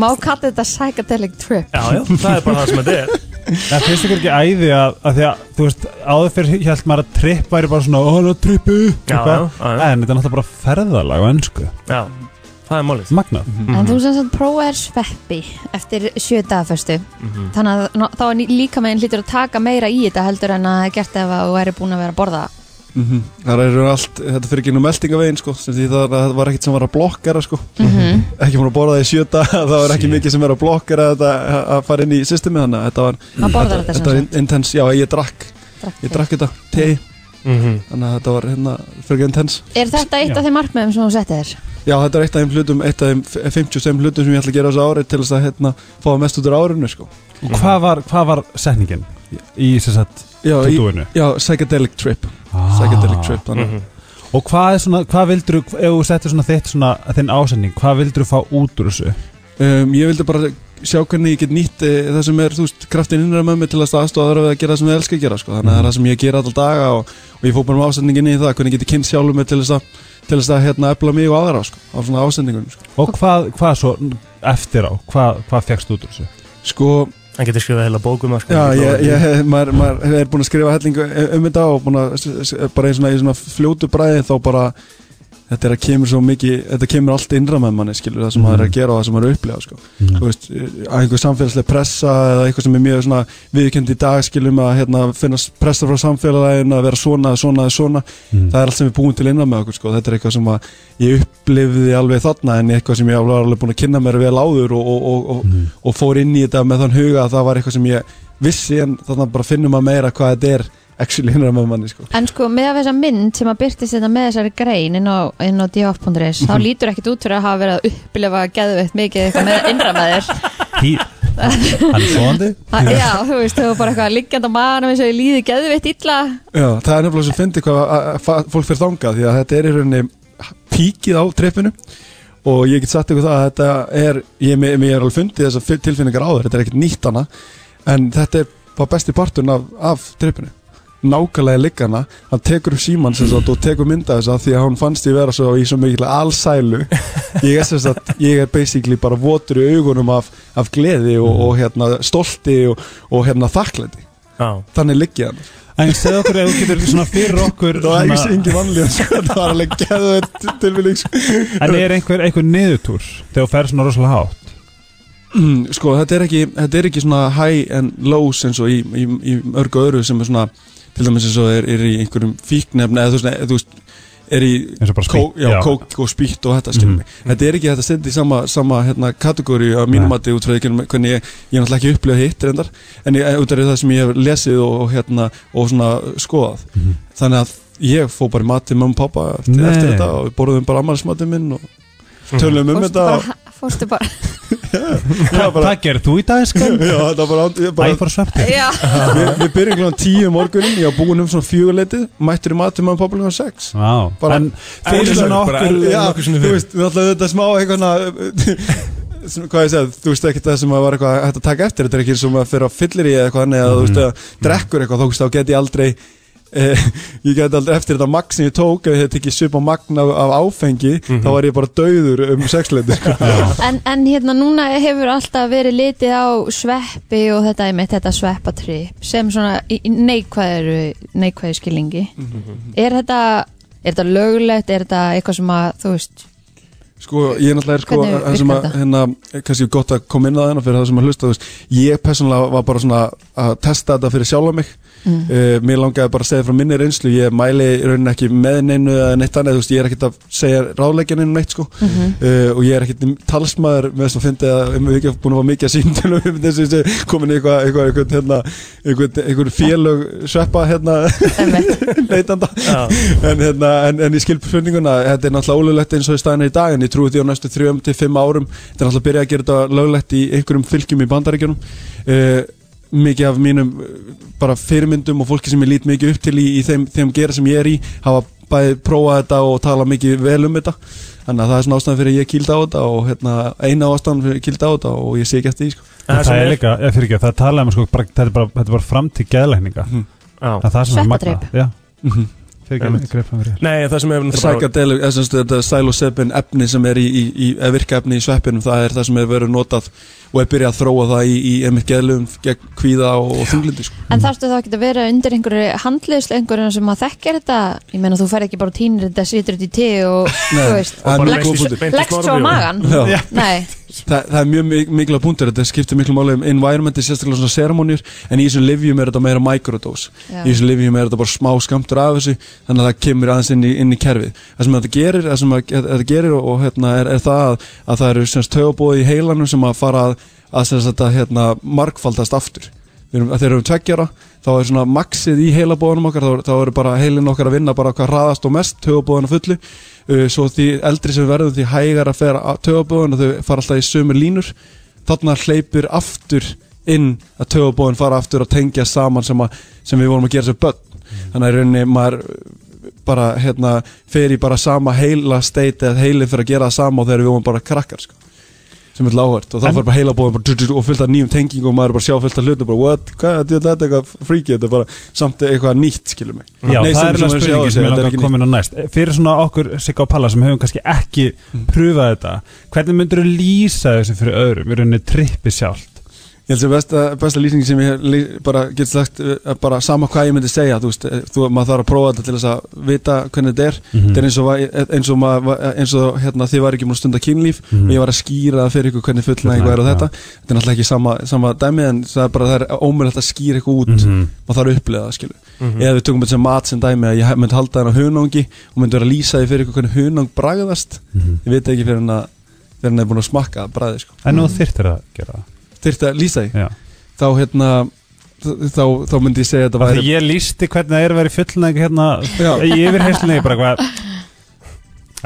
Speaker 3: Má kalla þetta psychedelic trip
Speaker 2: já, já, það er bara það
Speaker 8: [LAUGHS]
Speaker 2: sem þetta er
Speaker 4: Það finnst ykkur ekki æði að, að því að þú veist, áður fyrir hjælt maður að tripp væri bara svona, oh, no, trippu
Speaker 2: Já,
Speaker 4: eitthvað.
Speaker 2: já, já.
Speaker 4: En þetta er náttúrulega bara ferðalag á ennsku,
Speaker 2: já, það er málið
Speaker 4: magnað
Speaker 2: Mhm.
Speaker 3: En þú sem sagt prófaðir sveppi eftir sjö dagaföstu
Speaker 2: Mhm.
Speaker 8: Mhm.
Speaker 3: Þannig að ná- þá er ný- líka meginn hlýtur að taka meira í þetta heldur en að gert ef að þú væri búin að vera að borða
Speaker 8: Það eru allt, þetta fyrir ekki nú meldingavegin sko sem því það það var ekkert sem var að blokkera sko
Speaker 3: Mhm.
Speaker 8: Ekki mér að borða það í sjöta [LAUGHS] Það var ekki mikið sem er að blokkera þetta að- að fara inn í systemi þannig að Þetta var,
Speaker 3: Maður borðar þetta
Speaker 8: þetta
Speaker 3: sem
Speaker 8: var
Speaker 3: sagt
Speaker 8: in- intense, já ég drakk
Speaker 3: drakk
Speaker 8: Ég
Speaker 3: þig.
Speaker 8: drakk þetta, tei
Speaker 2: mm -hmm.
Speaker 8: Þannig að þetta var hérna fyrir ekki intense
Speaker 3: Er þetta eitt
Speaker 4: Já.
Speaker 3: af þeim markmiðum sem þú setti þér?
Speaker 8: Já þetta er eitt af þeim hlutum, eitt af þeim f- 55 hlutum sem ég ætla að gera á þessu ári til þess að hérna fá mest út úr árinu sko
Speaker 4: Og hvað var, hvað var setningin í sem sagt
Speaker 8: Já, í,
Speaker 4: tutúinu?
Speaker 8: já psychedelic trip, psychedelic trip þannig að-
Speaker 4: Mhm. Og hvað er svona, hvað vildur, ef þú settir svona þitt svona, þinn ásetning, hvað vildur þú fá út úr þessu?
Speaker 8: um, ég vildi bara sjá hvernig ég get nýtt e, það sem er, þú veist, kraftin innra með mig til að aðstofa aðra við að gera það sem ég elska að gera sko. þannig að það er það sem ég gera alltaf daga og, og ég fór bara með ásendingin í það, hvernig ég geti kynnt sjálfum mig til þess að, til þess að hérna, efla mig og aðra sko, á svona ásendingunum sko.
Speaker 4: Og hvað, hvað svo eftir á, hvað, hvað fegst út úr þessu?
Speaker 8: sko,
Speaker 2: hann getur skrifað heila bókum að sko
Speaker 8: já, ég, ég, [LAUGHS] maður, maður er búin að skrifa hellingu um þetta og búin að, s- s- bara í svona, í svona fljótu bræði þá bara Þetta er að kemur svo mikið, þetta kemur allt innra með manni, skilur, það sem maður er að gera og það sem maður er að upplega, sko.
Speaker 4: Mm.
Speaker 8: þú veist, að einhver samfélagslega pressa eða eitthvað sem er mjög svona viðkjönd í dag skilum að hérna, finna pressa frá samfélagin að vera svona, svona, svona
Speaker 4: Mm.
Speaker 8: það er allt sem er búin til innan með okkur sko. þetta er eitthvað sem að ég upplifði alveg þarna en eitthvað sem ég var alveg búin að kynna mér vel áður og, og, og, og,
Speaker 4: Mm.
Speaker 8: og fór inn í þetta með þann huga að það var eitthvað sem ég vissi en þarna bara finnum að meira hvað þetta er actually innra með manni sko.
Speaker 3: En sko með þessa mynd sem að byrtist þetta með þessari grein inn á, inn á df.is
Speaker 2: Mhm.
Speaker 3: þá lítur ekkit út fyrir að hafa verið að upplifa geðveitt mikið eitthvað með innra með þér
Speaker 4: He- Hann er svoandi
Speaker 3: Að- Já, þú veist, þú er bara eitthvað liggjandi á maðanum eins og ég líði geðveitt illa
Speaker 8: Já, það er nefnilega sem fyndi hvað að- að fa- fólk fyrir þangað því að þetta er í rauninni píkið á treppinu og ég get sagt ykkur það að þetta er ég, mér mér er alveg fundið þessar fi- tilfinningar áður þetta er ekkert nýtt hana en þetta er bara besti partun af, af treppinu nákvæmlega liggana hann tekur upp síman sem sagt og tekur mynda þess að því að hann fannst ég vera svo í svo mikil allsælu ég er sem sagt, ég er basically bara votur í augunum af, af gleði og, og hérna stolti og, og hérna þakklæti
Speaker 2: Já.
Speaker 8: þannig liggi hann
Speaker 4: En segð okkur ef þú getur svona fyrir okkur
Speaker 8: Það var ekki
Speaker 4: svona,
Speaker 8: engin vanlíðan sko. Það var alveg geðveit tilfinning sko.
Speaker 4: En er einhver, einhver niðurtúr Þegar þú ferð svona rosalega hátt
Speaker 8: Mm, sko, þetta er ekki Þetta er ekki svona high and lows eins og í, í, í örgu öðru sem er svona til dæmis eins og er, er í einhverjum fíknefni eða þú veist, eða, þú veist er í
Speaker 4: Eins og bara
Speaker 8: kó,
Speaker 4: spýtt,
Speaker 8: já,
Speaker 4: já.
Speaker 8: kók og spýtt og þetta skilur
Speaker 4: Mhm.
Speaker 8: mig Þetta er ekki þetta stendi í sama, sama hérna, kategóri á mínum
Speaker 4: Nei.
Speaker 8: mati út frá því hvernig ég, ég er náttúrulega ekki upplifað hitt reyndar en ég, út af það sem ég hef lesið og, og, hérna, og svona skoðað
Speaker 4: Mhm.
Speaker 8: þannig að ég fó bara í mat til mamma og pappa eftir,
Speaker 4: Nei. Mhm.
Speaker 8: eftir þetta og við borðum bara ammarsmatið minn og tölum um
Speaker 3: Fórstu
Speaker 8: þetta
Speaker 3: bara,
Speaker 8: og,
Speaker 3: fórstu bara
Speaker 8: Já, bara-
Speaker 4: Hvað gerir þú í dag sko?
Speaker 8: [LAUGHS] já, þetta bara, ég
Speaker 4: Æ,
Speaker 8: bara
Speaker 4: fór svepti
Speaker 3: Já,
Speaker 8: við, við byrjum kláðan tíu morgunin ég var búinn um svona fjöguleitið mættur í mat til mamma og pappa líka sex
Speaker 4: Vá,
Speaker 8: Bara-
Speaker 4: en fyrir
Speaker 8: Eðlilega,
Speaker 4: svona
Speaker 8: bara
Speaker 4: okkur
Speaker 8: eðlilega
Speaker 4: Já,
Speaker 8: nokkuð sinni fyrir. Þú veist, náttúrulega þetta er smá eitthvað svona, [LAUGHS] hvað ég segið, þú veist ekki það sem að var eitthvað hægt að taka eftir, þetta er ekki sem að fyrir á fyllir í eitthvað þannig að þú
Speaker 4: Mhm.
Speaker 8: veist að drekkur eitthvað þá, þú veist, þá get ég aldrei eh, [LAUGHS] ég get aldrei eftir þetta magn sem ég tók ef ég tekið svipa magn af, af áfengi
Speaker 4: Mhm.
Speaker 8: þá var ég bara dauður um sko. sexleiti
Speaker 3: en, en hérna núna hefur alltaf verið litið á sveppi og þetta er mitt, þetta sveppatri sem svona í- í neikvæðru neikvæðu skilningi
Speaker 8: [LAUGHS]
Speaker 3: Er þetta, er þetta löglegt, er þetta eitthvað sem að, þú veist
Speaker 8: Sko, ég náttúrulega er sko
Speaker 3: Hvernig
Speaker 8: það sem að,
Speaker 3: virkar þetta?
Speaker 8: hérna, kannski gott að koma inn að hérna fyrir það sem að hlusta, þú veist, ég persónulega var bara svona að testa þetta fyrir sjálfa mig mm. mér langaði bara að segja frá minni reynslu ég mæli í rauninni ekki með neinu eða neitt annað, þú veist, ég er ekkert að segja ráðleggja neinu neitt, sko,
Speaker 3: Mhm.
Speaker 8: uh, og ég er ekkert talsmaður með þess að fyndi að um, við erum ekki búin að fá mikið að síndunum um [LAUGHS] þessu þessu- komin í eitthvað, eitthvað, eitthvað, hérna eitthvað, eitthvað félög sveppa, hérna, leitanda
Speaker 2: Já.
Speaker 8: en, hérna, en, en ég skil spurninguna þetta er náttúrulega ólöglegt eins og í staðinu í dag en ég trúi því á næstu 3-5 árum þetta er náttúrulega að byrja að gera þetta löglegt í einhverjum fylgjum í bandaríkjunum uh, mikið af mínum eh, bara fyrirmyndum og fólki sem ég lít mikið upp til í, í þeim, þeim gera sem ég er í hafa bæði prófað þetta og tala mikið vel um þetta þannig að það er svona ástæðan fyrir að ég kýlda á þetta og hérna, eina ástæðan fyrir að ég kýlda á þetta og ég sé ekki eftir því sko.
Speaker 2: En
Speaker 4: Það
Speaker 2: sem
Speaker 4: er líka, ég fyrir ekki, það talaði um sko, bara, þetta, er bara, þetta er bara framtíð geðlækninga
Speaker 2: Já.
Speaker 4: Það er það sem er magna
Speaker 3: Sveppatreip.
Speaker 4: Já,
Speaker 8: Mhm.
Speaker 4: fyrir
Speaker 2: Einmitt.
Speaker 4: ekki, greip hann fyrir
Speaker 2: Nei, það sem hefur náttúrulega bara-
Speaker 8: Psychedelic, eða sem sagt þetta psilocybin efni sem er í, í, í eða virkaefni í sveppinum það er það sem hefur verið notað og er byrjað að þróa það í, í einmitt geðlum gegn kvíða og, og þunglindi sko.
Speaker 3: En þarftu þá ekki að vera undir einhverju handliðslu einhverjum sem að þekkja þetta ég meina þú fær ekki bara og tínir þetta, situr þetta í te og þú veist,
Speaker 8: það, er
Speaker 2: bara
Speaker 8: mjög góð
Speaker 2: leggst í-
Speaker 8: punktur.
Speaker 2: beint í
Speaker 3: leggst svo á
Speaker 2: Smárabíó.
Speaker 3: magan
Speaker 8: Já.
Speaker 3: Nei,
Speaker 8: það, það er mjög mik- mikla punktur þetta skiptir miklu máli um environmenti sérstaklega svona ceremoniur en í þessum livjum er þetta meira microdose
Speaker 3: Já.
Speaker 8: í þessum livjum er þetta bara smá skamtur af þessu þannig að það kemur aðeins inn í, inn í kerfið það sem þetta gerir, það sem að, að, að gerir og, og hérna, er, er það að, að það eru semst tögabóði í heilanum sem að fara að, að semst þetta hérna, markfaldast aftur Við erum, að þegar við erum tveggjara þá er svona maxið í heilabóðanum okkar þá, þá eru bara heilin okkar að vinna bara hvað hraðast og mest tögabóðan að fullu uh, svo því eldri sem við verðum því hægar að fer tögabóðan og þau fara alltaf í sömu línur þarna hleypur aftur inn að tögabóðan fara aftur að tengja saman sem, að, sem við vorum að gera sem börn þannig að í rauninni maður uh, bara hérna fer í bara sama heila state eða heilin fyrir að gera það sama og þegar við vorum bara krakkar sko sem er lágvert og þá
Speaker 4: En-
Speaker 8: fær bara heila bóðum bara, dr- dr- og fullt af nýjum tengingum og maður er bara að sjá fullt af hlutum bara what, hvað, þetta þetta er eitthvað freaky þetta er bara samt eitthvað nýtt skilur mig
Speaker 4: Já,
Speaker 8: Nei,
Speaker 4: það
Speaker 8: sem-
Speaker 4: er
Speaker 8: sem
Speaker 4: alveg
Speaker 8: við sjáum
Speaker 4: spurningi
Speaker 8: að segja,
Speaker 4: sem ég
Speaker 8: þetta er
Speaker 4: langar
Speaker 8: ekki
Speaker 4: að koma inn á næst Mm. Fyrir svona okkur Sigga og Palla sem hefum kannski ekki pröfað þetta Hvernig myndur þú lýsa þessu fyrir öðrum? Við erum henni trippi sjálft
Speaker 8: Ég held sem besta, besta lýsing sem ég hef lý- bara get sagt, eh, bara sama hvað ég myndi segja þú veist, eh, þú, maður þarf að prófa þetta til þess að vita hvernig þetta er,
Speaker 4: Mhm.
Speaker 8: þetta er eins og, va- eins og, maður, va- eins og hérna, þið var ekki múin að stunda kynlíf og ég var að skýra það fyrir ykkur hvernig fullnæðingu er á
Speaker 4: Mhm. Fullnæging,
Speaker 8: þetta þetta er náttúrulega ekki sama, sama dæmi en það er bara, það er ómjöld að skýra eitthvað út
Speaker 4: Mhm.
Speaker 8: maður þarf að upplega það, skilu eða við tökum þetta sem mat sem dæmi að ég myndi halda þennan hunangi og myndi vera að lýsa því fyrir ykkur hvernig hunang bragðast,
Speaker 4: Mhm.
Speaker 8: ég veit ekki fyrir hann að fyrir hann er búin að smakka bragði, sko
Speaker 4: En nú þyrftir að gera það
Speaker 8: þyrfti að lýsa því
Speaker 4: Já,
Speaker 8: þá hérna þá, þá myndi ég segja að þetta
Speaker 4: Af því
Speaker 8: væri
Speaker 4: ég lísti hvernig það er að vera í fullnæg hérna
Speaker 8: Já.
Speaker 4: í yfirheyslunni bara hvað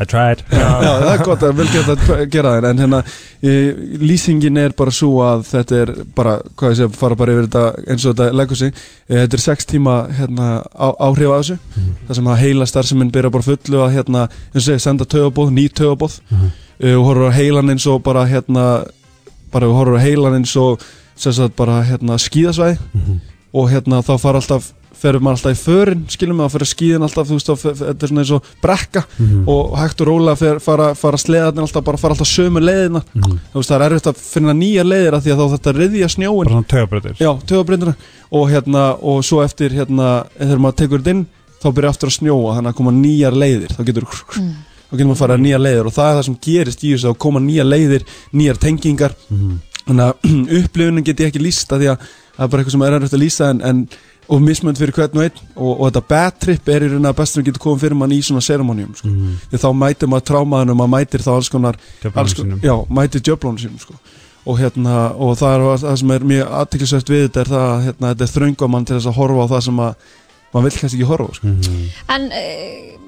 Speaker 4: I tried
Speaker 8: Já, það er gott að vel geta að gera það en hérna, e, lýsingin er bara svo að þetta er bara, hvað ég segja, fara bara yfir þetta eins og þetta leggur sig e, þetta er sex tíma hérna, á, áhrif af þessu
Speaker 4: Mhm.
Speaker 8: það sem að heila starfseminn byrja bara fullu að hérna, eins og segja, senda tögabóð, ný tögabóð
Speaker 4: Mhm.
Speaker 8: e, og horfur á heilan eins og bara hérna, bara við horfur á heilan eins og sem sagt bara hérna skíðasvæði
Speaker 4: Mhm.
Speaker 8: og hérna þá fara alltaf ferum maður alltaf í förin, skilum við að fyrir skíðin alltaf, þú veist, þá fer- þetta er svona eins og brekka
Speaker 4: Mhm.
Speaker 8: og hægt og rólega fer, fara, fara sleðarnir alltaf, bara fara alltaf sömu leiðina
Speaker 4: Mhm.
Speaker 8: þú veist, það er erfitt að finna nýja leiðir af því að þá þetta riðja
Speaker 4: bara
Speaker 8: snjóin
Speaker 4: svona tögabröður
Speaker 8: já, töfabrindina og hérna, og svo eftir hérna, þegar maður tekur þetta inn þá byrja aftur að snjóa, þannig að koma nýjar leiðir þá getur, þá getur maður að fara nýjar leiðir og það er það sem gerist í þessu, þá koma nýjar leiðir nýjar tengingar þannig að [CLEARS THROAT] upplifunum get ég ekki líst af því að það er bara eitthvað sem er erfitt að lýsa en, en og mismönd fyrir hvern og einn og, og þetta bad trip er í raun að best sem getur komið fyrir mann í svona ceremonium sko. því þá mætir maður trámaðinu, maður mætir þá alls konar alls,
Speaker 4: Djöflunum sínum.
Speaker 8: já, mætir djöflónu sínum sko. og, hérna, og það er það sem er mjög aðtiklisvægt við þetta er það að hérna, þetta er þrönga mann til þess að horfa á það sem að maður vill kannski ekki horfa á sko.
Speaker 4: Mhm.
Speaker 3: En e,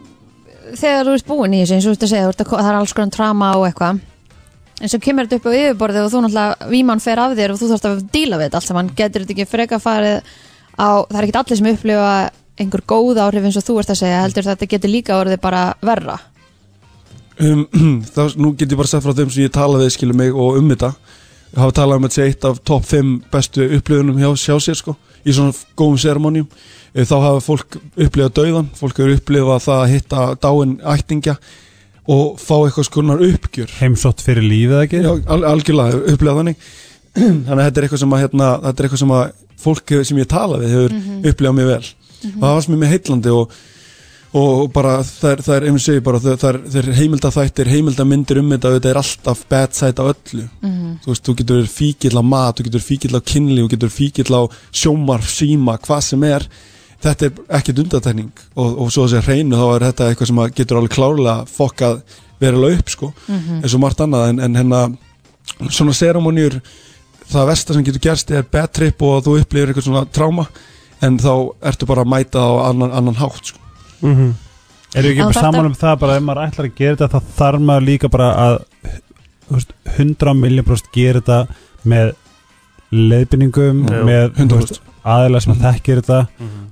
Speaker 3: þegar þú ert búin í þessu eins og þú ert að segja, þú ert að, ko- það er alls konar trama og eitthvað en svo kemur þetta upp á yfirborðið og þú náttúrulega, vímann fer af þér og þú þarfst að díla við þetta allt saman, getur þetta ekki freka farið á, það er ekki allir sem upplifa einhver góð áhrif eins og þú ert að segja heldur þetta getur líka orðið bara verra
Speaker 8: um, [CLEARS THROAT] þá, nú get ég bara sagt frá þeim sem ég talaði við skilur mig og um þetta hafa talað um að þetta sé eitt af topp 5 bestu upplifunum hjá sjá sér sko í svona góðum seremonium Eh, þá hafa fólk upplifað dauðan fólk hefur upplifað það að hitta dáin ættingja og fá eitthvað skonar uppgjör
Speaker 4: heimsótt fyrir lífið eða ekki
Speaker 8: Já, al algjörlega, upplegað þannig [CLEARS THROAT] þannig að þetta er eitthvað sem að hérna, þetta er eitthvað sem að fólk hefur- sem ég tala við hefur upplegað mér vel og það var sem er með heitlandi og, og bara það er, það er einhvern segi bara það það er, það er heimildaþættir, heimildamindir um þetta þetta er alltaf bad side á öllu þú veist, þú getur verið fíkill á mat þú getur fíkill á kynli, þú getur fíkill á sjómar, síma, hvað sem er þetta er ekkert undatækning og, og svo þessi hreinu þá er þetta eitthvað sem að getur alveg klárlega fokkað verulega upp sko, eins og margt annað en, en hennar, svona seremonjur það versta sem getur gerst er bad trip og að þú upplifir eitthvað svona tráma en þá ertu bara að mæta það á annan, annan hátt sko.
Speaker 4: Erum við ekki
Speaker 3: En
Speaker 4: bara
Speaker 3: þetta-
Speaker 4: saman um það bara ef maður ætlar að gera þetta þá þarf maður líka bara að þú veist, 100 miljón prost gera þetta með leiðbyningum
Speaker 2: Já,
Speaker 4: með þú
Speaker 8: 100%.
Speaker 4: veist, aðila sem þekkir þetta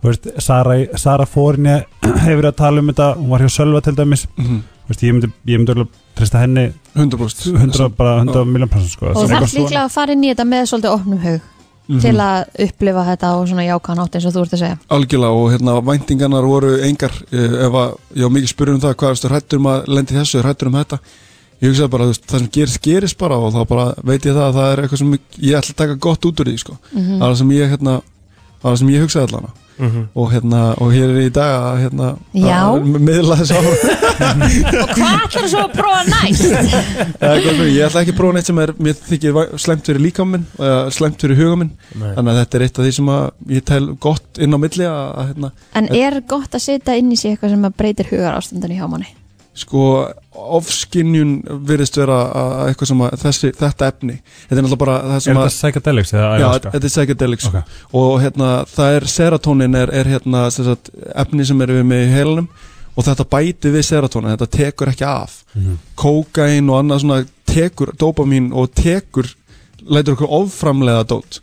Speaker 4: þú veist, Sara, Sara Fórinja [CLEARS THROAT] hefur að tala um þetta hún var hjá Sölva til dæmis
Speaker 8: mm -hmm.
Speaker 4: Þú veist, ég myndi, ég myndi alveg treysta henni
Speaker 8: 100%
Speaker 4: 100, bara 100 miljón prost sko.
Speaker 3: og
Speaker 4: Sem
Speaker 3: það
Speaker 4: eitthvað
Speaker 3: er líklega að fara inn í þetta með svolítið opnum hug
Speaker 8: Mhm.
Speaker 3: til að upplifa þetta og svona jákan átt eins og þú ert að segja
Speaker 8: algjörlega og hérna væntingarnar voru engar eh, ef að, ég var mikið spurði um það hvað erstu hrættur um að lendi þessu, hrættur um þetta ég hugsaði bara, þú veist, það sem gerist gerist bara og þá bara veit ég það að það er eitthvað sem ég, ég ætla að taka gott út úr því sko.
Speaker 3: Mhm.
Speaker 8: það er það sem ég hérna það er það sem ég hugsaði allan og hérna, og hér er ég í dag að hérna,
Speaker 3: Já.
Speaker 8: að miðla þess áfram
Speaker 3: [LAUGHS] og hvað ætlar svo að prófa
Speaker 8: [LAUGHS]
Speaker 3: næst?
Speaker 8: Eða, hvað fyrir, ég ætla ekki að prófa neitt sem er, mér þykir væ- slæmt fyrir líkaminn, uh, slæmt fyrir hugaminn
Speaker 2: Nei.
Speaker 8: þannig að þetta er eitt af því sem að ég tel gott inn á milli að, að hérna,
Speaker 3: en er gott að setja inn í sig eitthvað sem að breytir hugar ástandinu hjá manni?
Speaker 8: sko ofskinjun virðist vera að, að eitthvað sem að þessi, þetta efni þetta er náttúrulega bara það
Speaker 4: er
Speaker 8: sem
Speaker 4: þetta
Speaker 8: að
Speaker 4: psychedelics eða
Speaker 8: Já,
Speaker 4: ayahuasca?
Speaker 8: þetta er psychedelics
Speaker 4: Ok.
Speaker 8: og hérna, það er serotonin er, er hérna, sem sagt, efni sem er við með í heilanum og þetta bæti við serotonin þetta tekur ekki af
Speaker 4: Mhm.
Speaker 8: kókain og annað svona tekur dopamin og tekur lætur okkur offramlega dót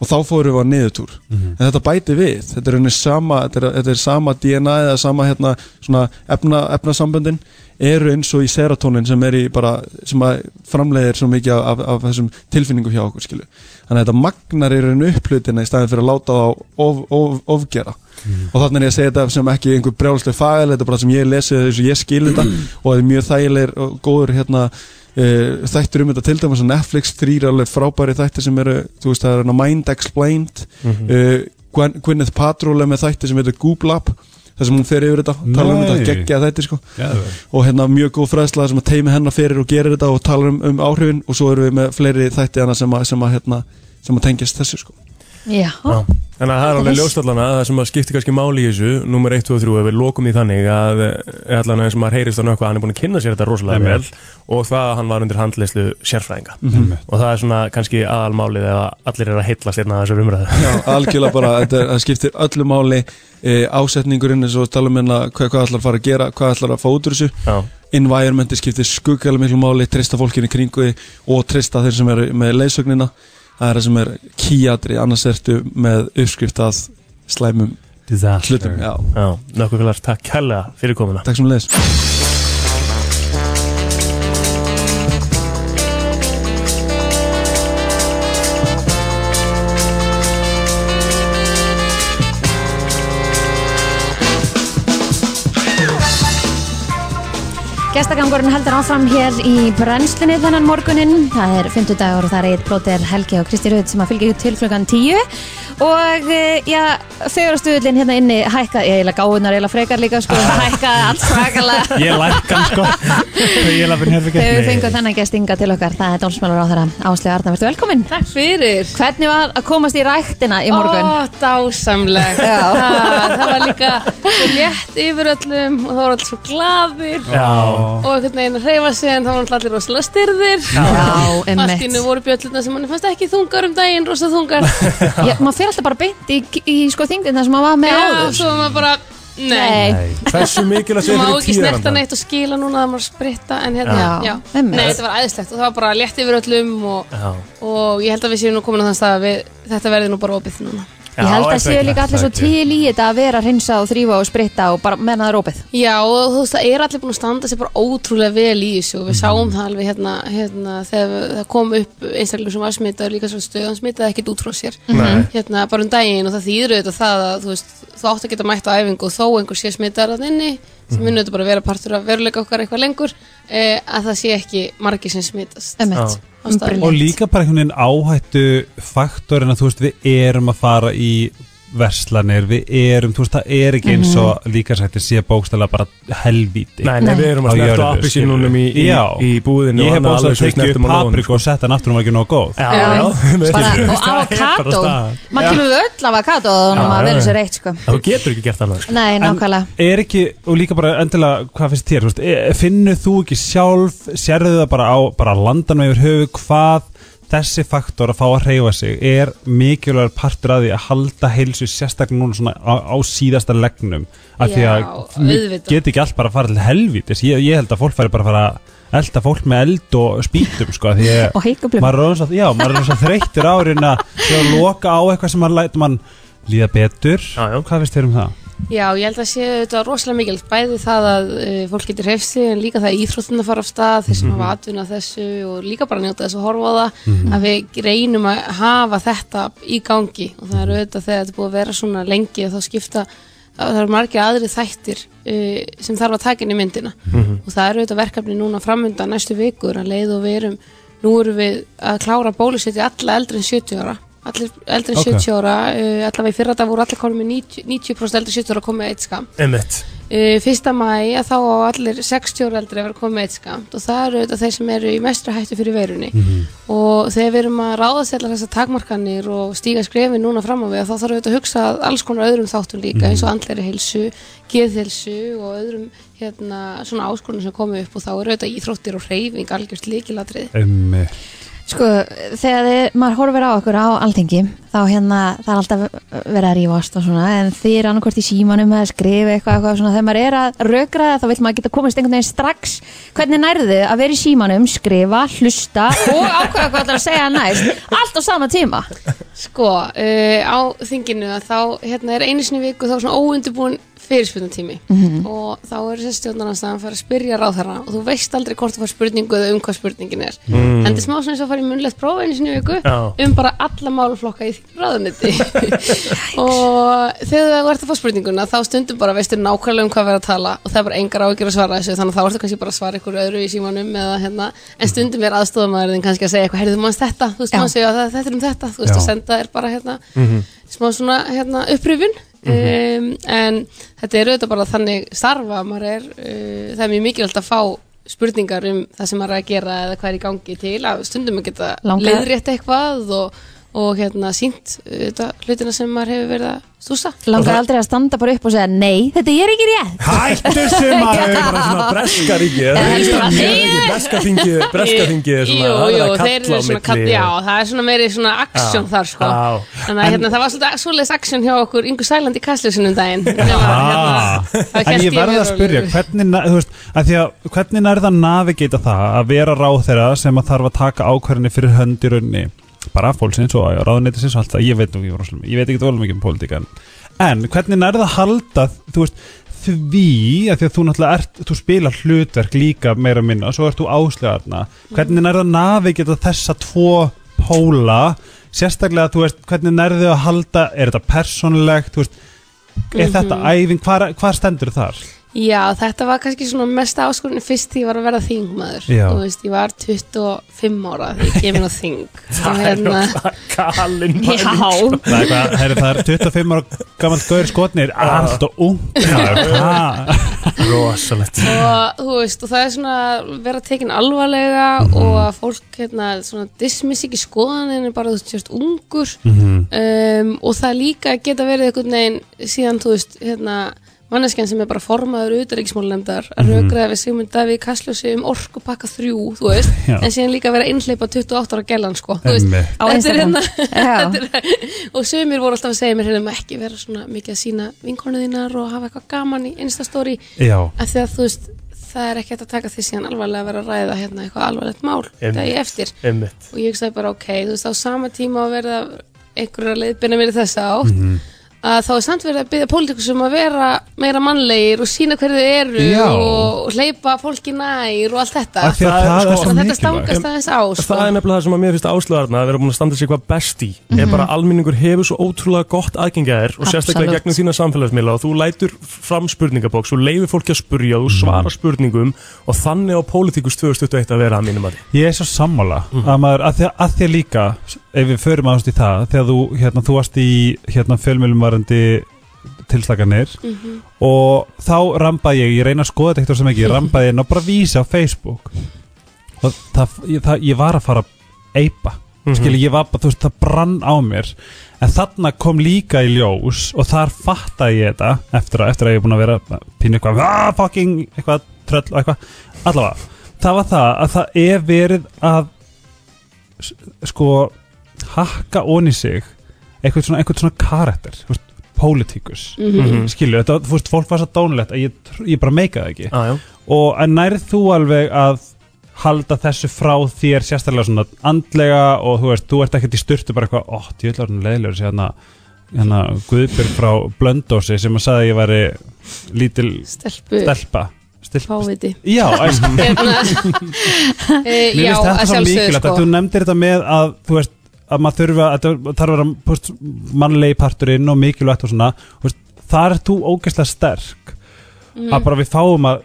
Speaker 8: og þá fórum við á niðurtúr en þetta bæti við, þetta er, rauninni sama, þetta er, þetta er sama DNA eða sama hérna, svona efna, efnasamböndin eru eins og í serotonin sem er í bara, sem að framleiðir svo mikið af, af, af þessum tilfinningum hjá okkur skilu. þannig að þetta magnar í raun upplutina í staðin fyrir að láta það of, of, ofgera og þannig er ég að segja þetta sem ekki einhver brjálslega fagil, þetta er bara sem ég lesi þess að ég skil þetta og það er mjög þægilegir og góður hérna uh, þættur um þetta til dæmis að Netflix þrýr alveg frábæri þættir sem eru þú veist það er hana Mind Explained mm Gwen, Gwyneth Paltrow er með þættir sem heitir Goob Lab þar sem hún fer yfir þetta, tala um
Speaker 4: Nei.
Speaker 8: þetta, geggja þættir sko
Speaker 4: Geðveikt.
Speaker 8: og hérna mjög góð fræðsla þar sem að teimi hennar fyrir og gerir þetta og tala um, um áhrifin og svo erum við með fleiri þætti hana sem að, sem að, hérna, sem að tengjast þessu sko
Speaker 3: Já,
Speaker 2: Þannig að það er alveg ljóstallana að það sem að skipti kannski máli í þessu Númer 1, 2 og 3 ef við lokum í þannig að eh, allan eins og maður heyrist á nökkva hann er búin að kynna sér þetta rosalega vel
Speaker 4: Einmitt.
Speaker 2: og það að hann var undir handleyslu sérfræðinga
Speaker 8: Mhm.
Speaker 2: og það er svona kannski aðalmálið eða allir er að heitlast hérna að þessar umræðu
Speaker 8: Já, algjörlega bara, þetta er- það skiptir öllu máli e, ásetningurinn eins og tala um hérna hvað, hvað ætlar að fara að gera, hvað ætlar að fá út úr þessu
Speaker 2: Já,
Speaker 8: environmenti skiptir skuggalega miklu máli treysta fólkinu í kringu því og treysta þeir sem eru með leiðsögnina það er það sem er kýjadri, annars ertu með uppskrift að slæmum hlutum, já,
Speaker 2: já, nökkva félags, takk kella fyrir komuna
Speaker 8: takk sem leiðis
Speaker 3: Gestagangurinn heldur áfram hér í brennslunni þennan morguninn. Það er 50 dagur og það er eitt blótið Helgi og Kristi Röð sem að fylgja ykkur til klukkan 10. Og eh, já, fegurastuðlinn hérna inni hækkaði, ég eiginlega gáðunar eiginlega frekar líka,
Speaker 2: [LAUGHS]
Speaker 3: sko, hækkaði allt svakalega.
Speaker 2: Ég lækkan
Speaker 3: [LAUGHS]
Speaker 2: sko Ég lafin hefði
Speaker 3: Þegar við
Speaker 2: gert
Speaker 3: fengum þennan gestinga til okkar, það er dómsmálur á þeirra. Áslega Arna, verður velkomin.
Speaker 9: Takk fyrir
Speaker 3: Hvernig var að komast í ræktina í morgun?
Speaker 9: Ó, dásamlegt
Speaker 3: Já.
Speaker 9: ha, Það var líka svo létt yfir öllum og það var allir svo glaðir
Speaker 2: Já,
Speaker 9: og einhvern veginn að hreyfa sig en það var allir rosalega styrðir
Speaker 3: Já,
Speaker 9: Allt innu
Speaker 3: emmitt.
Speaker 9: voru bjöllurna sem manni fannst ekki þungar um daginn rosa
Speaker 3: [LAUGHS]
Speaker 9: þungar
Speaker 3: Maður fer alltaf bara beint í, í sko þingdinn þar sem maður var með
Speaker 9: Já,
Speaker 3: áður.
Speaker 9: svo var maður bara Nei,
Speaker 3: Nei.
Speaker 2: hversu mikilvægt
Speaker 9: svo
Speaker 2: er
Speaker 9: má
Speaker 2: fyrir
Speaker 9: ekki
Speaker 2: tíðarandann?
Speaker 9: snerta neitt og skila núna það maður spritta en hérna,
Speaker 3: Já.
Speaker 9: já,
Speaker 3: Einmitt.
Speaker 9: Nei, þetta var æðislegt og það var bara létt yfir öllum og,
Speaker 2: Já,
Speaker 9: og ég held að við séum nú komin að þann stað að við, þetta verði nú bara opið núna
Speaker 3: Ég held
Speaker 2: Já,
Speaker 3: að
Speaker 2: er það
Speaker 3: séu
Speaker 2: ekki?
Speaker 3: líka allir
Speaker 2: Það
Speaker 3: svo
Speaker 2: er ekki.
Speaker 3: til í þetta að vera að hreinsa og þrýfa og spritta og bara menna það rópið.
Speaker 9: Já og þú veist það er allir búin að standa sér bara ótrúlega vel í þessu og
Speaker 3: Mhm.
Speaker 9: við sáum það alveg hérna, hérna þegar við- það kom upp einstaklingur sem var smitaður líka svona stöðan smitaði ekkert út frá sér
Speaker 3: Mhm.
Speaker 2: Nei.
Speaker 9: hérna bara um daginn og það þýður auðvitað það að þú veist þú átt að geta mætt á æfingu og þó einhver sé smitaður að inni
Speaker 3: Mhm.
Speaker 9: sem munur þetta bara vera partur af veruleika okkar eitthvað lengur eh, að það sé ekki margir sem smitast
Speaker 3: Ömmit.
Speaker 9: á staðnum.
Speaker 4: Og líka bara einhvern veginn áhættu faktorinn að þú veist við erum að fara í verslanir, við erum, þú veist það er ekki eins og líka sætti sé bókstæla bara helvíti.
Speaker 2: Nei, nei,
Speaker 3: Nei.
Speaker 2: við erum
Speaker 4: Á
Speaker 2: að snerta
Speaker 4: jörðu,
Speaker 2: appisínunum í, í,
Speaker 4: Já.
Speaker 2: í búðinu
Speaker 4: Ég hef bókstæla tekið upp paprika og sett hann aftur hún var ekki nóg góð.
Speaker 2: sko. Já, já, við-
Speaker 3: Bara,
Speaker 2: [LAUGHS]
Speaker 3: og
Speaker 2: það er bara
Speaker 3: avokado.
Speaker 2: staðan.
Speaker 3: Maður kemur við öll avokado og
Speaker 2: Já,
Speaker 3: maður
Speaker 2: já,
Speaker 3: verður
Speaker 2: já.
Speaker 3: sér eitt sko.
Speaker 2: Þú getur ekki gert annað sko.
Speaker 3: Nei,
Speaker 4: En-
Speaker 3: nákvæmlega.
Speaker 4: Er ekki, og líka bara endilega, hvað finnst þér, þú veist, e- finnur þú ekki sjálf, sérðu það bara á bara landanum yfir höfu, hvað þessi faktor að fá að hreyfa sig er mikilvægur partur að því að halda heilsu sérstaklega núna svona á, á síðasta leggnum, af því að
Speaker 9: Já,
Speaker 4: mér
Speaker 9: auðvitað.
Speaker 4: get ekki allt bara að fara til helvítis, ég, ég held að fólk færi bara að fara að elda fólk með eld og spýtum sko, af því
Speaker 9: [LAUGHS]
Speaker 4: að
Speaker 3: Og heikublum.
Speaker 4: maður er orðinn svo- já, maður er svo þreyttir á árin að þegar að loka á eitthvað sem maður lætur mann líða betur,
Speaker 2: Já, já.
Speaker 4: hvað finnst þér um það?
Speaker 9: Já, ég held að sé þetta rosalega mikilvægt bæði það að uh, fólk getur hefsi en líka það að íþróttina fara af stað þeir sem hafa atvinna þessu og líka bara njóta þess að horfa á það að við reynum að hafa þetta í gangi og það er auðvitað þegar þetta er búið að vera svona lengi og þá skipta það það eru margir aðri þættir uh, sem þarf að taka inn í myndina og það er auðvitað verkefni núna framundan næstu vikur að leið og við erum nú erum við að klára bólusetja alla eldri en 70 ára allir eldri en
Speaker 4: Ok.
Speaker 9: 70 ára, uh, allavega í fyrra dag voru allir konum með 90%, 90 eldri 70 ára komið eitt skam.
Speaker 2: Einmitt.
Speaker 9: Uh, fyrsta mæ að þá á allir 60 ára eldri að vera komið eitt skam og það eru auðvitað þeir sem eru í mestra hættu fyrir veirunni og þegar við erum að ráða sér allar þessar takmarkanir og stíga skrefin núna fram á við þá þarf auðvitað að hugsa að alls konar öðrum þáttum líka eins og andleri heilsu, geðhelsu og öðrum hérna, svona áskorunum sem komið upp og þá eru auðvitað íþróttir og hreyfing algjörst líkilatrið.
Speaker 4: Um,
Speaker 3: Sko, þegar þið, maður horfir á okkur á alþingi, þá hérna, það er alltaf verið að rífast og svona, en þið er annarkvort í símanum að skrifa eitthvað, eitthvað svona, þegar maður er að rökra það, þá vil maður geta komist einhvern veginn strax. Hvernig nærðu þið að vera í símanum, skrifa, hlusta og ákveða hvað það er að segja næst, allt á sama tíma?
Speaker 9: Sko, uh, á þinginu að þá hérna, er einu sinni í viku þá er svona óundubúin fyrirspurnatími og þá eru þessi stjórnarnarstaðan að fara að spyrja ráðherra og þú veist aldrei hvort þú fær spurningu eða um hvað spurningin er en þetta er smá svona eins og að fara í munlegt prófa einu sinni í viku
Speaker 2: Já.
Speaker 9: um bara alla málflokka í þínu ráðuniti og þegar þú ert að fá spurninguna þá stundum bara veistu nákvæmlega um hvað verður að tala og það er bara engar ágjör að svara þessu þannig að þá ertu kannski bara að svara ykkur öðru í símanum eða, hérna, en stundum er aðstofamæðurinn kannski að segja eitthvað, heyrðu manns þetta, þú veist
Speaker 3: Já.
Speaker 9: manns segja að þetta er um þetta, þú veist
Speaker 4: Já.
Speaker 9: að senda er bara hérna,
Speaker 4: Mhm.
Speaker 9: smá svona hérna, upprifun um, en þetta er auðvitað bara þannig starfa að maður er, uh, það er mjög mikilvægt að fá spurningar um það sem maður er að gera eða hvað er í gangi til að stundum að geta
Speaker 3: Langar-
Speaker 9: leiðrétt eitthvað og, og hérna sínt uh, hlutina sem maður hefur verið að stúsa
Speaker 3: Langar aldrei að standa bara upp og segja Nei, þetta er ekki rétt
Speaker 2: Hættu
Speaker 9: [LAUGHS]
Speaker 2: sem maður bara svona breska ríki
Speaker 3: helst bara,
Speaker 2: Breska þingi Breska þingi er svona
Speaker 9: Jú,
Speaker 2: það er að
Speaker 9: jú, þeir
Speaker 2: kalla
Speaker 9: eru
Speaker 2: á
Speaker 9: svona
Speaker 2: milli.
Speaker 9: kall, já, það er svona meiri svona aksjón
Speaker 2: Já,
Speaker 9: þar sko
Speaker 2: já.
Speaker 9: Þannig að hérna, það var svolítið svoleiðis aksjón hjá okkur Ingu Sæland í kastljósinu um daginn Nema,
Speaker 4: Ah.
Speaker 9: hérna, það
Speaker 4: En
Speaker 9: hélt
Speaker 4: ég verði
Speaker 9: mér
Speaker 4: að spyrja,
Speaker 9: rólegri.
Speaker 4: hvernig, na- þú veist, að því að, hvernig nærða að navigata það að vera ráðherra sem að þarf að taka ákvarðinni fyrir hönd í raunni bara fólksins og ráðuneytisins og allt það, ég veit nú ekki rosalega, mikið- ég veit ekki það mikið um pólitíkan en hvernig nærða að halda þú veist, því að því að þú náttúrulega ert, þú spilar hlutverk líka meira og minna og svo ert þú áslegarna hvernig nærða að navigata þessa tvo póla, sérstaklega þú veist, hvernig nærðu að halda er þetta persónlegt, þú veist er þetta æfing, hvar, hvar stendur þar?
Speaker 9: Já, þetta var kannski svona mesta áskorunni fyrst því ég var að verða þingmaður
Speaker 4: Já.
Speaker 9: Þú veist, ég var 25 ára þegar ég kemur á þing
Speaker 2: [LAUGHS]
Speaker 9: hérna-
Speaker 2: Það er náttúrulega kallinn
Speaker 9: Já,
Speaker 4: Það er, hvað, herri, það er 25 ára gammalt gaur skotnir allt og ung Hvað?
Speaker 2: Rosalegt
Speaker 9: og þú veist, og það er svona að vera tekin alvarlega
Speaker 4: Mhm.
Speaker 9: og að fólk hérna, svona dismiss ekki skoðaninu bara þú veist, sérst ungur
Speaker 4: Mhm.
Speaker 9: um, og það líka geta verið einhvern veginn síðan, þú veist, hérna manneskjan sem er bara formaður utaríksmálnefndar
Speaker 4: Mhm.
Speaker 9: að raugraða við Sigmund Davíð Kastljósi um orkupakka þrjú, þú veist
Speaker 4: [LAUGHS] Já.
Speaker 9: en síðan líka vera innhleypa 28 ára gellan, sko, þú veist
Speaker 4: Einmitt.
Speaker 3: Á
Speaker 9: þetta er
Speaker 3: Instagram.
Speaker 9: hérna
Speaker 3: Já.
Speaker 9: [LAUGHS] þetta er- og sömur voru alltaf að segja mér hérna, ekki vera svona mikið að sína vinkonu þínar og hafa eitthvað gaman í instastóri
Speaker 4: Já,
Speaker 9: af því að þú veist það er ekki hægt að taka því síðan alvarlega að vera að ræða hérna eitthvað alvarlegt mál
Speaker 2: Einmitt.
Speaker 9: dagi eftir
Speaker 2: Einmitt
Speaker 9: og ég hugsaði bara ok, þú veist á sama tíma að verða einhverja leiðbyrna mér í þessa átt
Speaker 4: Mhm.
Speaker 9: að þá er samt verið að byrja pólitíkus um að vera meira mannlegir og sína hverju þau eru
Speaker 4: Já.
Speaker 9: og hleypa fólki nær og allt þetta
Speaker 4: af því að
Speaker 2: Það er sko-
Speaker 4: það er svo
Speaker 9: og þetta
Speaker 4: mikilvægt
Speaker 9: stangast aðeins á sko.
Speaker 2: Það er nefnilega það sem að mér finnst áslöðarna að vera búin að standa sig hvað best í er
Speaker 9: Mhm.
Speaker 2: bara að almenningur hefur svo ótrúlega gott aðgengja þér og sérstaklega
Speaker 3: Absolutt.
Speaker 2: gegnum þína samfélagsmiðla og þú lætur fram spurningabóks og leifir fólki að spurja og þú
Speaker 9: Mhm.
Speaker 2: svarar spurningum og þannig á Politikus 2021 að vera að mínum að
Speaker 4: Ég er svo sammála að, maður, að, því, að því að líka ef við förum aðast í það þegar þú, hérna, þú varst í hérna, fjölmjölumvarandi tilslaganir og þá rambaði ég, ég reyna að skoða þetta eitthvað sem ekki ég rambaði inn og bara vísa á Facebook og það, ég, það, ég var að fara að eipa mm ég var bara, þú veist, það brann á mér en þarna kom líka í ljós og þar fattaði ég þetta eftir að, eftir að ég er búin að vera að pínu eitthvað, "Ah, fucking, eitthvað, tröll og eitthvað allavega það var það að það er verið að s- sko hakka onni sig eitthvað svona, eitthvað svona karakter þú veist, pólitíkus mm
Speaker 9: Mhm.
Speaker 4: -hmm. skilju, þetta, þú veist, fólk var svo dónlegt að ég, tr- ég bara meika það ekki
Speaker 2: því
Speaker 4: og en nærð þú alveg að halda þessu frá þér sérstaklega svona andlega og þú veist, þú ert ekkert í styrtu bara eitthvað, ótt, ég ætla að vera leðilegur sér hérna, hérna Guðbjörg frá Blöndósi sem að sagði að ég væri lítil
Speaker 9: stelpu,
Speaker 4: stelpa stelpa,
Speaker 9: fáviti
Speaker 4: já, æsk
Speaker 9: [LAUGHS] hérna, e,
Speaker 4: Mér
Speaker 9: já,
Speaker 4: finnst þetta
Speaker 9: að
Speaker 4: svo
Speaker 9: sjálfsögðu
Speaker 4: mikilvægt
Speaker 9: sko.
Speaker 4: að þú nefndir þetta með að þú veist að maður þurfa að það þarf að vera post, mannlegi parturinn og mikilvægt og svona þú veist, þar er þú ógeðslega sterk
Speaker 3: Mm.
Speaker 4: að bara við fáum að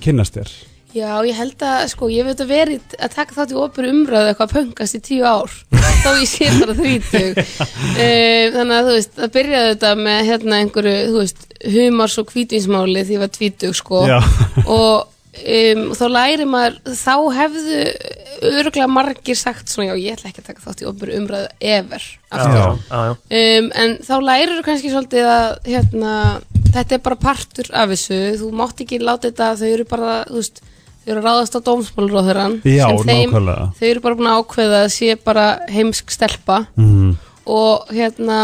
Speaker 4: kynnast þér
Speaker 9: Já, ég held að, sko, ég veit að verið að taka þátt í opur umræðu eitthvað að pöngast í tíu ár þá ég sé bara þrítug um, þannig að, þú veist, það byrjaði þetta með hérna einhverju, þú veist, humars og hvítvinsmáli því ég var tvítug, sko
Speaker 4: Já.
Speaker 9: og um, þá læri maður, þá hefðu örgulega margir sagt svona, já, ég ætla ekki að taka þátt í opur umræðu ever, aftur um, en þá lærir þú kannski svolítið að hérna, þetta er bara partur af þessu, þú mátt ekki láta þetta þau eru bara, þú veist þau eru að ráðast á dómsmáluróðurann
Speaker 4: Já,
Speaker 9: sem þeim,
Speaker 4: nákvæmlega.
Speaker 9: þau eru bara búin að ákveða að sé bara heimsk stelpa
Speaker 4: mm.
Speaker 9: og hérna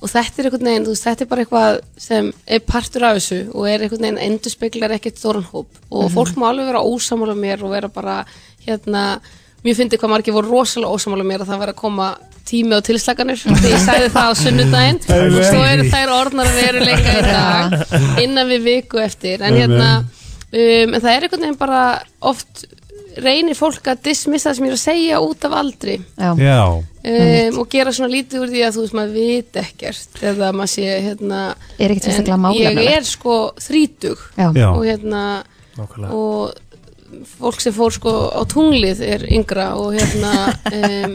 Speaker 9: og þetta er einhvern veginn, þú veist, þetta er bara eitthvað sem er partur af þessu og er einhvern veginn endurspeglar ekkert stóran hóp og fólk má alveg vera ósamála mér og vera bara, hérna mér fyndi hvað margir voru rosalega ósamála mér að það væri að koma tími á tilslaganir því ég sagði það á sunnudaginn og svo eru þær orðnar að veruleika í dag innan við viku eftir en hérna, um, en það er einhvern veginn bara oft reynir fólk að dismissa það sem ég er að segja út af aldri
Speaker 3: Já.
Speaker 4: Já,
Speaker 3: Eh,
Speaker 9: um, og gera svona lítið úr því að þú veist maður vit ekkert eða maður sé hérna
Speaker 3: Er ekkert
Speaker 9: en
Speaker 3: sérstaklega málefnalegt.
Speaker 9: ég er sko þrítug
Speaker 3: Já.
Speaker 4: já,
Speaker 9: og hérna
Speaker 2: Nákvæmlega
Speaker 9: og fólk sem fór sko á tunglið er yngra
Speaker 3: [LAUGHS]
Speaker 9: og hérna um,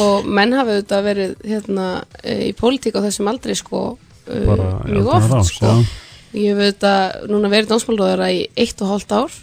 Speaker 9: og menn hafa auðvitað verið hérna eh, í pólitík á þessum aldrei sko eh,
Speaker 4: Bara í
Speaker 9: mjög
Speaker 4: aldanna
Speaker 9: oft
Speaker 4: rás,
Speaker 9: sko
Speaker 4: já.
Speaker 9: ég hef auðvitað núna verið námsmálóðara í eitt
Speaker 4: Mhm.
Speaker 9: og hálft ár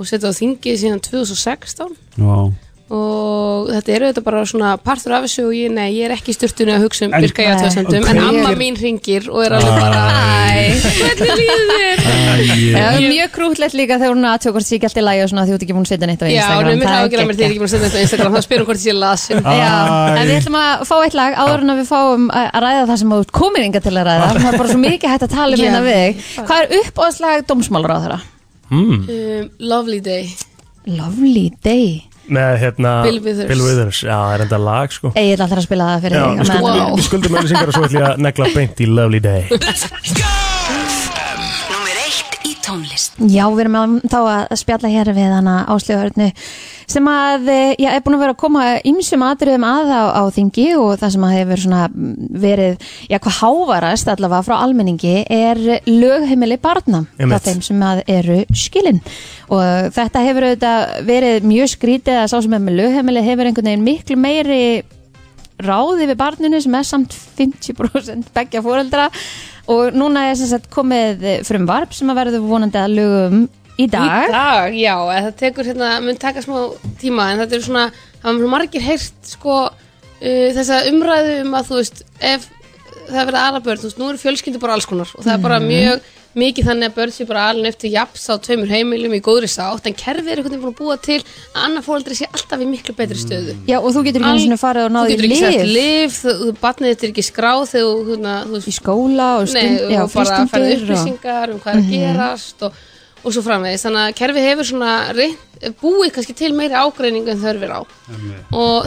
Speaker 9: og setið á þingið síðan 2016
Speaker 4: já.
Speaker 9: og og þetta eru þetta bara svona partur af þessu og ég, nei, ég er ekki í sturtunni að hugsa um
Speaker 4: En- Ah.
Speaker 9: virka í aðtöðsendum
Speaker 4: Nei.
Speaker 9: en
Speaker 4: Og hver-
Speaker 9: amma mín ringir og er alveg bara Æ, hvernig líður þér?
Speaker 4: Æ,
Speaker 3: Það er mjög krútlegt líka þegar hún aðtjók hvort sé ekki allt í lagi og svona því þú ert ekki búin að setja neitt á
Speaker 9: Já,
Speaker 3: Instagram.
Speaker 9: hún er mér
Speaker 3: Það
Speaker 9: hafa ekki að mér þegar ég er ekki búin að senda þetta á Instagram þá spyrum um hvort ég sé lasin
Speaker 4: Æ.
Speaker 3: Já, en við ætlum að fá eitt lag áður en að við fáum að að ræða það sem þú ert komin inga til að ræða það er bara svo mikið hægt að tala um
Speaker 9: Já.
Speaker 3: hérna við þig Hvað er uppáðslag dómsmálur á þeirra?
Speaker 9: um, Lovely day
Speaker 3: Lovely day
Speaker 2: Með hérna
Speaker 9: Bill Withers.
Speaker 2: Bill Withers, já, það er enda lag sko
Speaker 3: Ég ætla alltaf að spila það fyrir
Speaker 2: Já,
Speaker 3: þig
Speaker 2: við
Speaker 3: á
Speaker 2: skuldum,
Speaker 9: Wow.
Speaker 3: meðan-
Speaker 2: við skuldum auðlýsingar og svo ætlum ég að negla beint í Lovely Day
Speaker 3: [LAUGHS]
Speaker 10: Númer eitt í tónlist
Speaker 3: Já, við erum að, þá að spjalla hér við hana Áslöðurnu sem að, eh, já, er búin að vera að koma ymsum atriðum að á, á þingi og það sem að hefur svona mm, verið, já, hvað hávarast allavega frá almenningi er lögheimili barna
Speaker 2: Einmitt.
Speaker 3: frá þeim sem að eru skilin og þetta hefur auðvitað verið mjög skrítið að sá sem er með lögheimili hefur einhvern veginn miklu meiri ráði við barninu sem er samt 50% begja fóreldra og núna er sem sagt komið eh, frumvarp sem að verður vonandi að lögum í
Speaker 9: Í
Speaker 3: dag.
Speaker 9: dag, já, en það tekur hérna, mun taka smá tíma en þetta eru svona, það var margir heyrt sko uh, þessa umræðu um að þú veist, ef það verða aðra börn, þú veist, nú eru fjölskyldur bara alls konar og það er bara mjög mikið þannig að börn sé bara alveg eftir japs á tveimur heimilum í góðri sátt, en kerfið er einhvern veginn búin að búa til að annar fóreldri sé alltaf í miklu betri stöðu.
Speaker 3: Já og þú getur ekki eins og farið og
Speaker 9: Þú
Speaker 3: náði
Speaker 9: getur
Speaker 3: í
Speaker 9: ekki sett
Speaker 3: lif
Speaker 9: lif, þú, þú barnið þetta er ekki skráð þegar þú, hérna, þú veist,
Speaker 3: í skóla og stund,
Speaker 9: Nei,
Speaker 3: já,
Speaker 9: og bara að færa
Speaker 3: frístundur og Mhm.
Speaker 9: upplýsingar um hvað er að gerast og, og svo framvegis, þannig að kerfi hefur svona reynt, búið kannski til meiri ágreining en þörfir á og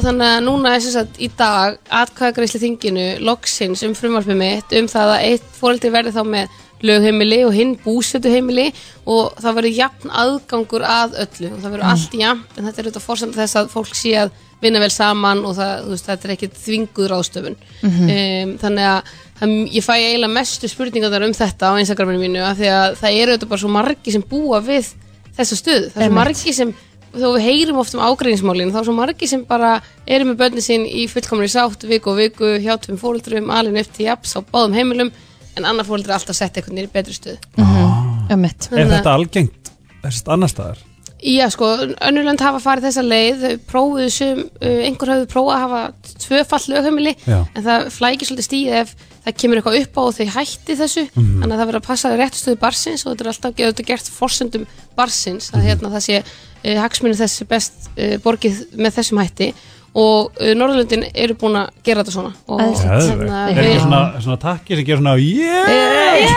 Speaker 9: þannig að núna er sem sagt í dag atkvæðagreisli þinginu loksins um frumvarpið mitt um það að eitt fóreldri verði þá með lögheimili og hinn búsötu heimili og það verður jafn aðgangur að öllu og það verður allt jafn en þetta er auðvitað fórsend þess að fólk sé að vinna vel saman og það, þú veist, þetta er ekkit þvinguð ráðstöfun um, þannig að það- ég fæ eiginlega mestu spurningarnar um þetta á Instagraminu mínu af því að það eru auðvitað bara svo margi sem búa við þessa stöðu, það er svo margi sem þó við heyrum oft um ágreinsmálin þá er svo margi sem bara eru með börnin sín í fullkomri sátt viku og viku hjá tveim fóreldrum, alin upp til japs á báðum heimilum en annar fóreldri er alltaf sett eitthvað nýri betri stöðu
Speaker 3: ömmit.
Speaker 4: Er þetta algengt þessast annar staðar?
Speaker 9: Já, sko, önnurlönd hafa farið þessa leið, þau prófuðu sum, uh, einhver hafðu prófað að hafa tvöfall lögheimili,
Speaker 4: Já.
Speaker 9: en það flækir svolítið stíð ef það kemur eitthvað upp á og þau hætti þessu,
Speaker 4: Mhm.
Speaker 9: þannig að það verður að passa rétt stöðu barsins og þetta er alltaf ge- þetta er gert forsendum barsins,
Speaker 4: Mhm.
Speaker 9: að hérna það sé uh, hagsmunum þessi best uh, borgið með þessum hætti og uh, Norðurlöndin eru búin að gera þetta svona og hérna
Speaker 3: Æðislegt.
Speaker 4: Er
Speaker 9: við-
Speaker 4: ekki svona, svona takki sem gerir svona yeah!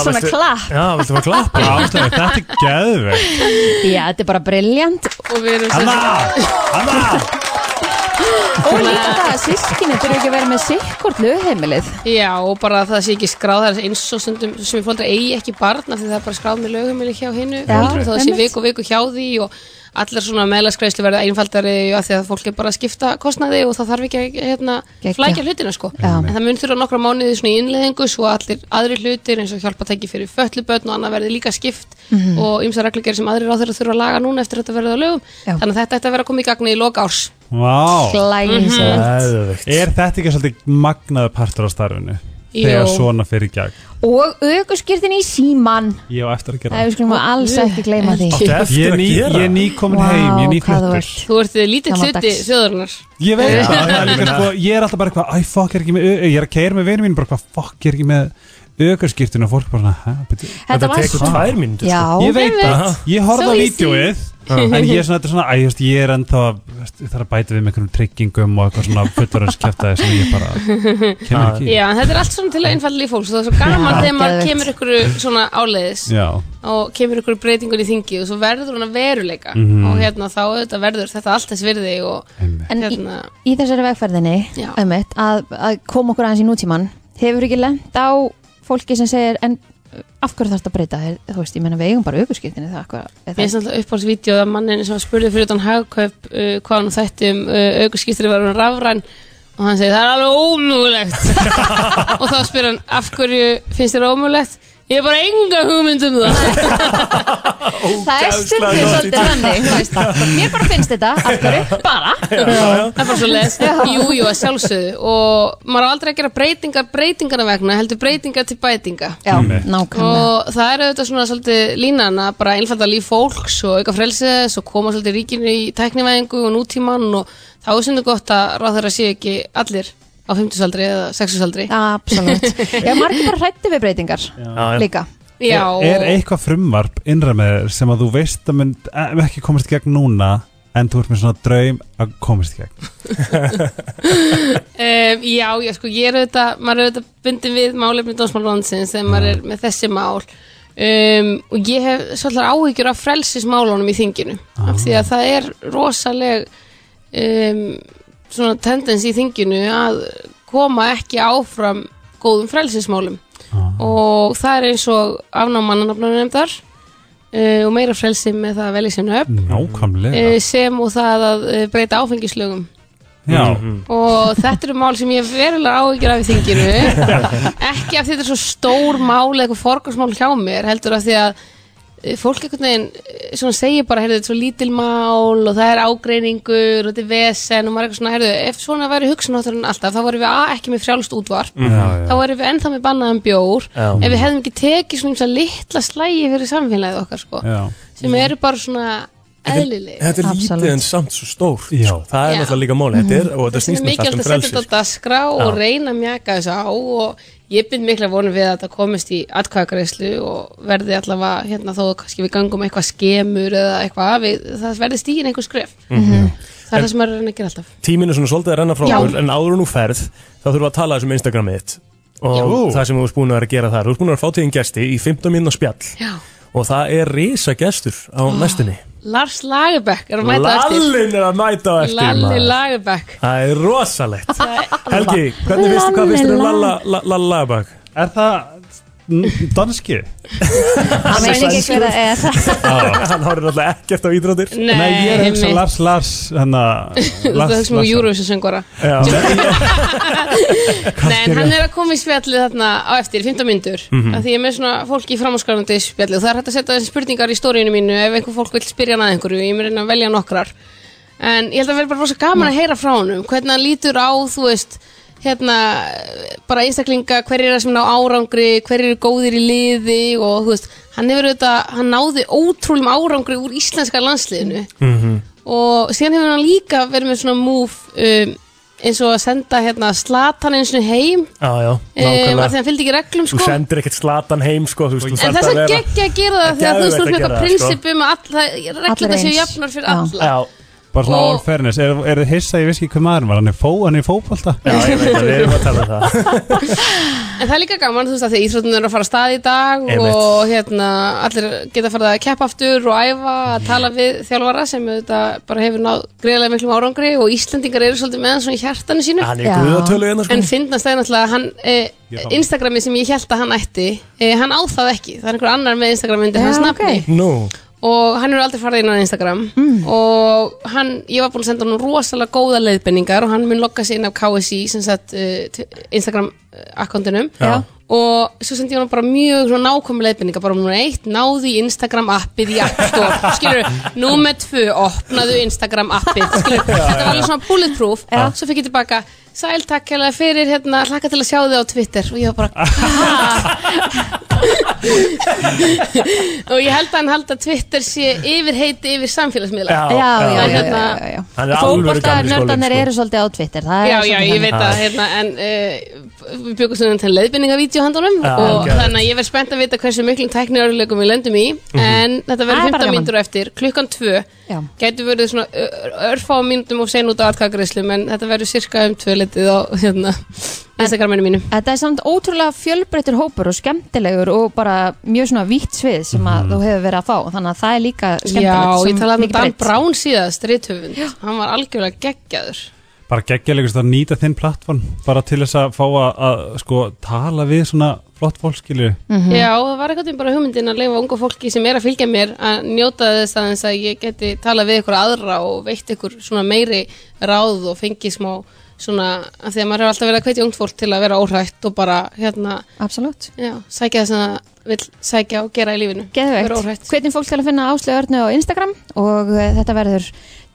Speaker 3: [LAUGHS] Svona
Speaker 2: veistu-
Speaker 3: klapp.
Speaker 2: Já, viltu fá
Speaker 3: [LAUGHS]
Speaker 2: klapp?
Speaker 4: Ástæður, þetta er geðvegt
Speaker 3: Já, þetta er bara briljant
Speaker 9: og við erum sem
Speaker 4: Hanna, Hanna
Speaker 3: og líka það að sískinni þurfa ekki að vera með sikkort lögheimilið.
Speaker 9: Já, og bara að það sé ekki skráð, það er eins og stundum sem ég fólk eigi ekki barn af því það er bara skráð með lögumili hjá hinnu og það sé
Speaker 3: einmitt.
Speaker 9: viku og viku hjá því og allar svona meðlagsgreislu verða einfaldari af því að fólk er bara að skipta kostnaði og það þarf ekki að hérna,
Speaker 3: Geggjað.
Speaker 9: flækja hlutina sko.
Speaker 3: Já.
Speaker 9: En það mun þurfa nokkra mánuði svona í innleðingu svo að allir aðri hlutir eins og hjálpa tekið fyrir föllubötn og annað verði líka skipt
Speaker 3: Mhm.
Speaker 9: og ymsa reglugjör sem aðri ráð þurfa að laga núna eftir að þetta verði á lögum.
Speaker 3: Já.
Speaker 9: Þannig að þetta ætti að vera að koma í gagni í loka árs.
Speaker 4: Vá,
Speaker 3: Glæsilegt.
Speaker 2: Geðveikt.
Speaker 4: er þetta ekki svolítið magnaður partur á starfinu?
Speaker 9: Jú.
Speaker 4: Þegar svona fyrir gegn
Speaker 3: Og aukuskirtin í síman.
Speaker 4: Ég á eftir að
Speaker 3: Það
Speaker 4: gera
Speaker 3: er við skulum alls ekki gleyma því.
Speaker 2: Áttu
Speaker 4: það
Speaker 2: eftir
Speaker 4: Ég er
Speaker 2: að
Speaker 4: ný,
Speaker 2: gera?
Speaker 4: ég er ný komin
Speaker 3: Vá,
Speaker 4: heim, ég er ný
Speaker 3: hvað þú
Speaker 4: fluttur
Speaker 3: ert.
Speaker 9: Þú ert lítið hluti
Speaker 3: Gamaldags.
Speaker 9: þjóðurnar.
Speaker 4: Ég veit
Speaker 2: Já,
Speaker 4: það, það er
Speaker 2: ég
Speaker 4: líka
Speaker 2: meina-
Speaker 4: sko, ég er alltaf bara eitthvað, æ, fokk, er ekki með, ö- ég er að keira með vinum mínum, bara hvað, fokk, ég er ekki með aukarskýrtun og fólk bara svona, hæ, betur,
Speaker 2: Þetta
Speaker 3: var
Speaker 2: tekur
Speaker 3: svo-
Speaker 2: tvær mínútur
Speaker 3: Já,
Speaker 2: sko.
Speaker 4: ég veit það, ég horfði
Speaker 9: So
Speaker 4: á
Speaker 9: easy.
Speaker 4: vídjóið, en ég er svona, þetta er svona, æ, þú veist, ég er ennþá, þú veist, ég þarf að bæta við með einhverjum tryggingum og eitthvað svona fullvarðarskjæftæði sem ég bara, kemur ekki, í.
Speaker 9: Já, en þetta er allt svona til að einfalla líf fólks og það er svo gaman þegar maður
Speaker 3: geðveikt.
Speaker 9: kemur ykkur svona áleiðis
Speaker 4: já,
Speaker 9: og kemur ykkur breytingur í þingi og svo verður hún að veruleika og hérna þá auðvitað verður þetta allt þess virði og
Speaker 4: Mhm. einmitt.
Speaker 3: En í-
Speaker 9: hérna,
Speaker 3: í þessari vegferðinni
Speaker 9: Já.
Speaker 3: einmitt, að, að koma okkur aðeins í nútíman hefur ekki lent á fólki sem segir en uh, af hverju þarfst að breyta þér þú veist, ég menna við eigum bara aukurskiptinni það, hvað, er það,
Speaker 9: mér finnst alltaf uppáhaldsvídeó að mannin sem var spurði fyrir utan hagkaup uh, hvað hann þætti um uh, aukurskýstri var hún rafræn
Speaker 3: [LAUGHS]
Speaker 9: og hann segi það er alveg ómögulegt og þá spyr hann af hverju finnst þér ómögulegt Ég er bara enga hugmynd um það
Speaker 3: Það er stundið svolítið þannig þú veist. Mér bara finnst þetta, af hverju, bara
Speaker 9: Það er bara svo les Jú, jú, að sjálfsögðu Og maður á aldrei að gera breytingar breytingana vegna Heldur breytingar til bætinga
Speaker 3: Já, nákvæmlega
Speaker 9: Og það er auðvitað svona svolítið línan að bara einfalda líf fólks og auka frelsið og koma svolítið ríkinu í tæknivæðingu og nútíman og þá er svolítið gott að ráð þeirra séu ekki allir á 50-saldri eða 60-saldri [LAUGHS]
Speaker 3: Absolutt Já, margir bara hrætti við breytingar
Speaker 2: já.
Speaker 3: líka
Speaker 9: Já,
Speaker 4: Er
Speaker 9: og
Speaker 4: eitthvað frumvarp innra með þér sem að þú veist að mynd eh, ekki komast í gegn núna en þú ert með svona draum að komast í gegn
Speaker 9: um, já, já, sko, ég er auðvitað, maður er auðvitað bundin við málefni dómsmálansins þegar maður er með þessi mál um, og ég hef svolítið áhyggjur af frelsismálunum í þinginu af því að það er rosaleg um, svona tendens í þinginu að koma ekki áfram góðum frelsismálum og það er eins og afnámananafnum nefndar uh, og meira frelsi með það að velja sér nöfn
Speaker 4: Nákvæmlega
Speaker 9: uh, sem og það að uh, breyta áfengislögum
Speaker 4: Já,
Speaker 9: og þetta eru mál sem ég hef verulega áhyggjur af í
Speaker 2: [LAUGHS]
Speaker 9: þinginu ekki af því þetta er svo stór mál eða eitthvað forgangsmál hjá mér heldur af því að eh, fólk einhvern veginn eh, svona segir bara, heyrðu, þetta er svo lítil mál og það er ágreiningur og þetta er vesen og maður er eitthvað svona, heyrðu, ef svona væri hugsanátturinn alltaf, þá vorum við A, ekki með frjálst útvarp
Speaker 4: já,
Speaker 9: þá
Speaker 4: já
Speaker 9: erum við ennþá með bannaðan bjór
Speaker 2: Já.
Speaker 9: ef við hefðum ekki tekið svona ýmsa litla slægi fyrir samfélagið okkar sko,
Speaker 4: Já,
Speaker 9: sem eru bara svona eðlileg
Speaker 2: Þetta er lítið
Speaker 3: Absolutt.
Speaker 2: en samt svo stór
Speaker 4: Já.
Speaker 2: Það er
Speaker 9: Já.
Speaker 2: náttúrulega líka máli Þetta er, og þetta
Speaker 9: sem er
Speaker 2: snýst náttúrulega
Speaker 9: mikilvægt
Speaker 2: um
Speaker 9: að setja þetta
Speaker 2: frelsi
Speaker 9: á dagskrá og reyna að mjaka þessu á og ég byrð mikla vonum við að þetta komist í atkvæðagreyslu og verði allavega hérna þó að kannski við gangum eitthvað skemur eða eitthvað við, það verði stíin einhver skref
Speaker 2: Mhm.
Speaker 9: Mhm. það er það sem maður er að reyna að gera alltaf
Speaker 2: Tíminu svona svolítið að renna frá
Speaker 9: Já.
Speaker 2: okkur En áður en þú ferð, þá þurfum við að tala þessum Instagramið þitt Og það sem þú ert búin að vera að gera þar Þú ert búin að vera að fá tíðin gesti í 15 mínúna spjall
Speaker 9: Já.
Speaker 2: Og það er risa gestur á næstunni
Speaker 9: Lars Lagerbäck er að mæta á eftir
Speaker 2: Lallin er að mæta á eftir
Speaker 9: Lalli
Speaker 2: maður.
Speaker 9: Lagerbäck
Speaker 2: Það er rosalegt Helgi, hvernig veistu hvað veistu um Lalla la- la- Lagerbäck?
Speaker 4: Er það n- danski?
Speaker 3: Það veit ekki hver það er
Speaker 4: [LAUGHS]
Speaker 2: Hann horfir náttúrulega ekkert á ídráttir
Speaker 9: Nei,
Speaker 4: Nei, ég er að hugsa um
Speaker 9: einmitt.
Speaker 4: Lars Lars hérna, hana,
Speaker 9: Þú ert að hugsa um Eurovision söngvara Nei, en hann er að koma í spjallið þarna á eftir, 15 myndur mm -hmm. Því ég er með svona fólki í framháskarandi spjallið og Það er hægt að setja þessi spurningar í stóriðinu mínu Ef einhver fólk vil spyrja hann að einhverju Ég mun reyna að velja nokkrar En ég held að verði bara rosa gaman að heyra frá honum Hvernig hann lítur á, þú veist Hérna, bara einstaklinga Hver er það sem ná árangri, hver eru góðir í liði Og þú veist, hann hefur auðvitað Hann náði ótrúlum árangri úr íslenska landsliðinu og síðan hefur hann líka verið með svona move um, eins og að senda hérna Slatan eins og heim um,
Speaker 2: Já, já,
Speaker 9: af því
Speaker 2: nákvæmlega
Speaker 9: hann fylgdi ekki reglum
Speaker 2: Þú
Speaker 9: sko
Speaker 2: sendir ekkert slatan heim sko þú veist, þú
Speaker 9: en
Speaker 2: þarft
Speaker 9: þess
Speaker 2: að
Speaker 9: að
Speaker 2: vera-
Speaker 9: geggja að gera
Speaker 2: Það
Speaker 9: það
Speaker 2: er
Speaker 9: því að þú veist
Speaker 2: geðveikt að gera
Speaker 9: þú veist með eitthvað
Speaker 2: það, sko.
Speaker 9: prinsipum að alla
Speaker 3: Allir
Speaker 9: reglum það séu
Speaker 3: eins.
Speaker 9: jafnar fyrir
Speaker 3: Já.
Speaker 9: alla
Speaker 2: Já,
Speaker 4: Bara svona
Speaker 9: Og-
Speaker 4: all fairness, er, er þið hissa, ég veist ekki hvað maður var, hann er, fó, hann er í fótbolta
Speaker 2: já, ég veit að við erum að tala um það
Speaker 4: [LAUGHS]
Speaker 9: en það er líka gaman þú veist að því íþróttunum eru að fara af stað í dag
Speaker 2: Einmitt.
Speaker 9: og hérna allir geta farið að keppa aftur og æfa
Speaker 2: Mm.
Speaker 9: að tala við þjálfara sem auðvitað bara hefur náð greiðlega miklum árangri og Íslendingar eru svolítið með hann svona í hjartanu sínu
Speaker 2: Hann er
Speaker 3: Já.
Speaker 2: guðatölu hérna sko
Speaker 9: En finnast það er náttúrulega að hann,
Speaker 4: Ég
Speaker 9: eh,
Speaker 4: sá það.
Speaker 9: Instagrami sem ég held að hann ætti, eh, hann á það ekki. Það er einhver annar með Instagram undir
Speaker 3: Já,
Speaker 9: hans nafni
Speaker 3: ok.
Speaker 2: Nú,
Speaker 9: og hann er aldrei farið inn á Instagram
Speaker 3: Mm.
Speaker 9: og hann, ég var búin að senda hann rosalega góða leiðbenningar og hann mun logga sig inn af KSI, sem sagt eh, t- Instagram akkondinum
Speaker 2: Já.
Speaker 9: og svo sendi ég hann bara mjög svona nákvæmlega leiðbenningar, bara númer eitt, náðu í Instagram appið í App
Speaker 3: [LAUGHS]
Speaker 9: Store, skilur númer tvö, opnaðu Instagram appið, skilur, þetta var alveg svona bulletproof svo fikk ég tilbaka, sæl takk hérlega fyrir, hérna, hlakka til að sjá þig á Twitter og ég var
Speaker 3: [LAUGHS]
Speaker 9: bara, hæ? og ég held að hann haldi að Twitter sé yfir heiti yfir samfélagsmiðla
Speaker 2: já,
Speaker 3: Já, já, já, já,
Speaker 9: hérna-
Speaker 3: já, já.
Speaker 2: Hann er alveg gamli sko.
Speaker 3: Fótboltanördarnir
Speaker 2: skólinn
Speaker 3: eru svolítið á Twitter það er
Speaker 9: Já, já,
Speaker 3: svolítið
Speaker 9: ég
Speaker 3: þannig.
Speaker 9: veit að, hérna, en uh, við byggum svona til leiðbynningavídeó handunum
Speaker 2: Já,
Speaker 9: og
Speaker 2: geðveikt.
Speaker 9: þannig að ég verð spennt að vita hversu miklum tækniörðuleikum við lendum í, en þetta
Speaker 3: Það er
Speaker 9: verður
Speaker 3: bara
Speaker 9: 15
Speaker 3: gaman.
Speaker 9: mínútur eftir, klukkan 2,
Speaker 3: Já.
Speaker 9: gætu verið svona ör- örfá mínútum og sen út á atkakgreislum, en þetta verður cirka um 2 litið á, hérna, Instagraminu mínu.
Speaker 3: Þetta er samt ótrúlega fjölbreyttur hópur og skemmtilegur og bara mjög svona vítt svið sem að þú hefur verið að fá þannig að það er líka
Speaker 9: Mhm. Já,
Speaker 3: skemmtilegt
Speaker 9: ég
Speaker 3: sem
Speaker 9: talaði um
Speaker 3: mikið
Speaker 9: Dan
Speaker 3: breytt.
Speaker 9: Brown síðast, rithöfund, hann var algjörlega geggjaður.
Speaker 4: bara geggjalegust að nýta þinn plattform bara til þess að fá að, að sko, tala við svona flott fólk skilju
Speaker 9: Já, það var eitthvað bara hugmyndin að leifa ungu fólki sem er að fylgja mér að njóta þess aðeins að ég geti talað við ykkur aðra og veitt ykkur svona meiri ráð og fengi smá svona, af því að maður hefur alltaf verið að hvetja ungt fólk til að vera óhrætt og bara, hérna,
Speaker 3: Absolutt
Speaker 9: já, sækja þess að vill sækja og gera í lífinu Vera
Speaker 3: Geðveikt.
Speaker 9: óhrætt.
Speaker 3: Hvernig fólk skal að finna Áslu Örnu á Instagram og eh, þetta verður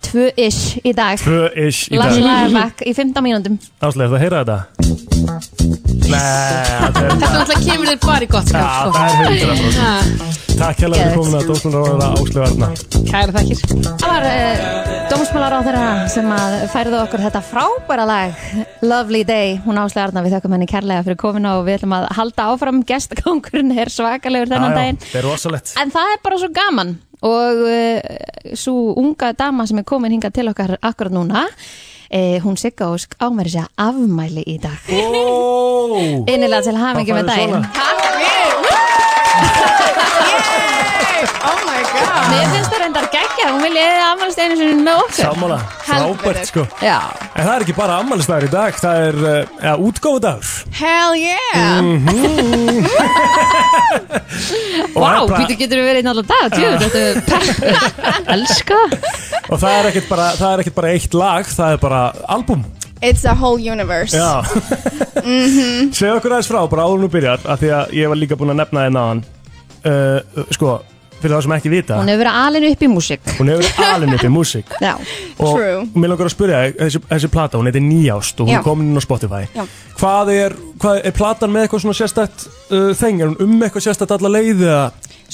Speaker 3: tvö ish í dag.
Speaker 2: Tvö ish í dag
Speaker 3: Lars Lærbakk í 15 mínúndum.
Speaker 2: Áslega, ertu að heyra þetta? Nei, þetta er
Speaker 9: Þetta náttúrulega kemur þér bara í gott
Speaker 2: Já,
Speaker 9: skap
Speaker 2: það er hundra
Speaker 9: sko. Ha,
Speaker 2: Takk hérlega fyrir komuna Dómsmálaráðara Áslega Arna
Speaker 9: Kæra þakkir
Speaker 3: Það var uh, dómsmálar á þeirra sem að færðu okkur þetta frábæra lag Lovely Day, hún Áslu Arna við þökkum henni kærlega fyrir komina og við ætlum að halda áfram gestakongurinn er svakalegur þennan daginn
Speaker 2: Það er rosalegt
Speaker 3: En það er bara svo gaman og uh, svo unga dama sem er komin hingað til okkar akkurat núna eh, hún Sigga Ósk ámæri sér afmæli í dag
Speaker 2: Ó,
Speaker 3: Innilega til hamingi
Speaker 2: Það
Speaker 3: með
Speaker 2: færðu
Speaker 3: daginn
Speaker 2: svona.
Speaker 3: Takk fyrir Oh my god Mér finnst það reyndar geggja Hún vil ég afmælst einu sinni með okkur
Speaker 2: Sammála,
Speaker 3: Heldur
Speaker 2: frábært sko
Speaker 3: Já
Speaker 2: En það er ekki bara ammælisdagur í dag, það er uh, ja, útgóðudagur
Speaker 7: Hell yeah!
Speaker 2: Mhm.
Speaker 3: [LAUGHS]
Speaker 2: Og
Speaker 3: Vá,
Speaker 2: það er bara- Ah.
Speaker 3: býtu getur við verið einn allan dag Tjú, þetta er
Speaker 2: [LAUGHS]
Speaker 3: pepp Elska
Speaker 2: Og það er ekkert bara, það er ekkert bara eitt lag, það er bara album
Speaker 7: It's a whole universe Mhm.
Speaker 2: Já Segðu okkur aðeins frá, bara áður nú byrjar af því að ég var líka búin að nefna þér náðan uh, Sko, fyrir það sem ekki vita
Speaker 3: Hún hefur verið alin upp í músík
Speaker 2: Hún hefur verið alin upp í músík
Speaker 3: Já
Speaker 7: [LAUGHS]
Speaker 2: og
Speaker 7: True.
Speaker 2: mér langar að spyrja þig, þessi, þessi plata, hún heitir Nýjást og hún
Speaker 7: Já.
Speaker 2: er komin inn á Spotify
Speaker 7: Já.
Speaker 2: hvað er, hvað er platan með eitthvað svona sérstætt uh, þeng, er hún um eitthvað sérstætt alla leið eða,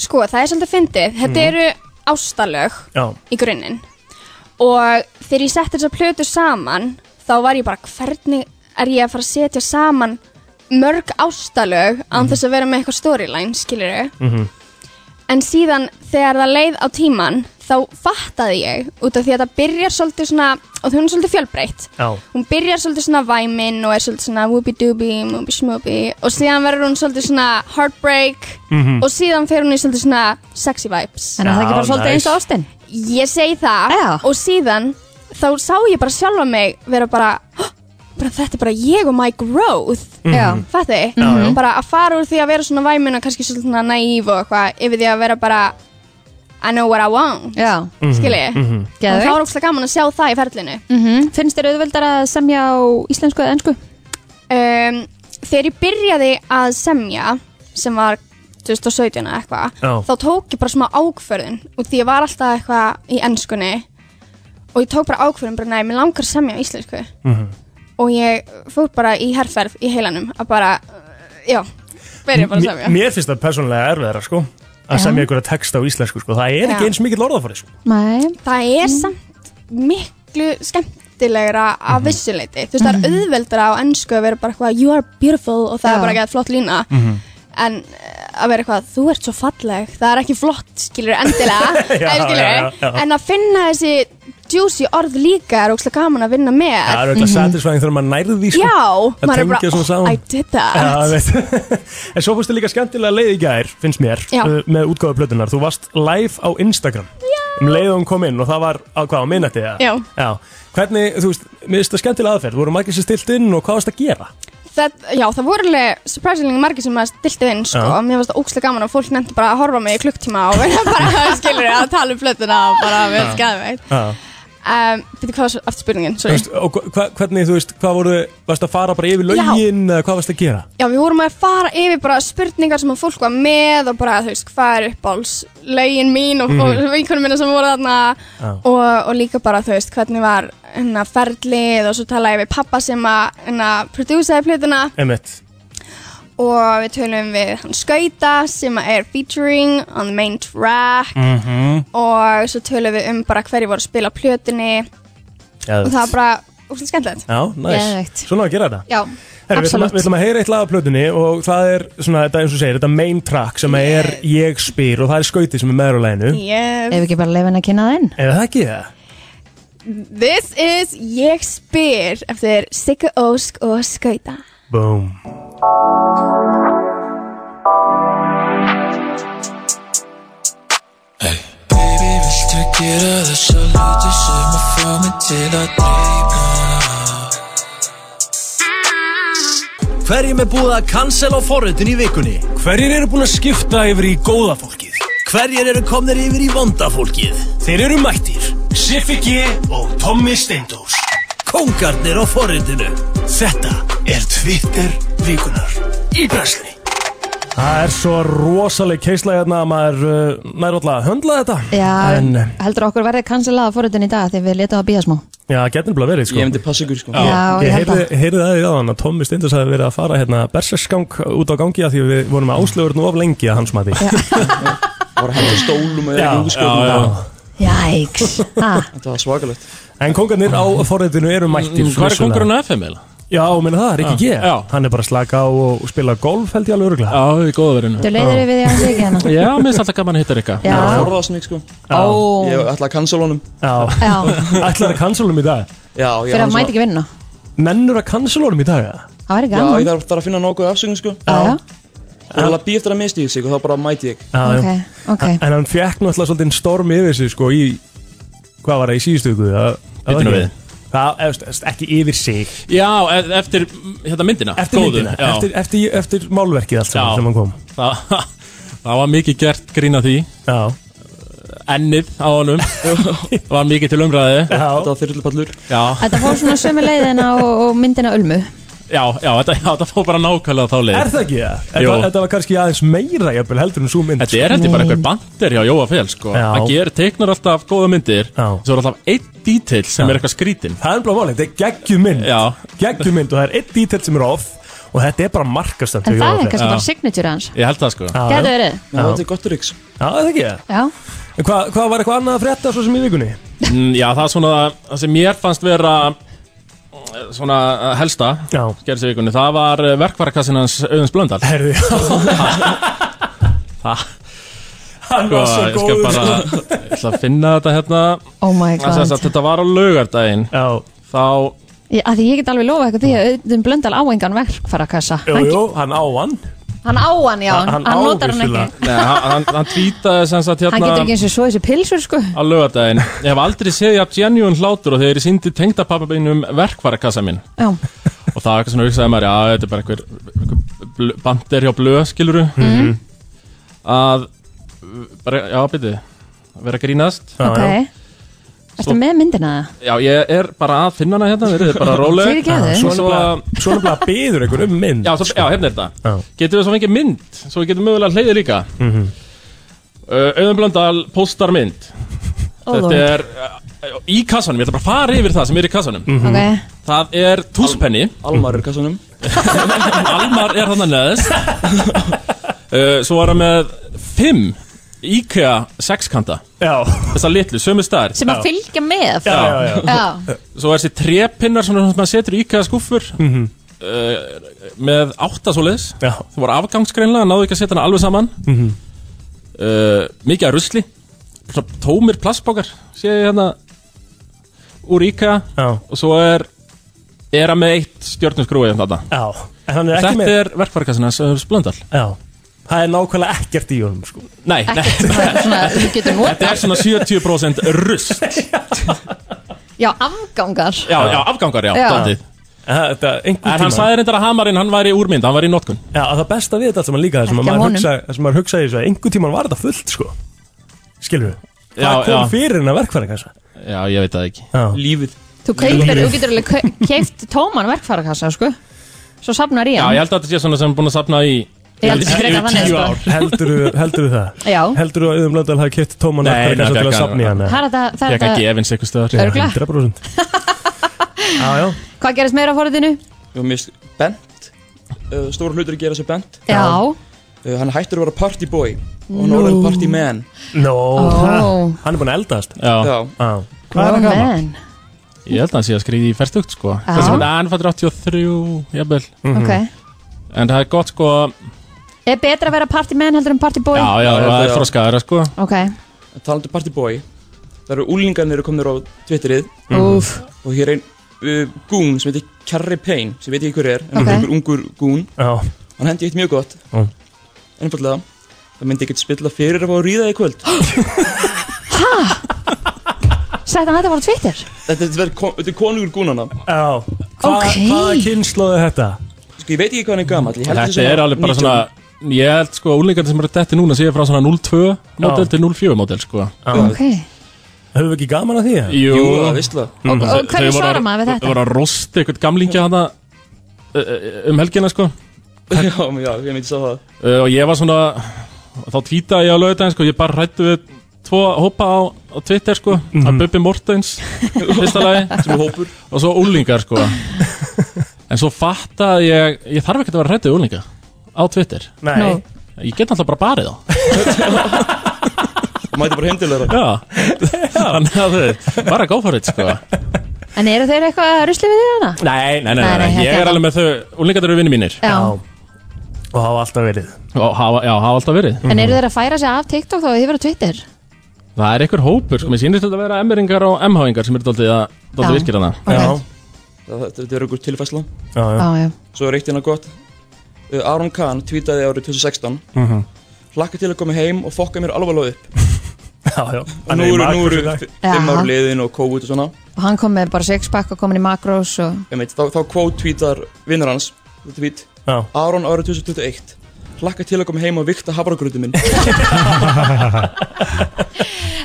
Speaker 7: Sko, það er svolítið fyndið Þetta eru ástalög
Speaker 2: já,
Speaker 7: í grunninn og þegar ég setti þessa plötu saman þá var ég bara hvernig er ég að fara að setja saman mörg ástalög án þess að vera með eitthvað storyline, skilur
Speaker 2: Mhm.
Speaker 7: en síðan þegar það leið á tíman þá fattaði ég út af því að það byrjar svolítið svona og hún er svolítið fjölbreytt
Speaker 2: já,
Speaker 7: hún byrjar svolítið svona væmin og er svolítið svona whoopie-doobie, moopie-smoopi og síðan verður hún svolítið svona heartbreak og síðan fer hún í svolítið svona sexy vibes
Speaker 3: Þannig að það er ekki bara
Speaker 2: Mhm. Já,
Speaker 3: svolítið
Speaker 2: nice.
Speaker 3: eins og ástin
Speaker 7: Ég segi það
Speaker 3: Já.
Speaker 7: og síðan þá sá ég bara sjálfa mig vera bara, "Hó, bara þetta er bara ég og my growth
Speaker 3: Já.
Speaker 7: Fattu?
Speaker 2: Mhm. Já, já.
Speaker 7: Bara að fara úr því að vera svona væmin og kannski svona naív og eitthvað yfir því að vera bara I know what I want
Speaker 3: Já
Speaker 2: Mhm.
Speaker 7: Skilji? Og
Speaker 3: Geðveikt.
Speaker 7: þá er ógstlega gaman að sjá það í ferlinu
Speaker 3: mm Finnst þér auðveldar að semja á íslensku eða ennsku?
Speaker 7: um, Þegar ég byrjaði að semja sem var 2017 eða eitthvað
Speaker 2: já,
Speaker 7: þá tók ég bara smá ákvörðun og því ég var alltaf eitthvað í ennskunni og ég tók bara ákvörðun bara nei, mér langar að semja á íslensku
Speaker 2: Mhm.
Speaker 7: og ég fór bara í herrferð í heilanum að bara, uh, já byrja bara að
Speaker 2: Mér-
Speaker 7: semja
Speaker 2: mér finnst það persónulega erfiðara sko að semja ykkur að texta á íslensku sko. það er ekki
Speaker 7: Já.
Speaker 2: eins mikill orðafari sko.
Speaker 3: Nei
Speaker 7: það er
Speaker 2: Mm.
Speaker 7: samt miklu skemmtilegra
Speaker 2: Mhm.
Speaker 7: að vissuleiti þú veist, það er auðveldra á ennsku að vera bara eitthvað you are beautiful og það
Speaker 3: Já.
Speaker 7: er bara ekki flott lína en eh, að vera eitthvað þú ert svo falleg, það er ekki flott skilur
Speaker 2: [LAUGHS]
Speaker 7: endilega,
Speaker 2: Já,
Speaker 7: en, skilur,
Speaker 2: já, já, já.
Speaker 7: en að finna þessi juicy orð líka er ógslag gaman að vinna með Mhm.
Speaker 2: það er auðvitað satisfæðing þegar maður nærði því sko.
Speaker 7: já,
Speaker 2: Að
Speaker 7: maður er bara
Speaker 2: tengja svona
Speaker 7: oh,
Speaker 2: saman."
Speaker 7: I did that
Speaker 2: Já, ég veit. [LAUGHS] en svo fórstu líka skemmtilega leið í gær finnst mér,
Speaker 7: Já.
Speaker 2: uh, með útgáðu plötunar þú varst live á Instagram Já. um leið og hún kom inn og það var á hvað á minnati
Speaker 7: Já.
Speaker 2: hvernig, þú veist, mér finnst það skemmtilega aðferð þú voru margir sem stilt inn og hvað varst að gera
Speaker 7: það, já, það voru alveg surprisingly margir sem að stilti inn sko.
Speaker 2: Já.
Speaker 7: mér varst það ókslega gaman að fólk nefndi bara að horfa á mig í klukktíma og [LAUGHS] vera bara skilur að tala um flötuna og bara við skæðum eitt
Speaker 2: Já.
Speaker 7: um, Býttu hvað var svo- aftur spurningin?
Speaker 2: Þú
Speaker 7: Sorry.
Speaker 2: veist, og hva, hvernig, þú veist, hvað voru varst að fara bara yfir lögin eða hvað varst að gera
Speaker 7: Já, við vorum að fara yfir bara spurningar sem að fólk var með og bara, þú veist, hvað er uppáhalds lögin mín og, og vinkunum minna sem voru þarna
Speaker 2: Já.
Speaker 7: og, og líka bara, þú veist, hvernig var hérna ferlið og svo talaði ég við pappa sem að hérna prodúsaði plötuna
Speaker 2: einmitt,
Speaker 7: og við tölum við hann Skauta sem er featuring on the main track
Speaker 2: Mhm.
Speaker 7: og svo tölum við um bara hverju voru að spila á plötunni og það var bara úrslega skemmtilegt
Speaker 2: Já,
Speaker 3: Geðveikt.
Speaker 2: næs, svona á að gera þetta
Speaker 7: Já,
Speaker 2: Herri, við, ætlum að,
Speaker 3: Absolutt.
Speaker 2: við ætlum að heyra eitt lag af plötunni og það er svona, þetta eins og þú segir, þetta main track sem að er Ég spyr og það er skautið sem er meður á læginu
Speaker 7: yes.
Speaker 3: Ef ekki bara lefa henni að kynna það inn
Speaker 2: Eða það ekki það?
Speaker 7: This is Ég spyr eftir Sigga Ósk og Skauta
Speaker 2: Boom
Speaker 11: Baby, viltu gera þessa hluti sem að fá mig til að dreyma
Speaker 12: Hverjum er búið að cancel á forritun í vikunni?
Speaker 2: Hverjir eru búin að skipta yfir í góða fólkið?
Speaker 12: Hverjir eru komnir yfir í vonda fólkið?
Speaker 2: Þeir eru mættir
Speaker 12: Siffi G og Tommi Steindós Kongarnir á forritinu Þetta er Twitter vikunar Í brensli
Speaker 2: Það er svo rosaleg keisla hérna að maður uh, nær alltaf að höndla þetta
Speaker 3: Já,
Speaker 2: En uh,
Speaker 3: heldur okkur verði kansalað að fóruðin í dag þegar við letum að býja smá
Speaker 2: já, getur bara verið sko Ég myndi passa ykkur sko
Speaker 3: Já, ég
Speaker 2: Ég
Speaker 3: held
Speaker 2: heyrði, heyrði það í aðan að Tommi Stindus hafi verið að fara hérna berserskang út á gangi að því að við vorum með áslögur nú of lengi að hans mati
Speaker 13: Bara hendur stólum eða
Speaker 2: [LAUGHS] Já,
Speaker 13: eitthvað sko. útskjóðum
Speaker 2: já, já.
Speaker 3: Jæks Þetta
Speaker 13: var svakalegt
Speaker 2: En kongarnir á forritinu eru mættir
Speaker 14: Mm, hvar er
Speaker 2: vissulega.
Speaker 14: kóngurinn á FM eiginlega?
Speaker 2: Já, minna það, Rikki G
Speaker 14: Já, Ah, já.
Speaker 2: Hann er bara að slaka á og Ah. spila golf held ég alveg öruglega
Speaker 14: Já, við góða verinu
Speaker 3: Þú leiðir við því að hans ekki hérna. hana
Speaker 14: Já, mér finnst alltaf gaman að hitta Rikka
Speaker 3: Já.
Speaker 13: Það var forðast mig sko
Speaker 3: Ó.
Speaker 13: Ég ætla að cancel honum
Speaker 2: Já
Speaker 3: Já,
Speaker 2: Ætlaði að cancela honum í dag
Speaker 13: Já, ég
Speaker 3: fyrir að mæti ekki vinna
Speaker 2: Mennur að cancela honum í dag eða?
Speaker 3: Það væri
Speaker 13: Já,
Speaker 3: gaman
Speaker 13: ég þarf þarf að finna nokkuð afsökun sko
Speaker 3: Já,
Speaker 13: Ég ætla að býja eftir að misti sig og þá bara mæti ég
Speaker 2: Já, já.
Speaker 3: Ok, ok.
Speaker 2: En- En hann fekk náttúrulega svolítið storm yfir sig sko í Hvað var það í síðustu ykkur?
Speaker 14: Bíddu nú við.
Speaker 2: Það, efst- efst- ekki yfir sig
Speaker 14: Já, e- eftir mm, hérna myndina
Speaker 2: Eftir
Speaker 14: góðu,
Speaker 2: myndina,
Speaker 14: já.
Speaker 2: eftir, eftir, eftir málverkið allt saman
Speaker 14: Já.
Speaker 2: sem hann kom
Speaker 14: það, [LAUGHS] það var mikið gert grín að því
Speaker 2: Já
Speaker 14: Ennið á honum
Speaker 2: [LAUGHS]
Speaker 14: Var mikið til umræði Já
Speaker 13: Þetta var þyrlupallur
Speaker 14: Já,
Speaker 3: Þetta fór svona sömu leiðina og, og myndina Ulmu
Speaker 14: já, já, þetta, já, þetta fór bara nákvæmlega þá leið
Speaker 2: Er það ekki það?
Speaker 14: Eh. Jú.
Speaker 2: Þetta, þetta var kannski aðeins meira jafnvel heldur en svo mynd sko.
Speaker 14: Þetta er heldur bara
Speaker 3: Mm.
Speaker 14: einhver bandir hjá Jóa Fel sko.
Speaker 2: Já.
Speaker 14: Hann ger, teiknar alltaf góða myndir Svo er alltaf einn dítill sem er eitthvað skrítin
Speaker 2: Það er bara málið, þetta er geggjum mynd Geggjum mynd og það er eitt detail sem er off Og þetta er bara markastönd
Speaker 3: En það er kannski bara signature hans
Speaker 14: Ég held það sko
Speaker 3: Gæti verið.
Speaker 2: Já, þetta
Speaker 13: er gott riks
Speaker 2: Já, það ekki það
Speaker 3: Já,
Speaker 2: En hvað hva var eitthvað annað að frétta svo sem í vikunni?
Speaker 14: Mm, Já, það er svona það sem mér fannst vera eh, svona eh, helsta skerðsvíkunni, það var eh, verkvarakassin hans Auðins Blöndal
Speaker 2: Herðu, já
Speaker 14: Það
Speaker 2: Hann var svo
Speaker 14: Sko, ég skal
Speaker 2: góður,
Speaker 14: bara,
Speaker 2: sko.
Speaker 14: ég ætla að finna þetta hérna
Speaker 3: Oh my god.
Speaker 14: Þess að Þetta var á laugardaginn
Speaker 2: Já
Speaker 14: Þá,
Speaker 3: Ég- af því ég get alveg lofa eitthvað því að auðvitað blöndal áengan verkfarakassa
Speaker 14: Jú, jú.
Speaker 2: hann á hann
Speaker 3: Hann á hann, já, hann, notar hann ekki
Speaker 14: Nei, hann, hann, hann tweetaði sem sagt
Speaker 3: Hann getur ekki
Speaker 14: hérna
Speaker 3: eins og svo þessi pilsur sko
Speaker 14: á laugardaginn Ég hef aldrei séð ég að genuine hlátur og þegar ég síndi tengdapappa mínum verkvarakassa minn
Speaker 3: Já.
Speaker 14: Og það var eitthvað svona hugsaði maður, já, þetta er bara einhver, einhver bl- bandir hjá blöð, skiluru
Speaker 3: Mhm.
Speaker 14: Að, bara, já, byrju, vera að grínast
Speaker 3: Ok, ertu með myndina það?
Speaker 14: Já, ég er bara að finna hana hérna, verið þið bara róleg
Speaker 3: Fyrirgefðu.
Speaker 2: Svona bara byður einhver um mynd
Speaker 14: Já, svo, já hérna er þetta Getur við svo fengið mynd, svo við getum mögulega hleyðið líka
Speaker 2: mm -hmm.
Speaker 14: uh, Auðun Blöndal postar mynd
Speaker 3: Ó,
Speaker 14: Þetta
Speaker 3: Lord.
Speaker 14: er uh, í kassanum, ég ætla bara að fara yfir það sem er í kassanum
Speaker 3: Mhm. Ok,
Speaker 14: Það er túspenni
Speaker 13: Almar er kassanum
Speaker 14: [LAUGHS] Almar er þannig neðist uh, Svo er hann með fimm IKEA sexkanta
Speaker 2: Já
Speaker 14: Þessa litlu, sömu stær
Speaker 3: sem að fylgja með
Speaker 14: Já, já, já.
Speaker 3: já.
Speaker 14: Svo er þessi trepinnar svona sem maður setur í IKEA skúffur uh, með átta svoleiðis það voru afgangsgreinlega, náðu ekki að setja hana alveg saman
Speaker 2: Mhm.
Speaker 14: uh, mikið að rusli Svona tómir plastbókar sé ég hérna úr IKEA
Speaker 2: Já.
Speaker 14: og svo er er hann með eitt stjórnusgrúi um þetta
Speaker 2: Já, en hann er ekki
Speaker 14: Þetta
Speaker 2: með-
Speaker 14: er eh, verkvarkassin hans Öðurs Blöndal
Speaker 2: Já, það er nákvæmlega ekkert í honum sko
Speaker 14: Nei, nei [LAUGHS]
Speaker 3: svona, þú getur notað
Speaker 14: Þetta er svona 70% [LAUGHS] rust
Speaker 3: já, afgangar
Speaker 14: Já, já, afgangar, já,
Speaker 3: Já.
Speaker 14: daldið
Speaker 2: Þetta, einhver
Speaker 14: En hann
Speaker 2: tímann.
Speaker 14: sagði reyndar að hamarinn, hann væri úrmynd, hann væri í notkun
Speaker 2: Já, að það besta við þetta sem að líka það sem
Speaker 14: Ekki af
Speaker 2: að maður
Speaker 14: honum.
Speaker 2: hugsa, það sem maður hugsaði þess að einhver tíman var þetta fullt sko Skilur
Speaker 14: Já,
Speaker 2: við Það kom
Speaker 14: já.
Speaker 2: fyrir hennar verkfæra kannski
Speaker 14: Já, ég veit það ekki
Speaker 13: Lífið
Speaker 3: Þú kaupir, þú getur alveg keift tóman verkfarakassa sko Svo safnar í
Speaker 14: Já,
Speaker 3: hann
Speaker 14: ég held að þetta sé svona sem er búin að safna í
Speaker 3: Ég held að þetta sé frekar þannig, sko.
Speaker 2: Heldurðu heldurðu það?
Speaker 3: Já.
Speaker 2: Heldurðu að Auðum Blöndal hafi kett tóman
Speaker 14: Nei,
Speaker 2: verkfæra
Speaker 14: nei,
Speaker 2: kannski til að
Speaker 14: fekk
Speaker 2: safna í
Speaker 14: hann-
Speaker 2: hann
Speaker 3: Það er þetta- það er
Speaker 14: Fekk hann
Speaker 3: þetta-
Speaker 14: gefins einhver stöðar
Speaker 3: Örugglega.
Speaker 2: 100% Já, já
Speaker 3: Hvað gerist meira á forðinu?
Speaker 13: Ég var mist bent uh, Stóra hlutur að gera þessu bent
Speaker 3: Já,
Speaker 13: uh, Hann hættur að vera party boy Og hann er orðin
Speaker 2: Nú.
Speaker 13: party man
Speaker 2: Nó,
Speaker 13: Ó.
Speaker 2: hann er búin að eldast
Speaker 14: Já.
Speaker 2: Hvað er hann
Speaker 3: Oh,
Speaker 2: gaman?
Speaker 3: man.
Speaker 14: Ég held að hann sé að skrýði í ferstugt sko
Speaker 3: Já.
Speaker 14: Þess að hann fættur 83, jafnvel
Speaker 3: Mhm. Ok.
Speaker 14: En það er gott sko
Speaker 3: Er betra að vera party man heldur en party boy?
Speaker 14: Já, já, það er þroskaðara sko
Speaker 3: Ok,
Speaker 13: Talandi um party boy Það eru úlingarnir komnir á Twitterið
Speaker 3: Mhm. Úff.
Speaker 13: Og hér er ein uh, gún sem heitir Carrie Payne Sem veit ekki hver er En
Speaker 3: Ok.
Speaker 13: okay. einhver ungur gún
Speaker 2: Já.
Speaker 13: Hann hendi eitt mjög gott
Speaker 2: Já.
Speaker 13: Einfallega Það myndi ekkert spilla fyrir að fá að ríða í
Speaker 3: [GASPS]
Speaker 13: kvöld
Speaker 3: sett hann þetta var á Twitter?
Speaker 13: Þetta er, kon- þetta er konungur gúnana
Speaker 2: Já Hva,
Speaker 3: Ok.
Speaker 2: Hvaða kynnslóð er þetta?
Speaker 13: Sko ég veit ekki hvað hann er gammal
Speaker 14: Þetta er alveg bara svona Ég held sko úlingarnir sem eru detti núna séu frá svona 02 model til 04 model sko
Speaker 3: Ok
Speaker 2: Höfum við ekki gaman að því? eða?
Speaker 14: Jú, Mm.
Speaker 2: Jú, það veistla. Og- og
Speaker 14: Þau-
Speaker 2: hverju
Speaker 14: þau voru
Speaker 2: svarar
Speaker 14: að-
Speaker 2: maður við þetta?
Speaker 14: Þau voru að rosta einhvern gamlingja hana uh, uh, um helgina sko
Speaker 13: [LAUGHS] já, já, ég myndi sá það
Speaker 14: uh, og ég var svona þá tvítaði ég á laugardaginn sko, ég bara hrættu við tvo hópa á, á Twitter sko að Bubbi [LAUGHS] Mortens í fyrsta lagi
Speaker 13: Sem er hópur.
Speaker 14: og svo úlingar sko en svo fattaði ég ég þarf ekki að vera hrættu við úlinga á Twitter
Speaker 2: Nei. Nú.
Speaker 14: ég get alltaf bara barið á
Speaker 13: mæti bara heimdilega
Speaker 14: já, þannig að þau bara go for it sko
Speaker 3: En eru þeir eitthvað að rusli við þér hana?
Speaker 14: Nei,
Speaker 3: Nei,
Speaker 14: nei, nei, nei, hérna.
Speaker 3: nei,
Speaker 14: ég
Speaker 3: þetta-
Speaker 14: er alveg með þau úlingar eru vinni mínir
Speaker 3: Já.
Speaker 14: og hafa alltaf verið og hafa, já, hafa alltaf verið
Speaker 3: Mhm. En eru þeir að færa sig af TikTok þá að þið verið á Twitter?
Speaker 14: Það er einhver hópur, sko, mér sýnist þetta að vera emmeringar og emháingar sem eru daldið að daldið
Speaker 3: Já.
Speaker 14: virkir hana
Speaker 3: Já.
Speaker 13: Það- Þetta er einhver tilfæsla
Speaker 2: já. Já, já.
Speaker 13: Svo er eitt hérna gott Uh, Aron Kahn tweetaði árið 2016
Speaker 2: Mhm.
Speaker 13: Hlakka til að koma heim og fokka mér alveg alveg upp
Speaker 2: Já, já
Speaker 13: Og nú eru, nú eru f- fimm
Speaker 3: Já.
Speaker 13: ár liðin og COVID og svona
Speaker 3: Og hann kom með bara sexpack og komin í makros og
Speaker 13: Einmitt, Þá, þá quote tweetar vinnur hans Þetta tweet
Speaker 2: Já.
Speaker 13: Aron árið 2021 Hlakka til að koma heim og vikta hafragröðu minn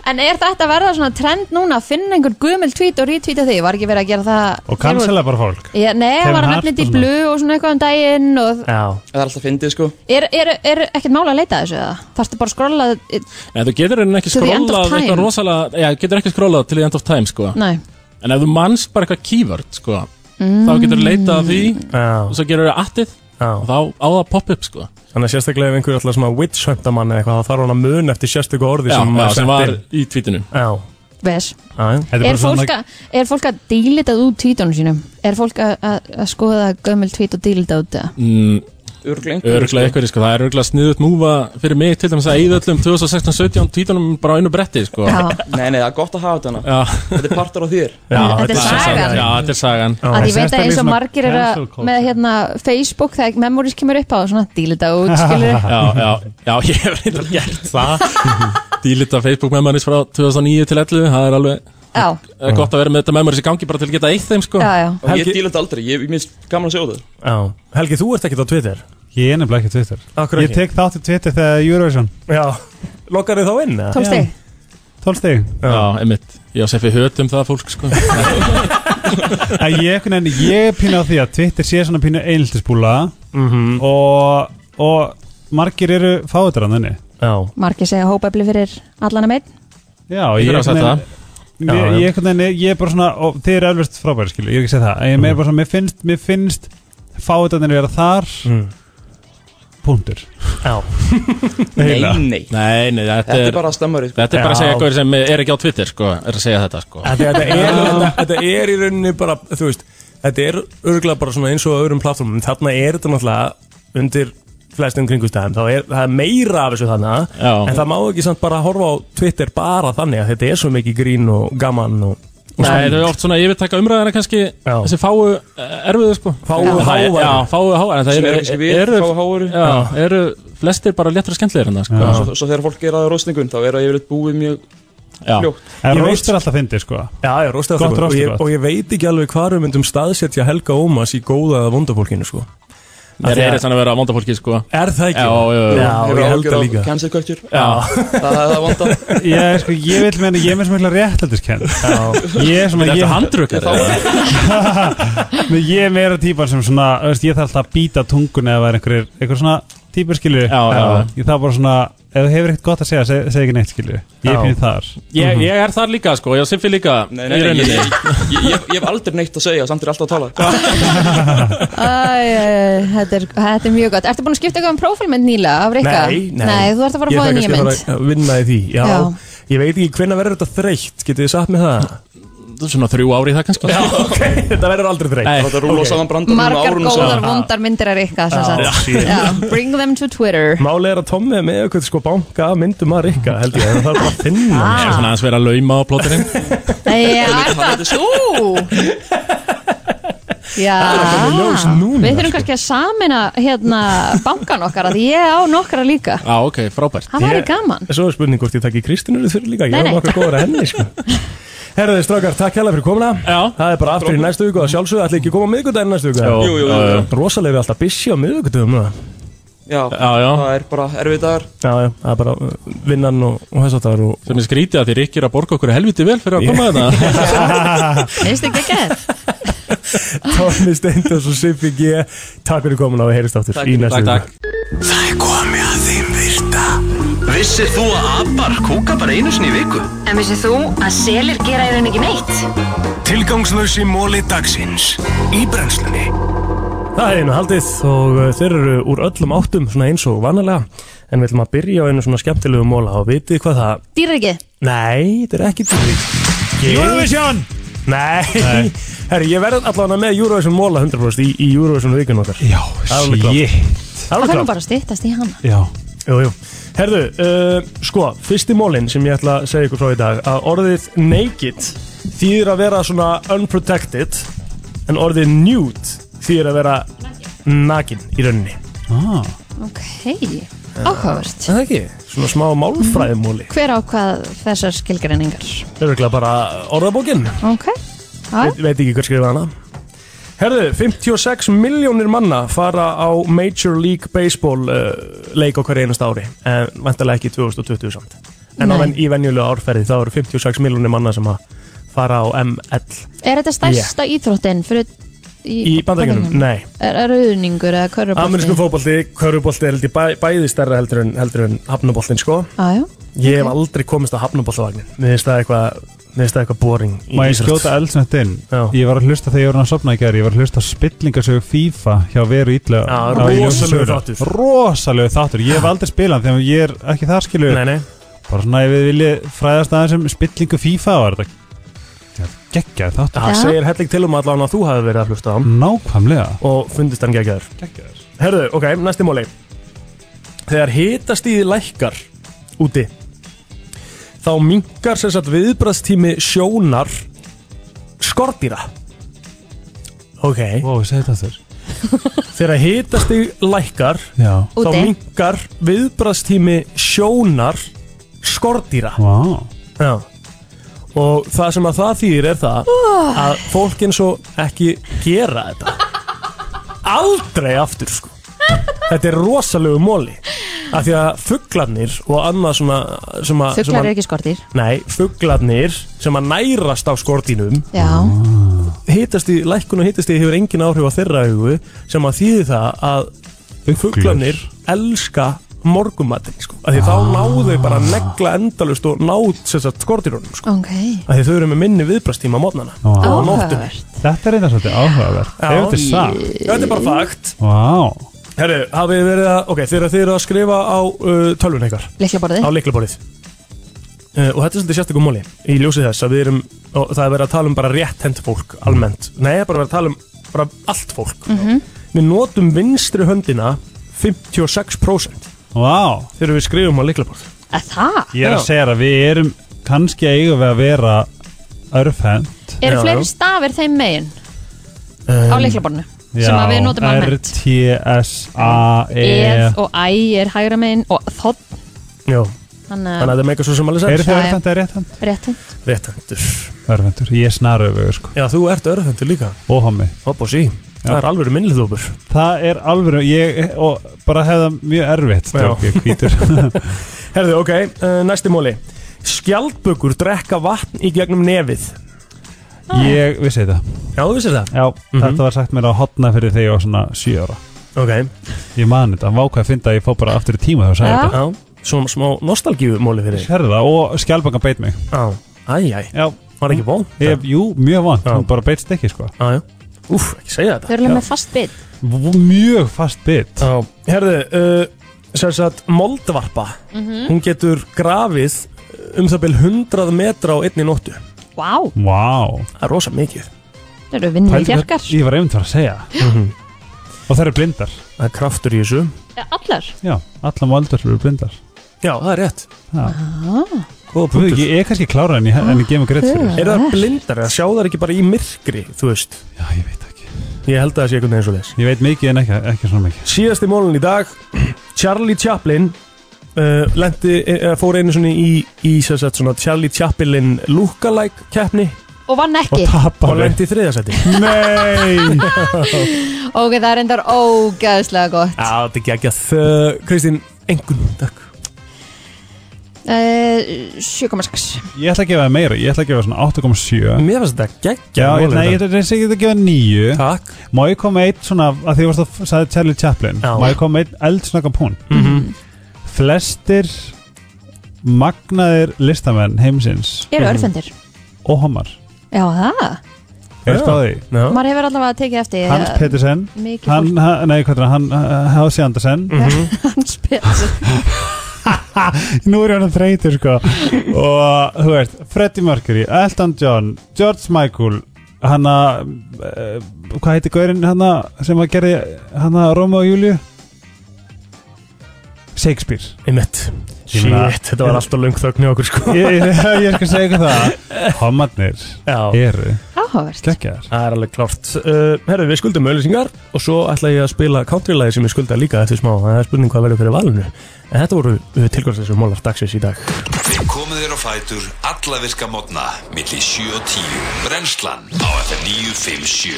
Speaker 3: En er þetta að verða svona trend núna að finna einhvern gumil tweet og retweeta því? Var ekki verið að gera það
Speaker 4: Og cancela bara fólk
Speaker 3: Já, Nei,
Speaker 4: Kevin
Speaker 3: hann var að
Speaker 4: Hart
Speaker 3: nefna
Speaker 4: og
Speaker 3: þetta í
Speaker 4: svona.
Speaker 3: blu og svona eitthvað um daginn og
Speaker 2: Já
Speaker 13: Það er alltaf fyndið sko
Speaker 3: er, er, er ekkert mála að leita að þessu eða? Þarftu bara að skrolla
Speaker 14: En þú getur henni ekki
Speaker 3: To the end of
Speaker 14: skrólað
Speaker 3: time.
Speaker 14: eitthvað rosalega, já, þú getur ekki skrólað til the end of time, sko
Speaker 3: Nei
Speaker 14: En ef þú manns bara eitthvað keyword, sko
Speaker 3: Mm.
Speaker 14: þá getur leitað að því
Speaker 2: Já.
Speaker 14: og svo gerur það attið
Speaker 2: Já.
Speaker 14: og þá á það popp upp, sko
Speaker 2: Þannig að sérstaklega ef einhver er alltaf svona witch hunta mann eða eitthvað þá þarf hann að muna eftir sérstöku orði
Speaker 14: Já,
Speaker 2: sem,
Speaker 14: já,
Speaker 2: var
Speaker 14: sem
Speaker 2: sent
Speaker 14: var
Speaker 2: inn.
Speaker 14: í tweetinu
Speaker 2: Já,
Speaker 3: Ves
Speaker 2: já, já.
Speaker 3: Er fólk, að, er fólk að dílita út tweetunum sínum? Er fólk að, að, að skoða gömul tweet og dílita út það?
Speaker 14: mm,
Speaker 13: Örglega
Speaker 14: einhverju einhverju, sko, það er örglega sniðut múfa fyrir mig til dæmis að eigða öllum 2016-17 títunum bara á einu bretti, sko
Speaker 3: Já.
Speaker 13: Nei, nei, það er gott að hafa þetta hana
Speaker 14: Já.
Speaker 13: Þetta er partur á þér
Speaker 14: Já,
Speaker 3: Þetta er sagan.
Speaker 14: Já, þetta er sagan
Speaker 3: að ég veit að eins og margir eru að- með hérna, Facebook þegar memories kemur upp á og svona dílita út [LAUGHS] skilur
Speaker 14: já, já, já, ég hef reyndar gert það Dílita Facebook memories frá 2009 til 11 Það er alveg
Speaker 3: Já,
Speaker 14: eh, gott að vera með þetta memories í gangi bara til að geta eitt þeim sko
Speaker 3: Já, já.
Speaker 13: Og ég díla þetta aldrei, ég, ég minnst gaman að sjá það
Speaker 2: já. Helgi, þú ert ekkert á Twitter
Speaker 4: Ég er nefnilega ekki á Twitter
Speaker 2: Akkur
Speaker 4: Ég tek þátt í Twitter þegar Eurovision
Speaker 2: Já, lokar þið þá inn? eða?
Speaker 3: 12 stig
Speaker 4: 12 stig
Speaker 14: Já, einmitt Ég á sefi hötum það fólk sko
Speaker 4: En ég, einhvern veginn, ég er pínu á því að Twitter sé svona pínu einhiltisbúla
Speaker 14: Mhm.
Speaker 4: og, og margir eru fáið þar að þenni
Speaker 2: Já
Speaker 3: margir segja hópaefli fyrir allan að meitt
Speaker 4: Já,
Speaker 14: Ég
Speaker 4: ég
Speaker 14: þarf að
Speaker 4: einhvern
Speaker 14: setja
Speaker 4: veginn-
Speaker 14: það. Já,
Speaker 4: Mér-
Speaker 14: já.
Speaker 4: ég einhvern veginn, ég er bara svona og þið eru alveg frábæri, skilu, ég er ekki að segja það en
Speaker 14: Mm.
Speaker 4: ég meira bara svona, mér finnst, mér finnst fáiðarnir vera þar
Speaker 14: Mm.
Speaker 4: punktur [LAUGHS]
Speaker 2: Já
Speaker 13: Nei, nei
Speaker 14: Nei, nei, þetta,
Speaker 13: Þetta er bara stammari, sko.
Speaker 14: Þetta er bara að segja
Speaker 2: Já.
Speaker 14: eitthvað sem er ekki á Twitter sko Er að segja þetta sko
Speaker 2: Þetta, þetta, er, þetta, þetta er í rauninni bara, þú veist, þetta er örgulega bara svona eins og á öðrum plattformum, þarna er þetta náttúrulega undir flestum kringustæðum, þá er það er meira af þessu þannig,
Speaker 14: Já.
Speaker 2: en það má ekki samt bara horfa á Twitter bara þannig að þetta er svo mikið grín og gaman og, og
Speaker 14: Nei, þetta er oft svona yfirtaka umræðina kannski Þessi fáu eh, erfiðu sko
Speaker 2: Fáu
Speaker 14: Já.
Speaker 2: háværu.
Speaker 14: Já, fáu háværi
Speaker 13: Sem eru kannski við, fáu háværu.
Speaker 14: Já, eru flestir bara léttur og skemmtlegir hérna sko
Speaker 13: svo, svo þegar fólk gera það rostningun þá er það yfirleitt búið mjög
Speaker 14: Já.
Speaker 13: fljótt
Speaker 2: Ég
Speaker 4: En
Speaker 2: veit-
Speaker 4: rost er alltaf fyndið, sko
Speaker 2: Já, já, róstaði
Speaker 4: Gott
Speaker 2: okkur og,
Speaker 4: roast,
Speaker 2: ég-
Speaker 4: gott.
Speaker 2: og ég veit ekki alveg hvað við myndum staðsetja Helga Ómas í góða eða vondafólkinu sko Af
Speaker 14: Það
Speaker 2: því að-
Speaker 14: er þannig að vera að vonda fólki sko
Speaker 2: Er það
Speaker 14: Já,
Speaker 2: ekki?
Speaker 14: já, já.
Speaker 2: já, ég held það líka
Speaker 13: Cancel culture Það
Speaker 14: Já.
Speaker 13: það er það vonda
Speaker 4: [LAUGHS] Ég, sko, ég vil meina, ég er með svo mikla réttaldiskennd Ég er svona
Speaker 14: Þetta
Speaker 4: ég,
Speaker 14: er handrukar
Speaker 4: Nei, ég er meira típan sem svona þú veist, Ég þarf alltaf að býta tungun eða vera einhverjir Einhver svona típur skilur
Speaker 14: Já, já, já.
Speaker 4: Ég þarf bara svona, ef þú hefur ekkert gott að segja Segð seg ekki neitt skilur, ég
Speaker 14: Já.
Speaker 4: er fyrir þar
Speaker 14: [LAUGHS]
Speaker 4: Mhm.
Speaker 14: Ég, ég er þar líka sko, ég og Siffi líka
Speaker 13: Nei, nei, nei, ég, ég, ég, ég, ég hef aldrei neitt að segja samt er alltaf að tala
Speaker 3: Æ, þetta, er, þetta er mjög gott Ertu búin að skipta eitthvað um prófílmynd nýla af Rikka?
Speaker 2: Nei, nei.
Speaker 3: þú ert að fara að fá
Speaker 2: Ég ætla
Speaker 3: þér nýja
Speaker 2: kannski
Speaker 3: mynd
Speaker 2: fara að vinna í því, já.
Speaker 3: Já.
Speaker 2: Ég veit ekki hvenna verður þetta þreytt, getið þið sagt með það?
Speaker 14: Svona þrjú ári í það kannski
Speaker 2: Já, ok, [LAUGHS] þetta verður aldrei þreytt.
Speaker 14: Nei.
Speaker 13: Þetta rúla saman
Speaker 2: um
Speaker 13: brandanum
Speaker 3: Margar
Speaker 13: árunum
Speaker 3: góðar
Speaker 13: saman
Speaker 3: vondar myndir að Rikka sem
Speaker 2: Já,
Speaker 3: sagt.
Speaker 2: shit.
Speaker 3: Já, Bring them to Twitter
Speaker 2: Málið er að Tommi er með eitthvað sko banka af myndum að rikka held ég, en það er bara að finna
Speaker 14: Ah. Ég er svona aðeins verið að lauma á plóterinn
Speaker 3: Nei, Ah. já, er það þú? Já, við
Speaker 2: sko.
Speaker 3: þurfum kannski að samina hérna bankan okkar að ég á nokkra líka
Speaker 14: Já, ok, frábært
Speaker 3: Það væri gaman.
Speaker 2: Svo er spurning hvort ég takk í Kristinurðu fyrir líka, ég
Speaker 3: Nei,
Speaker 2: er
Speaker 3: nei.
Speaker 2: nokkað góður að henni
Speaker 3: [LAUGHS]
Speaker 2: sko. Herðu strákar, takk hella fyrir komuna
Speaker 14: Já.
Speaker 2: Það er bara aftur í næstu viku og að sjálfsögðu ætli ekki að koma á miðvikudaginn næstu viku Eh,
Speaker 14: Jú, jú, jú, jú.
Speaker 2: Rosalega er við alltaf busy á miðvikudagum Já,
Speaker 13: Já,
Speaker 14: Já, já.
Speaker 13: það er bara erfið dagar
Speaker 2: já, það er bara uh, vinnan og, og þess að það eru
Speaker 14: Sem
Speaker 13: [LAUGHS]
Speaker 14: er
Speaker 2: [LAUGHS]
Speaker 14: skrítið að þið rikkir að borga okkur helviti vel fyrir að koma þetta
Speaker 3: Finnst þið ekki ekki?
Speaker 2: Tommi Steindors og Siffi G Takk fyrir komin á að heyrist áttur
Speaker 14: Takk,
Speaker 2: í næstu
Speaker 14: takk,
Speaker 2: viku.
Speaker 12: Það er komið að þeim virta Vissir þú að abar kúka bara einu sinni í viku?
Speaker 10: En vissið þú að selir gera í raun ekki neitt?
Speaker 12: Tilgangslösi móli dagsins Í brennslunni
Speaker 2: Það er einu haldið og uh, þeir eru úr öllum áttum svona eins og vanalega en við ætlum að byrja á einu svona skemmtilegu móla og vitið hvað það
Speaker 3: Dýrar ekki?
Speaker 2: Nei, þetta er ekki dýrvík
Speaker 3: Eurovision!
Speaker 2: Nei, Nei. [LAUGHS] Herri, ég verð allavega með Eurovision móla 100% í, í Eurovision vikun okkar Já,
Speaker 3: Það
Speaker 2: Alveg
Speaker 3: kannum
Speaker 2: klart
Speaker 3: bara stýttast í hana
Speaker 2: Já Jú, jú Herðu, uh, sko, fyrsti mólin sem ég ætla að segja ykkur frá í dag að orðið naked þýðir að vera svona unprotected en orðið nude þýðir að vera nakin í rauninni ah.
Speaker 3: Ok, áhugavert
Speaker 2: Það ekki, svona smá málfræðimóli
Speaker 3: Hver ákvað þessar skilgreiningar?
Speaker 2: Örgulega bara orðabókin
Speaker 3: Ok, já,
Speaker 2: veit, veit ekki hver skrifaði hana Herðu, 56 miljónir manna fara á Major League Baseball uh, leik á hverju einast ári en vantarlega ekki 2020 samt en á
Speaker 3: Nei.
Speaker 2: venn í venjulega árferði þá eru 56 miljónir manna sem að fara á ML
Speaker 3: er þetta stærsta íþróttin fyrir
Speaker 2: í bandaríkjunum? Nei
Speaker 3: Er er auðningur eða körfubolti?
Speaker 2: Amerískum fótbolti, körfubolti er held ég bæ, bæði stærra heldur en, heldur en hafnaboltin sko
Speaker 3: Á, já.
Speaker 2: Ég hef aldrei komist á hafnaboltavagnin Mér finnst það eitthvað Mér finnst það eitthvað boring í
Speaker 4: Má ég
Speaker 2: íþrótt.
Speaker 4: skjóta eldsnett inn Ég var að hlusta þegar ég var að sopna í gerð Ég var að hlusta spillingasögu FIFA hjá Veru Ítla
Speaker 2: Já, rosalegur þáttur.
Speaker 4: Rosalegu þáttur Ég hef aldrei spilað hann þegar ég er ekki þar skilur
Speaker 2: Nei, nei
Speaker 4: Bara svona ef við viljið fræðast aðeins um spillingu FIFA var þetta Gekkjaði þáttur
Speaker 2: Það segir helling til um allan að þú hafi verið að hlusta á hann
Speaker 4: Nákvæmlega
Speaker 2: Og fundist hann geggjaður
Speaker 4: Geggjaður
Speaker 2: Herðu, ok, næsti móli Þegar hitastíði lækkar úti Þá minkar sem sagt viðbrastími sjónar Skordýra Ok
Speaker 4: Ó, segði þetta þurr
Speaker 2: Þegar hitastíði lækkar
Speaker 4: Já
Speaker 2: Þá
Speaker 4: Úti.
Speaker 2: minkar viðbrastími sjónar Skordýra
Speaker 4: Vá
Speaker 2: Já Og það sem að það þýðir er það
Speaker 12: Oh.
Speaker 2: að fólk eins og ekki gera þetta Aldrei aftur sko Þetta er rosalegu móli Af því að fuglarnir og annað svona sem að, Ah, sem
Speaker 3: Fuglar
Speaker 2: að,
Speaker 3: eru ekki skortir
Speaker 2: Nei, fuglarnir sem að nærast á skortinum
Speaker 3: Já,
Speaker 2: Ah. hitast í, lækkun og hitast í hefur engin áhrif á þeirra augu sem að þýði það að fuglarnir elska morgumatinn sko. af því þá náðu þau bara að negla endalust og náð sérsagt skortinunum sko.
Speaker 3: ok
Speaker 2: af því þau eru með minni viðbrastíma á mótnana og á nóttunni
Speaker 4: Þetta er einnig svolítið áhugavert
Speaker 2: Já.
Speaker 4: Þegar þetta er sagt
Speaker 2: Þetta er bara fakt
Speaker 4: Vá
Speaker 2: Herru, hafið þið verið að, ok, þegar þið eru að skrifa á uh, tölvun eitthvað
Speaker 3: Lyklaborðið.
Speaker 2: Á leiklaborðið uh, Og þetta er svolítið sérstakum móli Í ljósið þess að við erum, og það er verið að tala um bara rétt hend fólk almennt Nei, bara verið að tala um bara allt fólk
Speaker 12: Mhm.
Speaker 2: Við notum vinstri höndina 56%
Speaker 4: Vá
Speaker 2: Þegar við skrifum á leiklaborð
Speaker 3: að það?
Speaker 4: Ég er að segja þér að við erum kannski eigum við að vera örfend
Speaker 3: Eru fleiri stafir þeim megin á leiklaborðinu sem að við notum almennt?
Speaker 4: R, T, S, A, E
Speaker 2: Eh.
Speaker 3: Eð og æ er hægra megin og þótt
Speaker 2: Jó
Speaker 3: Þannig
Speaker 2: Þannig að þetta meika svo sem alveg sens. Eru þið örvhentir
Speaker 4: eða rétthend?
Speaker 3: Rétthend
Speaker 2: Rétthendur
Speaker 4: Örfendur, ég er snaröfugur sko
Speaker 2: Já, þú ert örfendur líka
Speaker 4: Og hommi
Speaker 2: Hopp og sí Það er alveg minnliðdópur
Speaker 4: Það er alveg, ég, og bara hefða mjög erfitt Stjók,
Speaker 2: Já.
Speaker 4: ég hvítur
Speaker 2: Herðu, ok, uh, næsti móli Skjaldbökur drekka vatn í gegnum nefið
Speaker 4: Ég vissi þetta
Speaker 2: Já, þú vissir það Mhm.
Speaker 4: Já, þetta var sagt mér á hotna fyrir þegar ég var svona 7 ára
Speaker 2: Ok
Speaker 4: Ég man þetta, vákvæði að finna að ég fó bara aftur í tíma þegar
Speaker 2: Já.
Speaker 4: það sagði
Speaker 2: þetta Svona smá nostalgíumóli fyrir þig.
Speaker 4: Sérða, og skjálpangan beit mig
Speaker 2: Já, æjæ
Speaker 4: Já
Speaker 2: Var ekki vond?
Speaker 4: Ég, jú, mjög vond, hún bara beitst ekki sko
Speaker 2: Já, já Úf, ekki segja þetta
Speaker 3: Þau eru alveg með fast bit
Speaker 4: V- Mjög fast bit
Speaker 2: Já, herðu, uh, sem sagt moldvarpa
Speaker 3: Mhm.
Speaker 2: Hún getur grafið um það byrð 100 metra á einni nóttu
Speaker 3: Vá,
Speaker 4: Vá wow.
Speaker 2: Það er rosa mikið
Speaker 3: þau eru vinnir í fjarkar
Speaker 4: Ég var einmitt að fara að segja
Speaker 2: Mhm.
Speaker 4: Og það eru blindar
Speaker 2: Það er kraftur í þessu
Speaker 3: Eh, Allar
Speaker 4: Já, allar moldvarpur eru blindar
Speaker 2: Já, það er rétt
Speaker 4: Já.
Speaker 2: Góða
Speaker 4: Þú veit ekki, ég er kannski klára en ég, en ég gefum greitt fyrir
Speaker 2: Er það blindar eða sjá það ekki bara í myrkri, þú veist? Já, ég veit ekki Ég held að það sé einhvern veginn svo leis
Speaker 4: Ég veit mikið en ekki, ekki svona mikið
Speaker 2: Síðasti mólun í dag Charlie Chaplin uh, lendi, uh, fór einu svona í, í sem sagt, svona Charlie Chaplin lookalike keppni
Speaker 3: og vann ekki
Speaker 2: og lendi í þriðasæti Nei [LAUGHS]
Speaker 3: Ok, það er endar ógæðslega gott
Speaker 2: Já, þetta er geggjað uh, Kristín, engun, takk
Speaker 3: Eh, 7,6
Speaker 4: Ég ætla að gefa það meira, ég ætla að gefa svona 8,7
Speaker 2: Mér finnst þetta geggja
Speaker 4: Já, ég,
Speaker 2: mál
Speaker 4: nei,
Speaker 2: þetta.
Speaker 4: ég ætla reyns ekki að gefa 9
Speaker 2: Takk
Speaker 4: Má ég koma með eitt svona, að því varst að sagði Charlie Chaplin
Speaker 2: Já. Mhm.
Speaker 4: Má ég koma með eitt eldsnöggan pún Flestir magnaðir listamenn heimsins
Speaker 3: Eru örfendir?
Speaker 4: Og homar,
Speaker 3: Já, það
Speaker 4: er spáði
Speaker 3: Maður hefur allavega tekið eftir eh,
Speaker 4: Hans
Speaker 3: að-
Speaker 4: Petersen
Speaker 3: Mikið Mhm.
Speaker 4: hann, ha- Nei, hvað er það, hann uh, Hási Andersen
Speaker 3: [LAUGHS] Hans
Speaker 4: Mhm.
Speaker 3: Petersen
Speaker 4: [LAUGHS] Nú er hann að þreytur sko Og þú veist, Freddie Mercury Elton John, George Michael Hanna uh, Hvað heiti gaurinn hanna sem að gerði Hanna Róma og Júliu Shakespeare
Speaker 2: Einmitt
Speaker 4: Ég meina-
Speaker 2: Shit, þetta var alltaf löng þögn í okkur sko
Speaker 4: Ég, ég, ég skal segja ykkur það Homarnir eru
Speaker 3: Áhugavert
Speaker 4: Gekkjaðar
Speaker 2: Það er alveg klárt uh, Herru, við skuldum auðlýsingar og svo ætla ég að spila countrylæði sem ég skulda líka eftir smá Það er spurning hvað verður fyrir valinu En þetta voru uh, tilgjóðsleysum mólar dagsins í dag
Speaker 1: Við komum þér á fætur alla virka mótna milli 7 og 10 Brennslan á FM 957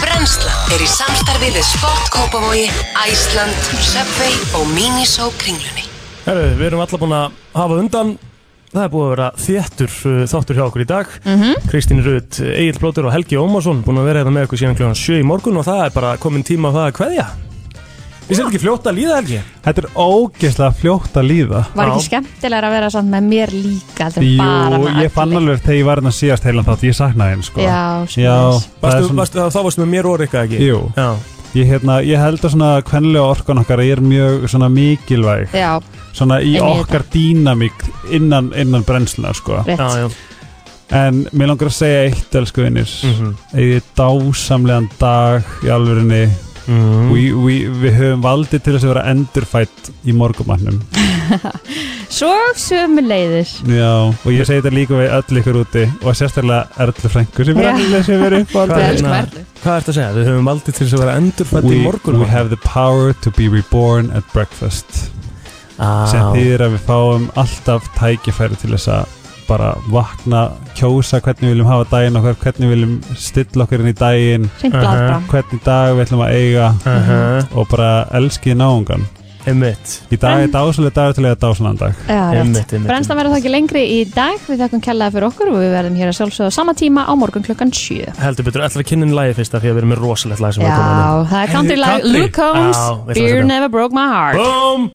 Speaker 10: Brennslan er í samstarfið við Sport Kópavogi, Æsland, Subway og Miniso kringlunni.
Speaker 2: Herru, við erum alla búin að hafa undan Það er búið að vera þéttur uh, þáttur hjá okkur í dag
Speaker 10: Mhm.
Speaker 2: Kristín Rut, Egil Blótur og Helgi Ómarsson Búin að vera hérna með okkur síðan kljóðan 7 í morgun Og það er bara komin tíma á það að kveðja Við sem ekki fljótt að líða Helgi
Speaker 4: Þetta er ógeðslega fljótt að líða
Speaker 3: Var ekki skemmtilega að vera samt með mér líka heldur en bara
Speaker 4: Jú,
Speaker 3: með
Speaker 4: ég fann alveg þegar ég var hérna síðast heilan þátt Ég saknaði henn sko
Speaker 3: Já,
Speaker 4: Já það er
Speaker 2: varstu, varstu, þá, þá varstu með mér og Rikka ekki
Speaker 4: Jú ég, hérna, ég held að svona kvenlega orkan okkar er mjög svona mikilvæg
Speaker 3: Já.
Speaker 4: Svona í
Speaker 3: En ég
Speaker 4: okkar dýnamík innan, innan brennsluna sko
Speaker 3: Rétt. Já, já.
Speaker 4: En mér langar að segja eitt elsku vinnir mm Eða dásamlegan dag í alvörinni
Speaker 2: Mhm.
Speaker 4: vi, vi, Við höfum valdið til þess að vera endurfætt í morgumannum
Speaker 3: Svo sömu leiðis
Speaker 4: Já, og ég segi þetta líka við öll ykkur úti og sérstaklega Erlu Frænku sem er allir sem er upp á
Speaker 2: Hvað er þetta að segja? Við höfum aldrei til þess að vera endurfætt í
Speaker 4: We-
Speaker 2: morgun
Speaker 4: We have the power to be reborn at breakfast
Speaker 2: ah.
Speaker 4: sem þýðir að við fáum alltaf tækifæri til þess að bara vakna, kjósa hvernig við viljum hafa daginn okkar, hvernig við viljum stilla okkur inn í daginn,
Speaker 3: Hreint blaðra.
Speaker 4: hvernig dag við ætlum að eiga
Speaker 2: Mhm.
Speaker 4: og bara elskið náungan
Speaker 2: Einmitt.
Speaker 4: Í dag er dásalega dagur til að eiga dásalega dag
Speaker 3: Já, rétt. Brennslan verður það ekki lengri í dag Við þakkum kellaði fyrir okkur og við verðum hér að sjálfsögða á sama tíma á morgun klukkan 7
Speaker 2: Heldur betur, ætla að kynna einn lagi fyrst af því að við erum með rosalegt lag sem
Speaker 3: Já,
Speaker 2: við komum
Speaker 3: það er country lag Luke Combs, Beer Never Broke My Heart
Speaker 2: Boom